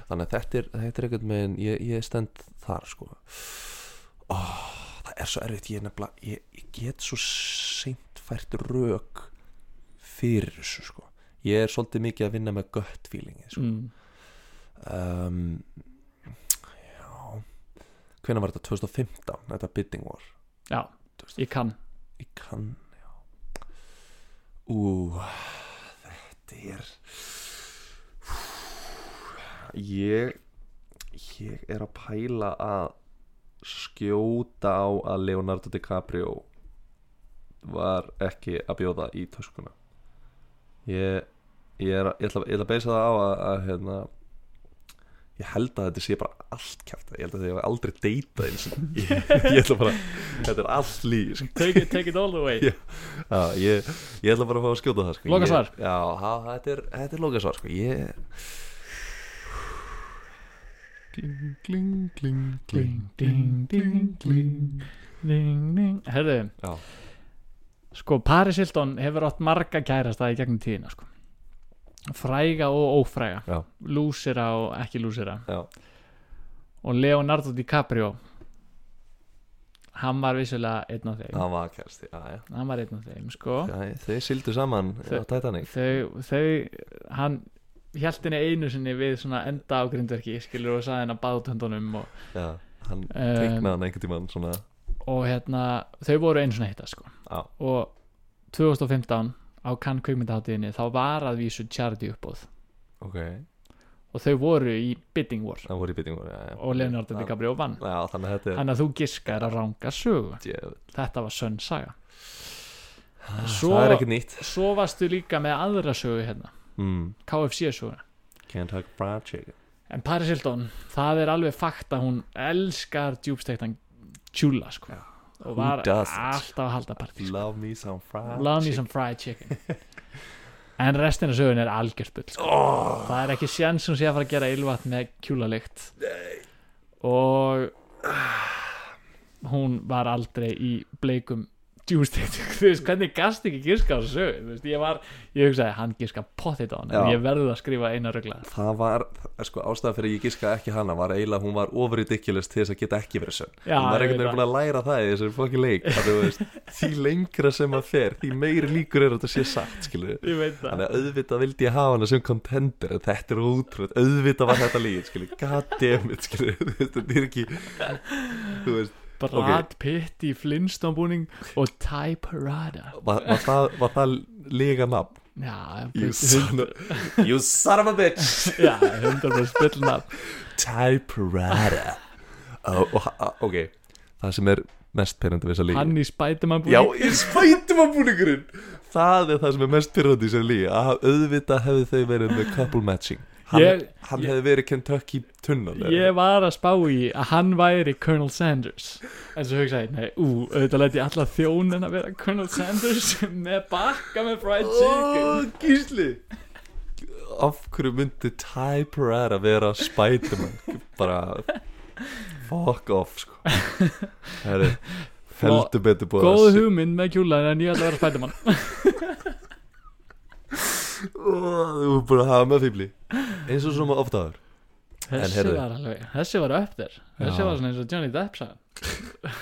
Speaker 2: þannig að þetta er, þetta er eitthvað með ég, ég stend þar sko oh, það er svo erfitt ég, er nefnilega, ég, ég get svo seint fært rök fyrir þessu sko ég er svolítið mikið að vinna með gött feelingi sko.
Speaker 1: mm.
Speaker 2: um, já hvenær var þetta 2015 þetta bidding war
Speaker 1: Já, ég kann
Speaker 2: ég kann Ú, þetta er Ég Ég er að pæla að skjóta á að Leonardo DiCaprio var ekki að bjóða í töskuna Ég, ég, er, að- ég, ætla, ég ætla að beisa það á að, að hérna, ég held að þetta sé bara allt kjátt ég held að þetta var aldrei deyta eins og ég, ég ætla bara, þetta er allt lýs
Speaker 1: take it, take it all the way
Speaker 2: Já. Já, ég, ég ætla bara að fá að skjóta það sko.
Speaker 1: Lokasvar.
Speaker 2: Ég- Já, ha, þetta er, þetta er lokasvar sko. Ég Kling, kling, kling,
Speaker 1: Ding, ding, ding, ding, ding, ding. Herðu,
Speaker 2: Já,
Speaker 1: sko Paris Hilton hefur átt marga kærasta í gegnum tíðina sko. fræga og ófræga
Speaker 2: Já.
Speaker 1: lúsira og ekki lúsira
Speaker 2: já,
Speaker 1: og Leonardo DiCaprio hann var vissulega einn af þeim
Speaker 2: það var kærasti Já, já,
Speaker 1: hann var einn af þeim sko.
Speaker 2: já Þau sildu saman
Speaker 1: Þau-
Speaker 2: á Titanic
Speaker 1: þau, þau hann hjælt henni einu sinni við svona enda á grindverki skilur og sagði henni að báða út höndunum og,
Speaker 2: Já, hann
Speaker 1: um,
Speaker 2: teiknaði hann einhvern tímann svona
Speaker 1: og hérna þau voru einu sinni að hitta sko.
Speaker 2: Já,
Speaker 1: og 2015 á Cannes kvikmyndaháttíðinni þá var að vísu charity uppbóð
Speaker 2: ok,
Speaker 1: og þau voru í bidding war
Speaker 2: það voru í byttingur já, já.
Speaker 1: og Leonardo DiCaprio vann
Speaker 2: Já, þannig að þetta er
Speaker 1: þannig að þú giskar að ranga sögu
Speaker 2: Djöfull. Ah,
Speaker 1: þetta var sönn saga svo,
Speaker 2: Það er ekkert nýtt
Speaker 1: svo varstu líka með aðra sögu hérna
Speaker 2: mm.
Speaker 1: KFC söguna
Speaker 2: Can't hug fried chicken
Speaker 1: en Paris Hilton, það er alveg fakt að hún elskar djúbstektan tjúla sko
Speaker 2: Já.
Speaker 1: og
Speaker 2: Who
Speaker 1: var
Speaker 2: doesn't?
Speaker 1: alltaf að halda partí sko.
Speaker 2: Love me some fried
Speaker 1: love me
Speaker 2: chicken.
Speaker 1: some fried chicken en restin af sögun er algjör bull sko.
Speaker 2: oh,
Speaker 1: Það er ekki sjans hún sé að fara að gera ylvatn með kjúlalikt Nei Og Hún var aldrei í bleikum djústeikt Þú veist, hvernig gast ekki giska á þessu sögu? Þú veist, ég var Ég hugsaði, hann giska potið á hann
Speaker 2: Já.
Speaker 1: En ég verði að skrifa eina rugla
Speaker 2: Það var, sko, ástæðan fyrir að ég giska ekki hana var eiginlega að hún var over ridiculous til þess að geta ekki verið sönn
Speaker 1: Já,
Speaker 2: Hún var
Speaker 1: ég
Speaker 2: einhvern
Speaker 1: veit
Speaker 2: veginn búin að læra það í þessari fokkin leik að þú veist, því lengra sem að fer, því meiri líkur er að þetta sé satt, skilu
Speaker 1: Ég veit það
Speaker 2: Þannig að auðvitað vildi ég hafa hana sem contender en þetta er ótrúð, auðvitað var þetta líð skilu, goddammit, skilu þetta er ekki þú veist,
Speaker 1: Brad Pitt í Flintstone búning Og Ty Parada
Speaker 2: var, var, það, var það líga nafn?
Speaker 1: Já,
Speaker 2: You
Speaker 1: hund-
Speaker 2: son of, you son of a bitch
Speaker 1: Já, hundar bara spillna
Speaker 2: Typerata og, og, ha- ok, það sem er mest pyrrandi við þessa lígi
Speaker 1: Hann í Spiderman
Speaker 2: Já,
Speaker 1: búning
Speaker 2: í spætum að búningurinn Það er það sem er mest pyrrandi í þessa lígi að auðvitað hefðu þau verið með couple matching Hann,
Speaker 1: Ég-
Speaker 2: hann
Speaker 1: ég-
Speaker 2: hefði verið Kentucky tunnan eða-
Speaker 1: Ég var að spá í að hann væri Colonel Sanders En svo hugsaði, ég, nei, ú, auðvitað læti ég alla þjónin að vera Colonel Sanders Með bakka með fried chicken
Speaker 2: Ó, Gísli Af hverju myndi Typerata vera Spiderman bara fuck off sko Það er heldur betur búið að
Speaker 1: Góð
Speaker 2: se-
Speaker 1: hugmynd með kjúlan en ég ætla að vera spætumann
Speaker 2: Ó, Þú er bara að hafa með fýbli Eins og svona ofta áður
Speaker 1: Þessi
Speaker 2: heyrðu.
Speaker 1: var alveg, þessi var upp þér Þessi
Speaker 2: Já.
Speaker 1: var svona eins og Johnny Depp sagði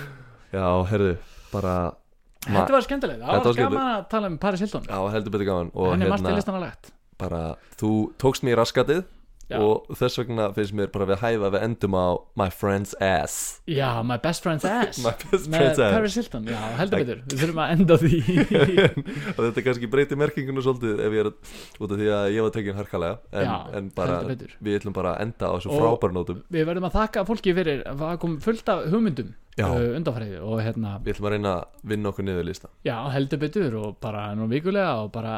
Speaker 2: Já, herðu, bara ma-
Speaker 1: Þetta var skemmtileg, það
Speaker 2: Þetta var
Speaker 1: var gaman að tala um Paris Hilton
Speaker 2: Já, heldur betur gaman Og
Speaker 1: Henni margt í
Speaker 2: hérna,
Speaker 1: listan að lagt
Speaker 2: bara Þú tókst mér í raskatið
Speaker 1: Já.
Speaker 2: Og þess vegna finnst mér bara við hæfa Við endum á My Friend's Ass
Speaker 1: Já, my best friend's ass
Speaker 2: My Best
Speaker 1: Með
Speaker 2: Friend's Ass
Speaker 1: Paris Hilton, já, heldur betur Við þurfum að enda á því
Speaker 2: Og þetta kannski breyti merkinguna svolítið Ef ég er að- út af því að ég var tekinn harkalega En,
Speaker 1: Já,
Speaker 2: en bara,
Speaker 1: heldur betur.
Speaker 2: við ætlum bara að enda á þessum
Speaker 1: Og-
Speaker 2: frábærnótum
Speaker 1: Við verðum að þakka fólki fyrir að það kom fullt af hugmyndum
Speaker 2: Já.
Speaker 1: uh, undanfærið og hérna,
Speaker 2: Við ætlum að reyna að vinna okkur niður lista
Speaker 1: já, heldur betur og bara nú vikulega og bara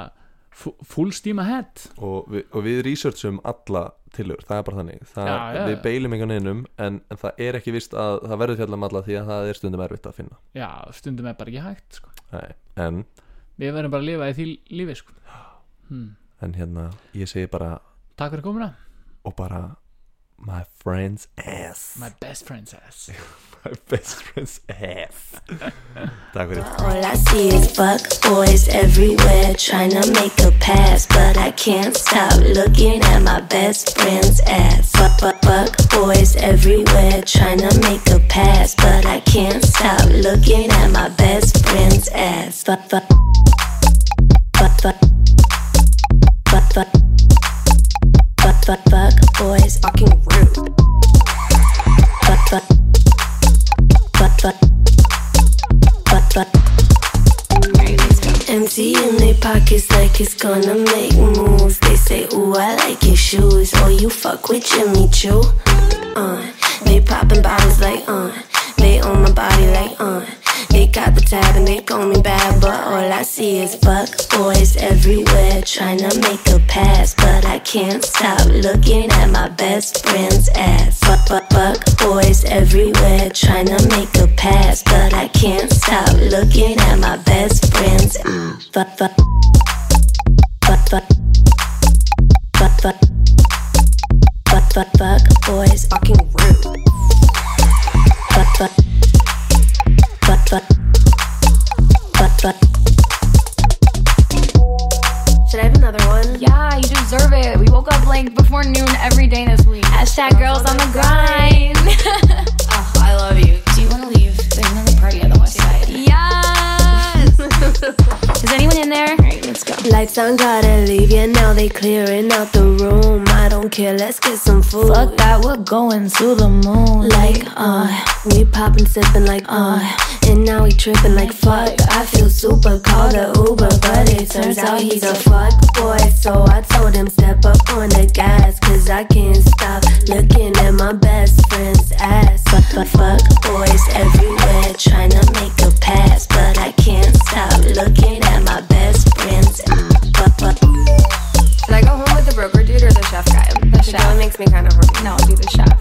Speaker 1: fu- full steam ahead
Speaker 2: og við, og við researchum alla tillögur, það er bara þannig það,
Speaker 1: Já, já, já.
Speaker 2: við beilum einhvern veginnum en, en það er ekki vist að það verður fjallum alla því að það er stundum erfitt að finna
Speaker 1: Já, stundum er bara ekki hægt sko.
Speaker 2: Nei. en,
Speaker 1: Við verðum bara að lifa í því lífi sko.
Speaker 2: en hérna ég segi bara
Speaker 1: Takk fyrir komuna,
Speaker 2: og bara my friend's ass
Speaker 1: my best friend's ass
Speaker 2: my best friend's ass takk fyrir
Speaker 4: All I see is fuck boys everywhere trying to make a pass, but I can't stop looking at my best friend's ass. Fuck, fuck, fuck boys everywhere trying to make a pass, but I can't stop looking at my best friend's ass. Fuck, fuck, fuck, fuck, fuck, fuck, fuck, fuck, fuck boys fucking rude. Fuck, fuck, fuck, fuck, fuck, fuck. Alright, let's go. Empty in their pockets like it's gonna make moves. They say, ooh, I like your shoes. Or you fuck with Jimmy Choo. Uh, they popping bottles like, uh, they on my body like, uh. They got the tab and they call me bad, but all I see is buck boys everywhere trying to make a pass. But I can't stop looking at my best friend's ass. Buck, buck, buck boys everywhere trying to make a pass, but I can't stop looking at my best friend's ass. Buck, buck, buck, buck, buck, buck, buck, buck, buck boys fucking rude. Buck, buck but but but but should I have another one?
Speaker 5: Yeah, you deserve it. We woke up like before noon every day this week. Hashtag girls on the grind. oh, I love you. Do you want to leave? There's another party on the west side. Yes. Is anyone in there? All right, let's go.
Speaker 4: Lights on, gotta leave you now. They clearing out the room. I don't care, let's get some food.
Speaker 5: Fuck that, we're going to the moon.
Speaker 4: like uh we poppin' sippin' like uh and now he trippin' like fuck i feel super called a uber but it turns out he's a fuck boy so i told him step up on the gas cause i can't stop looking at my best friend's ass but but fuck boys everywhere trying to make a pass but i can't stop looking at my best friend's ass but but
Speaker 6: Should I go home with the broker dude or the chef guy? The
Speaker 5: chef.
Speaker 6: one makes me kind of horny.
Speaker 5: No, do the shot.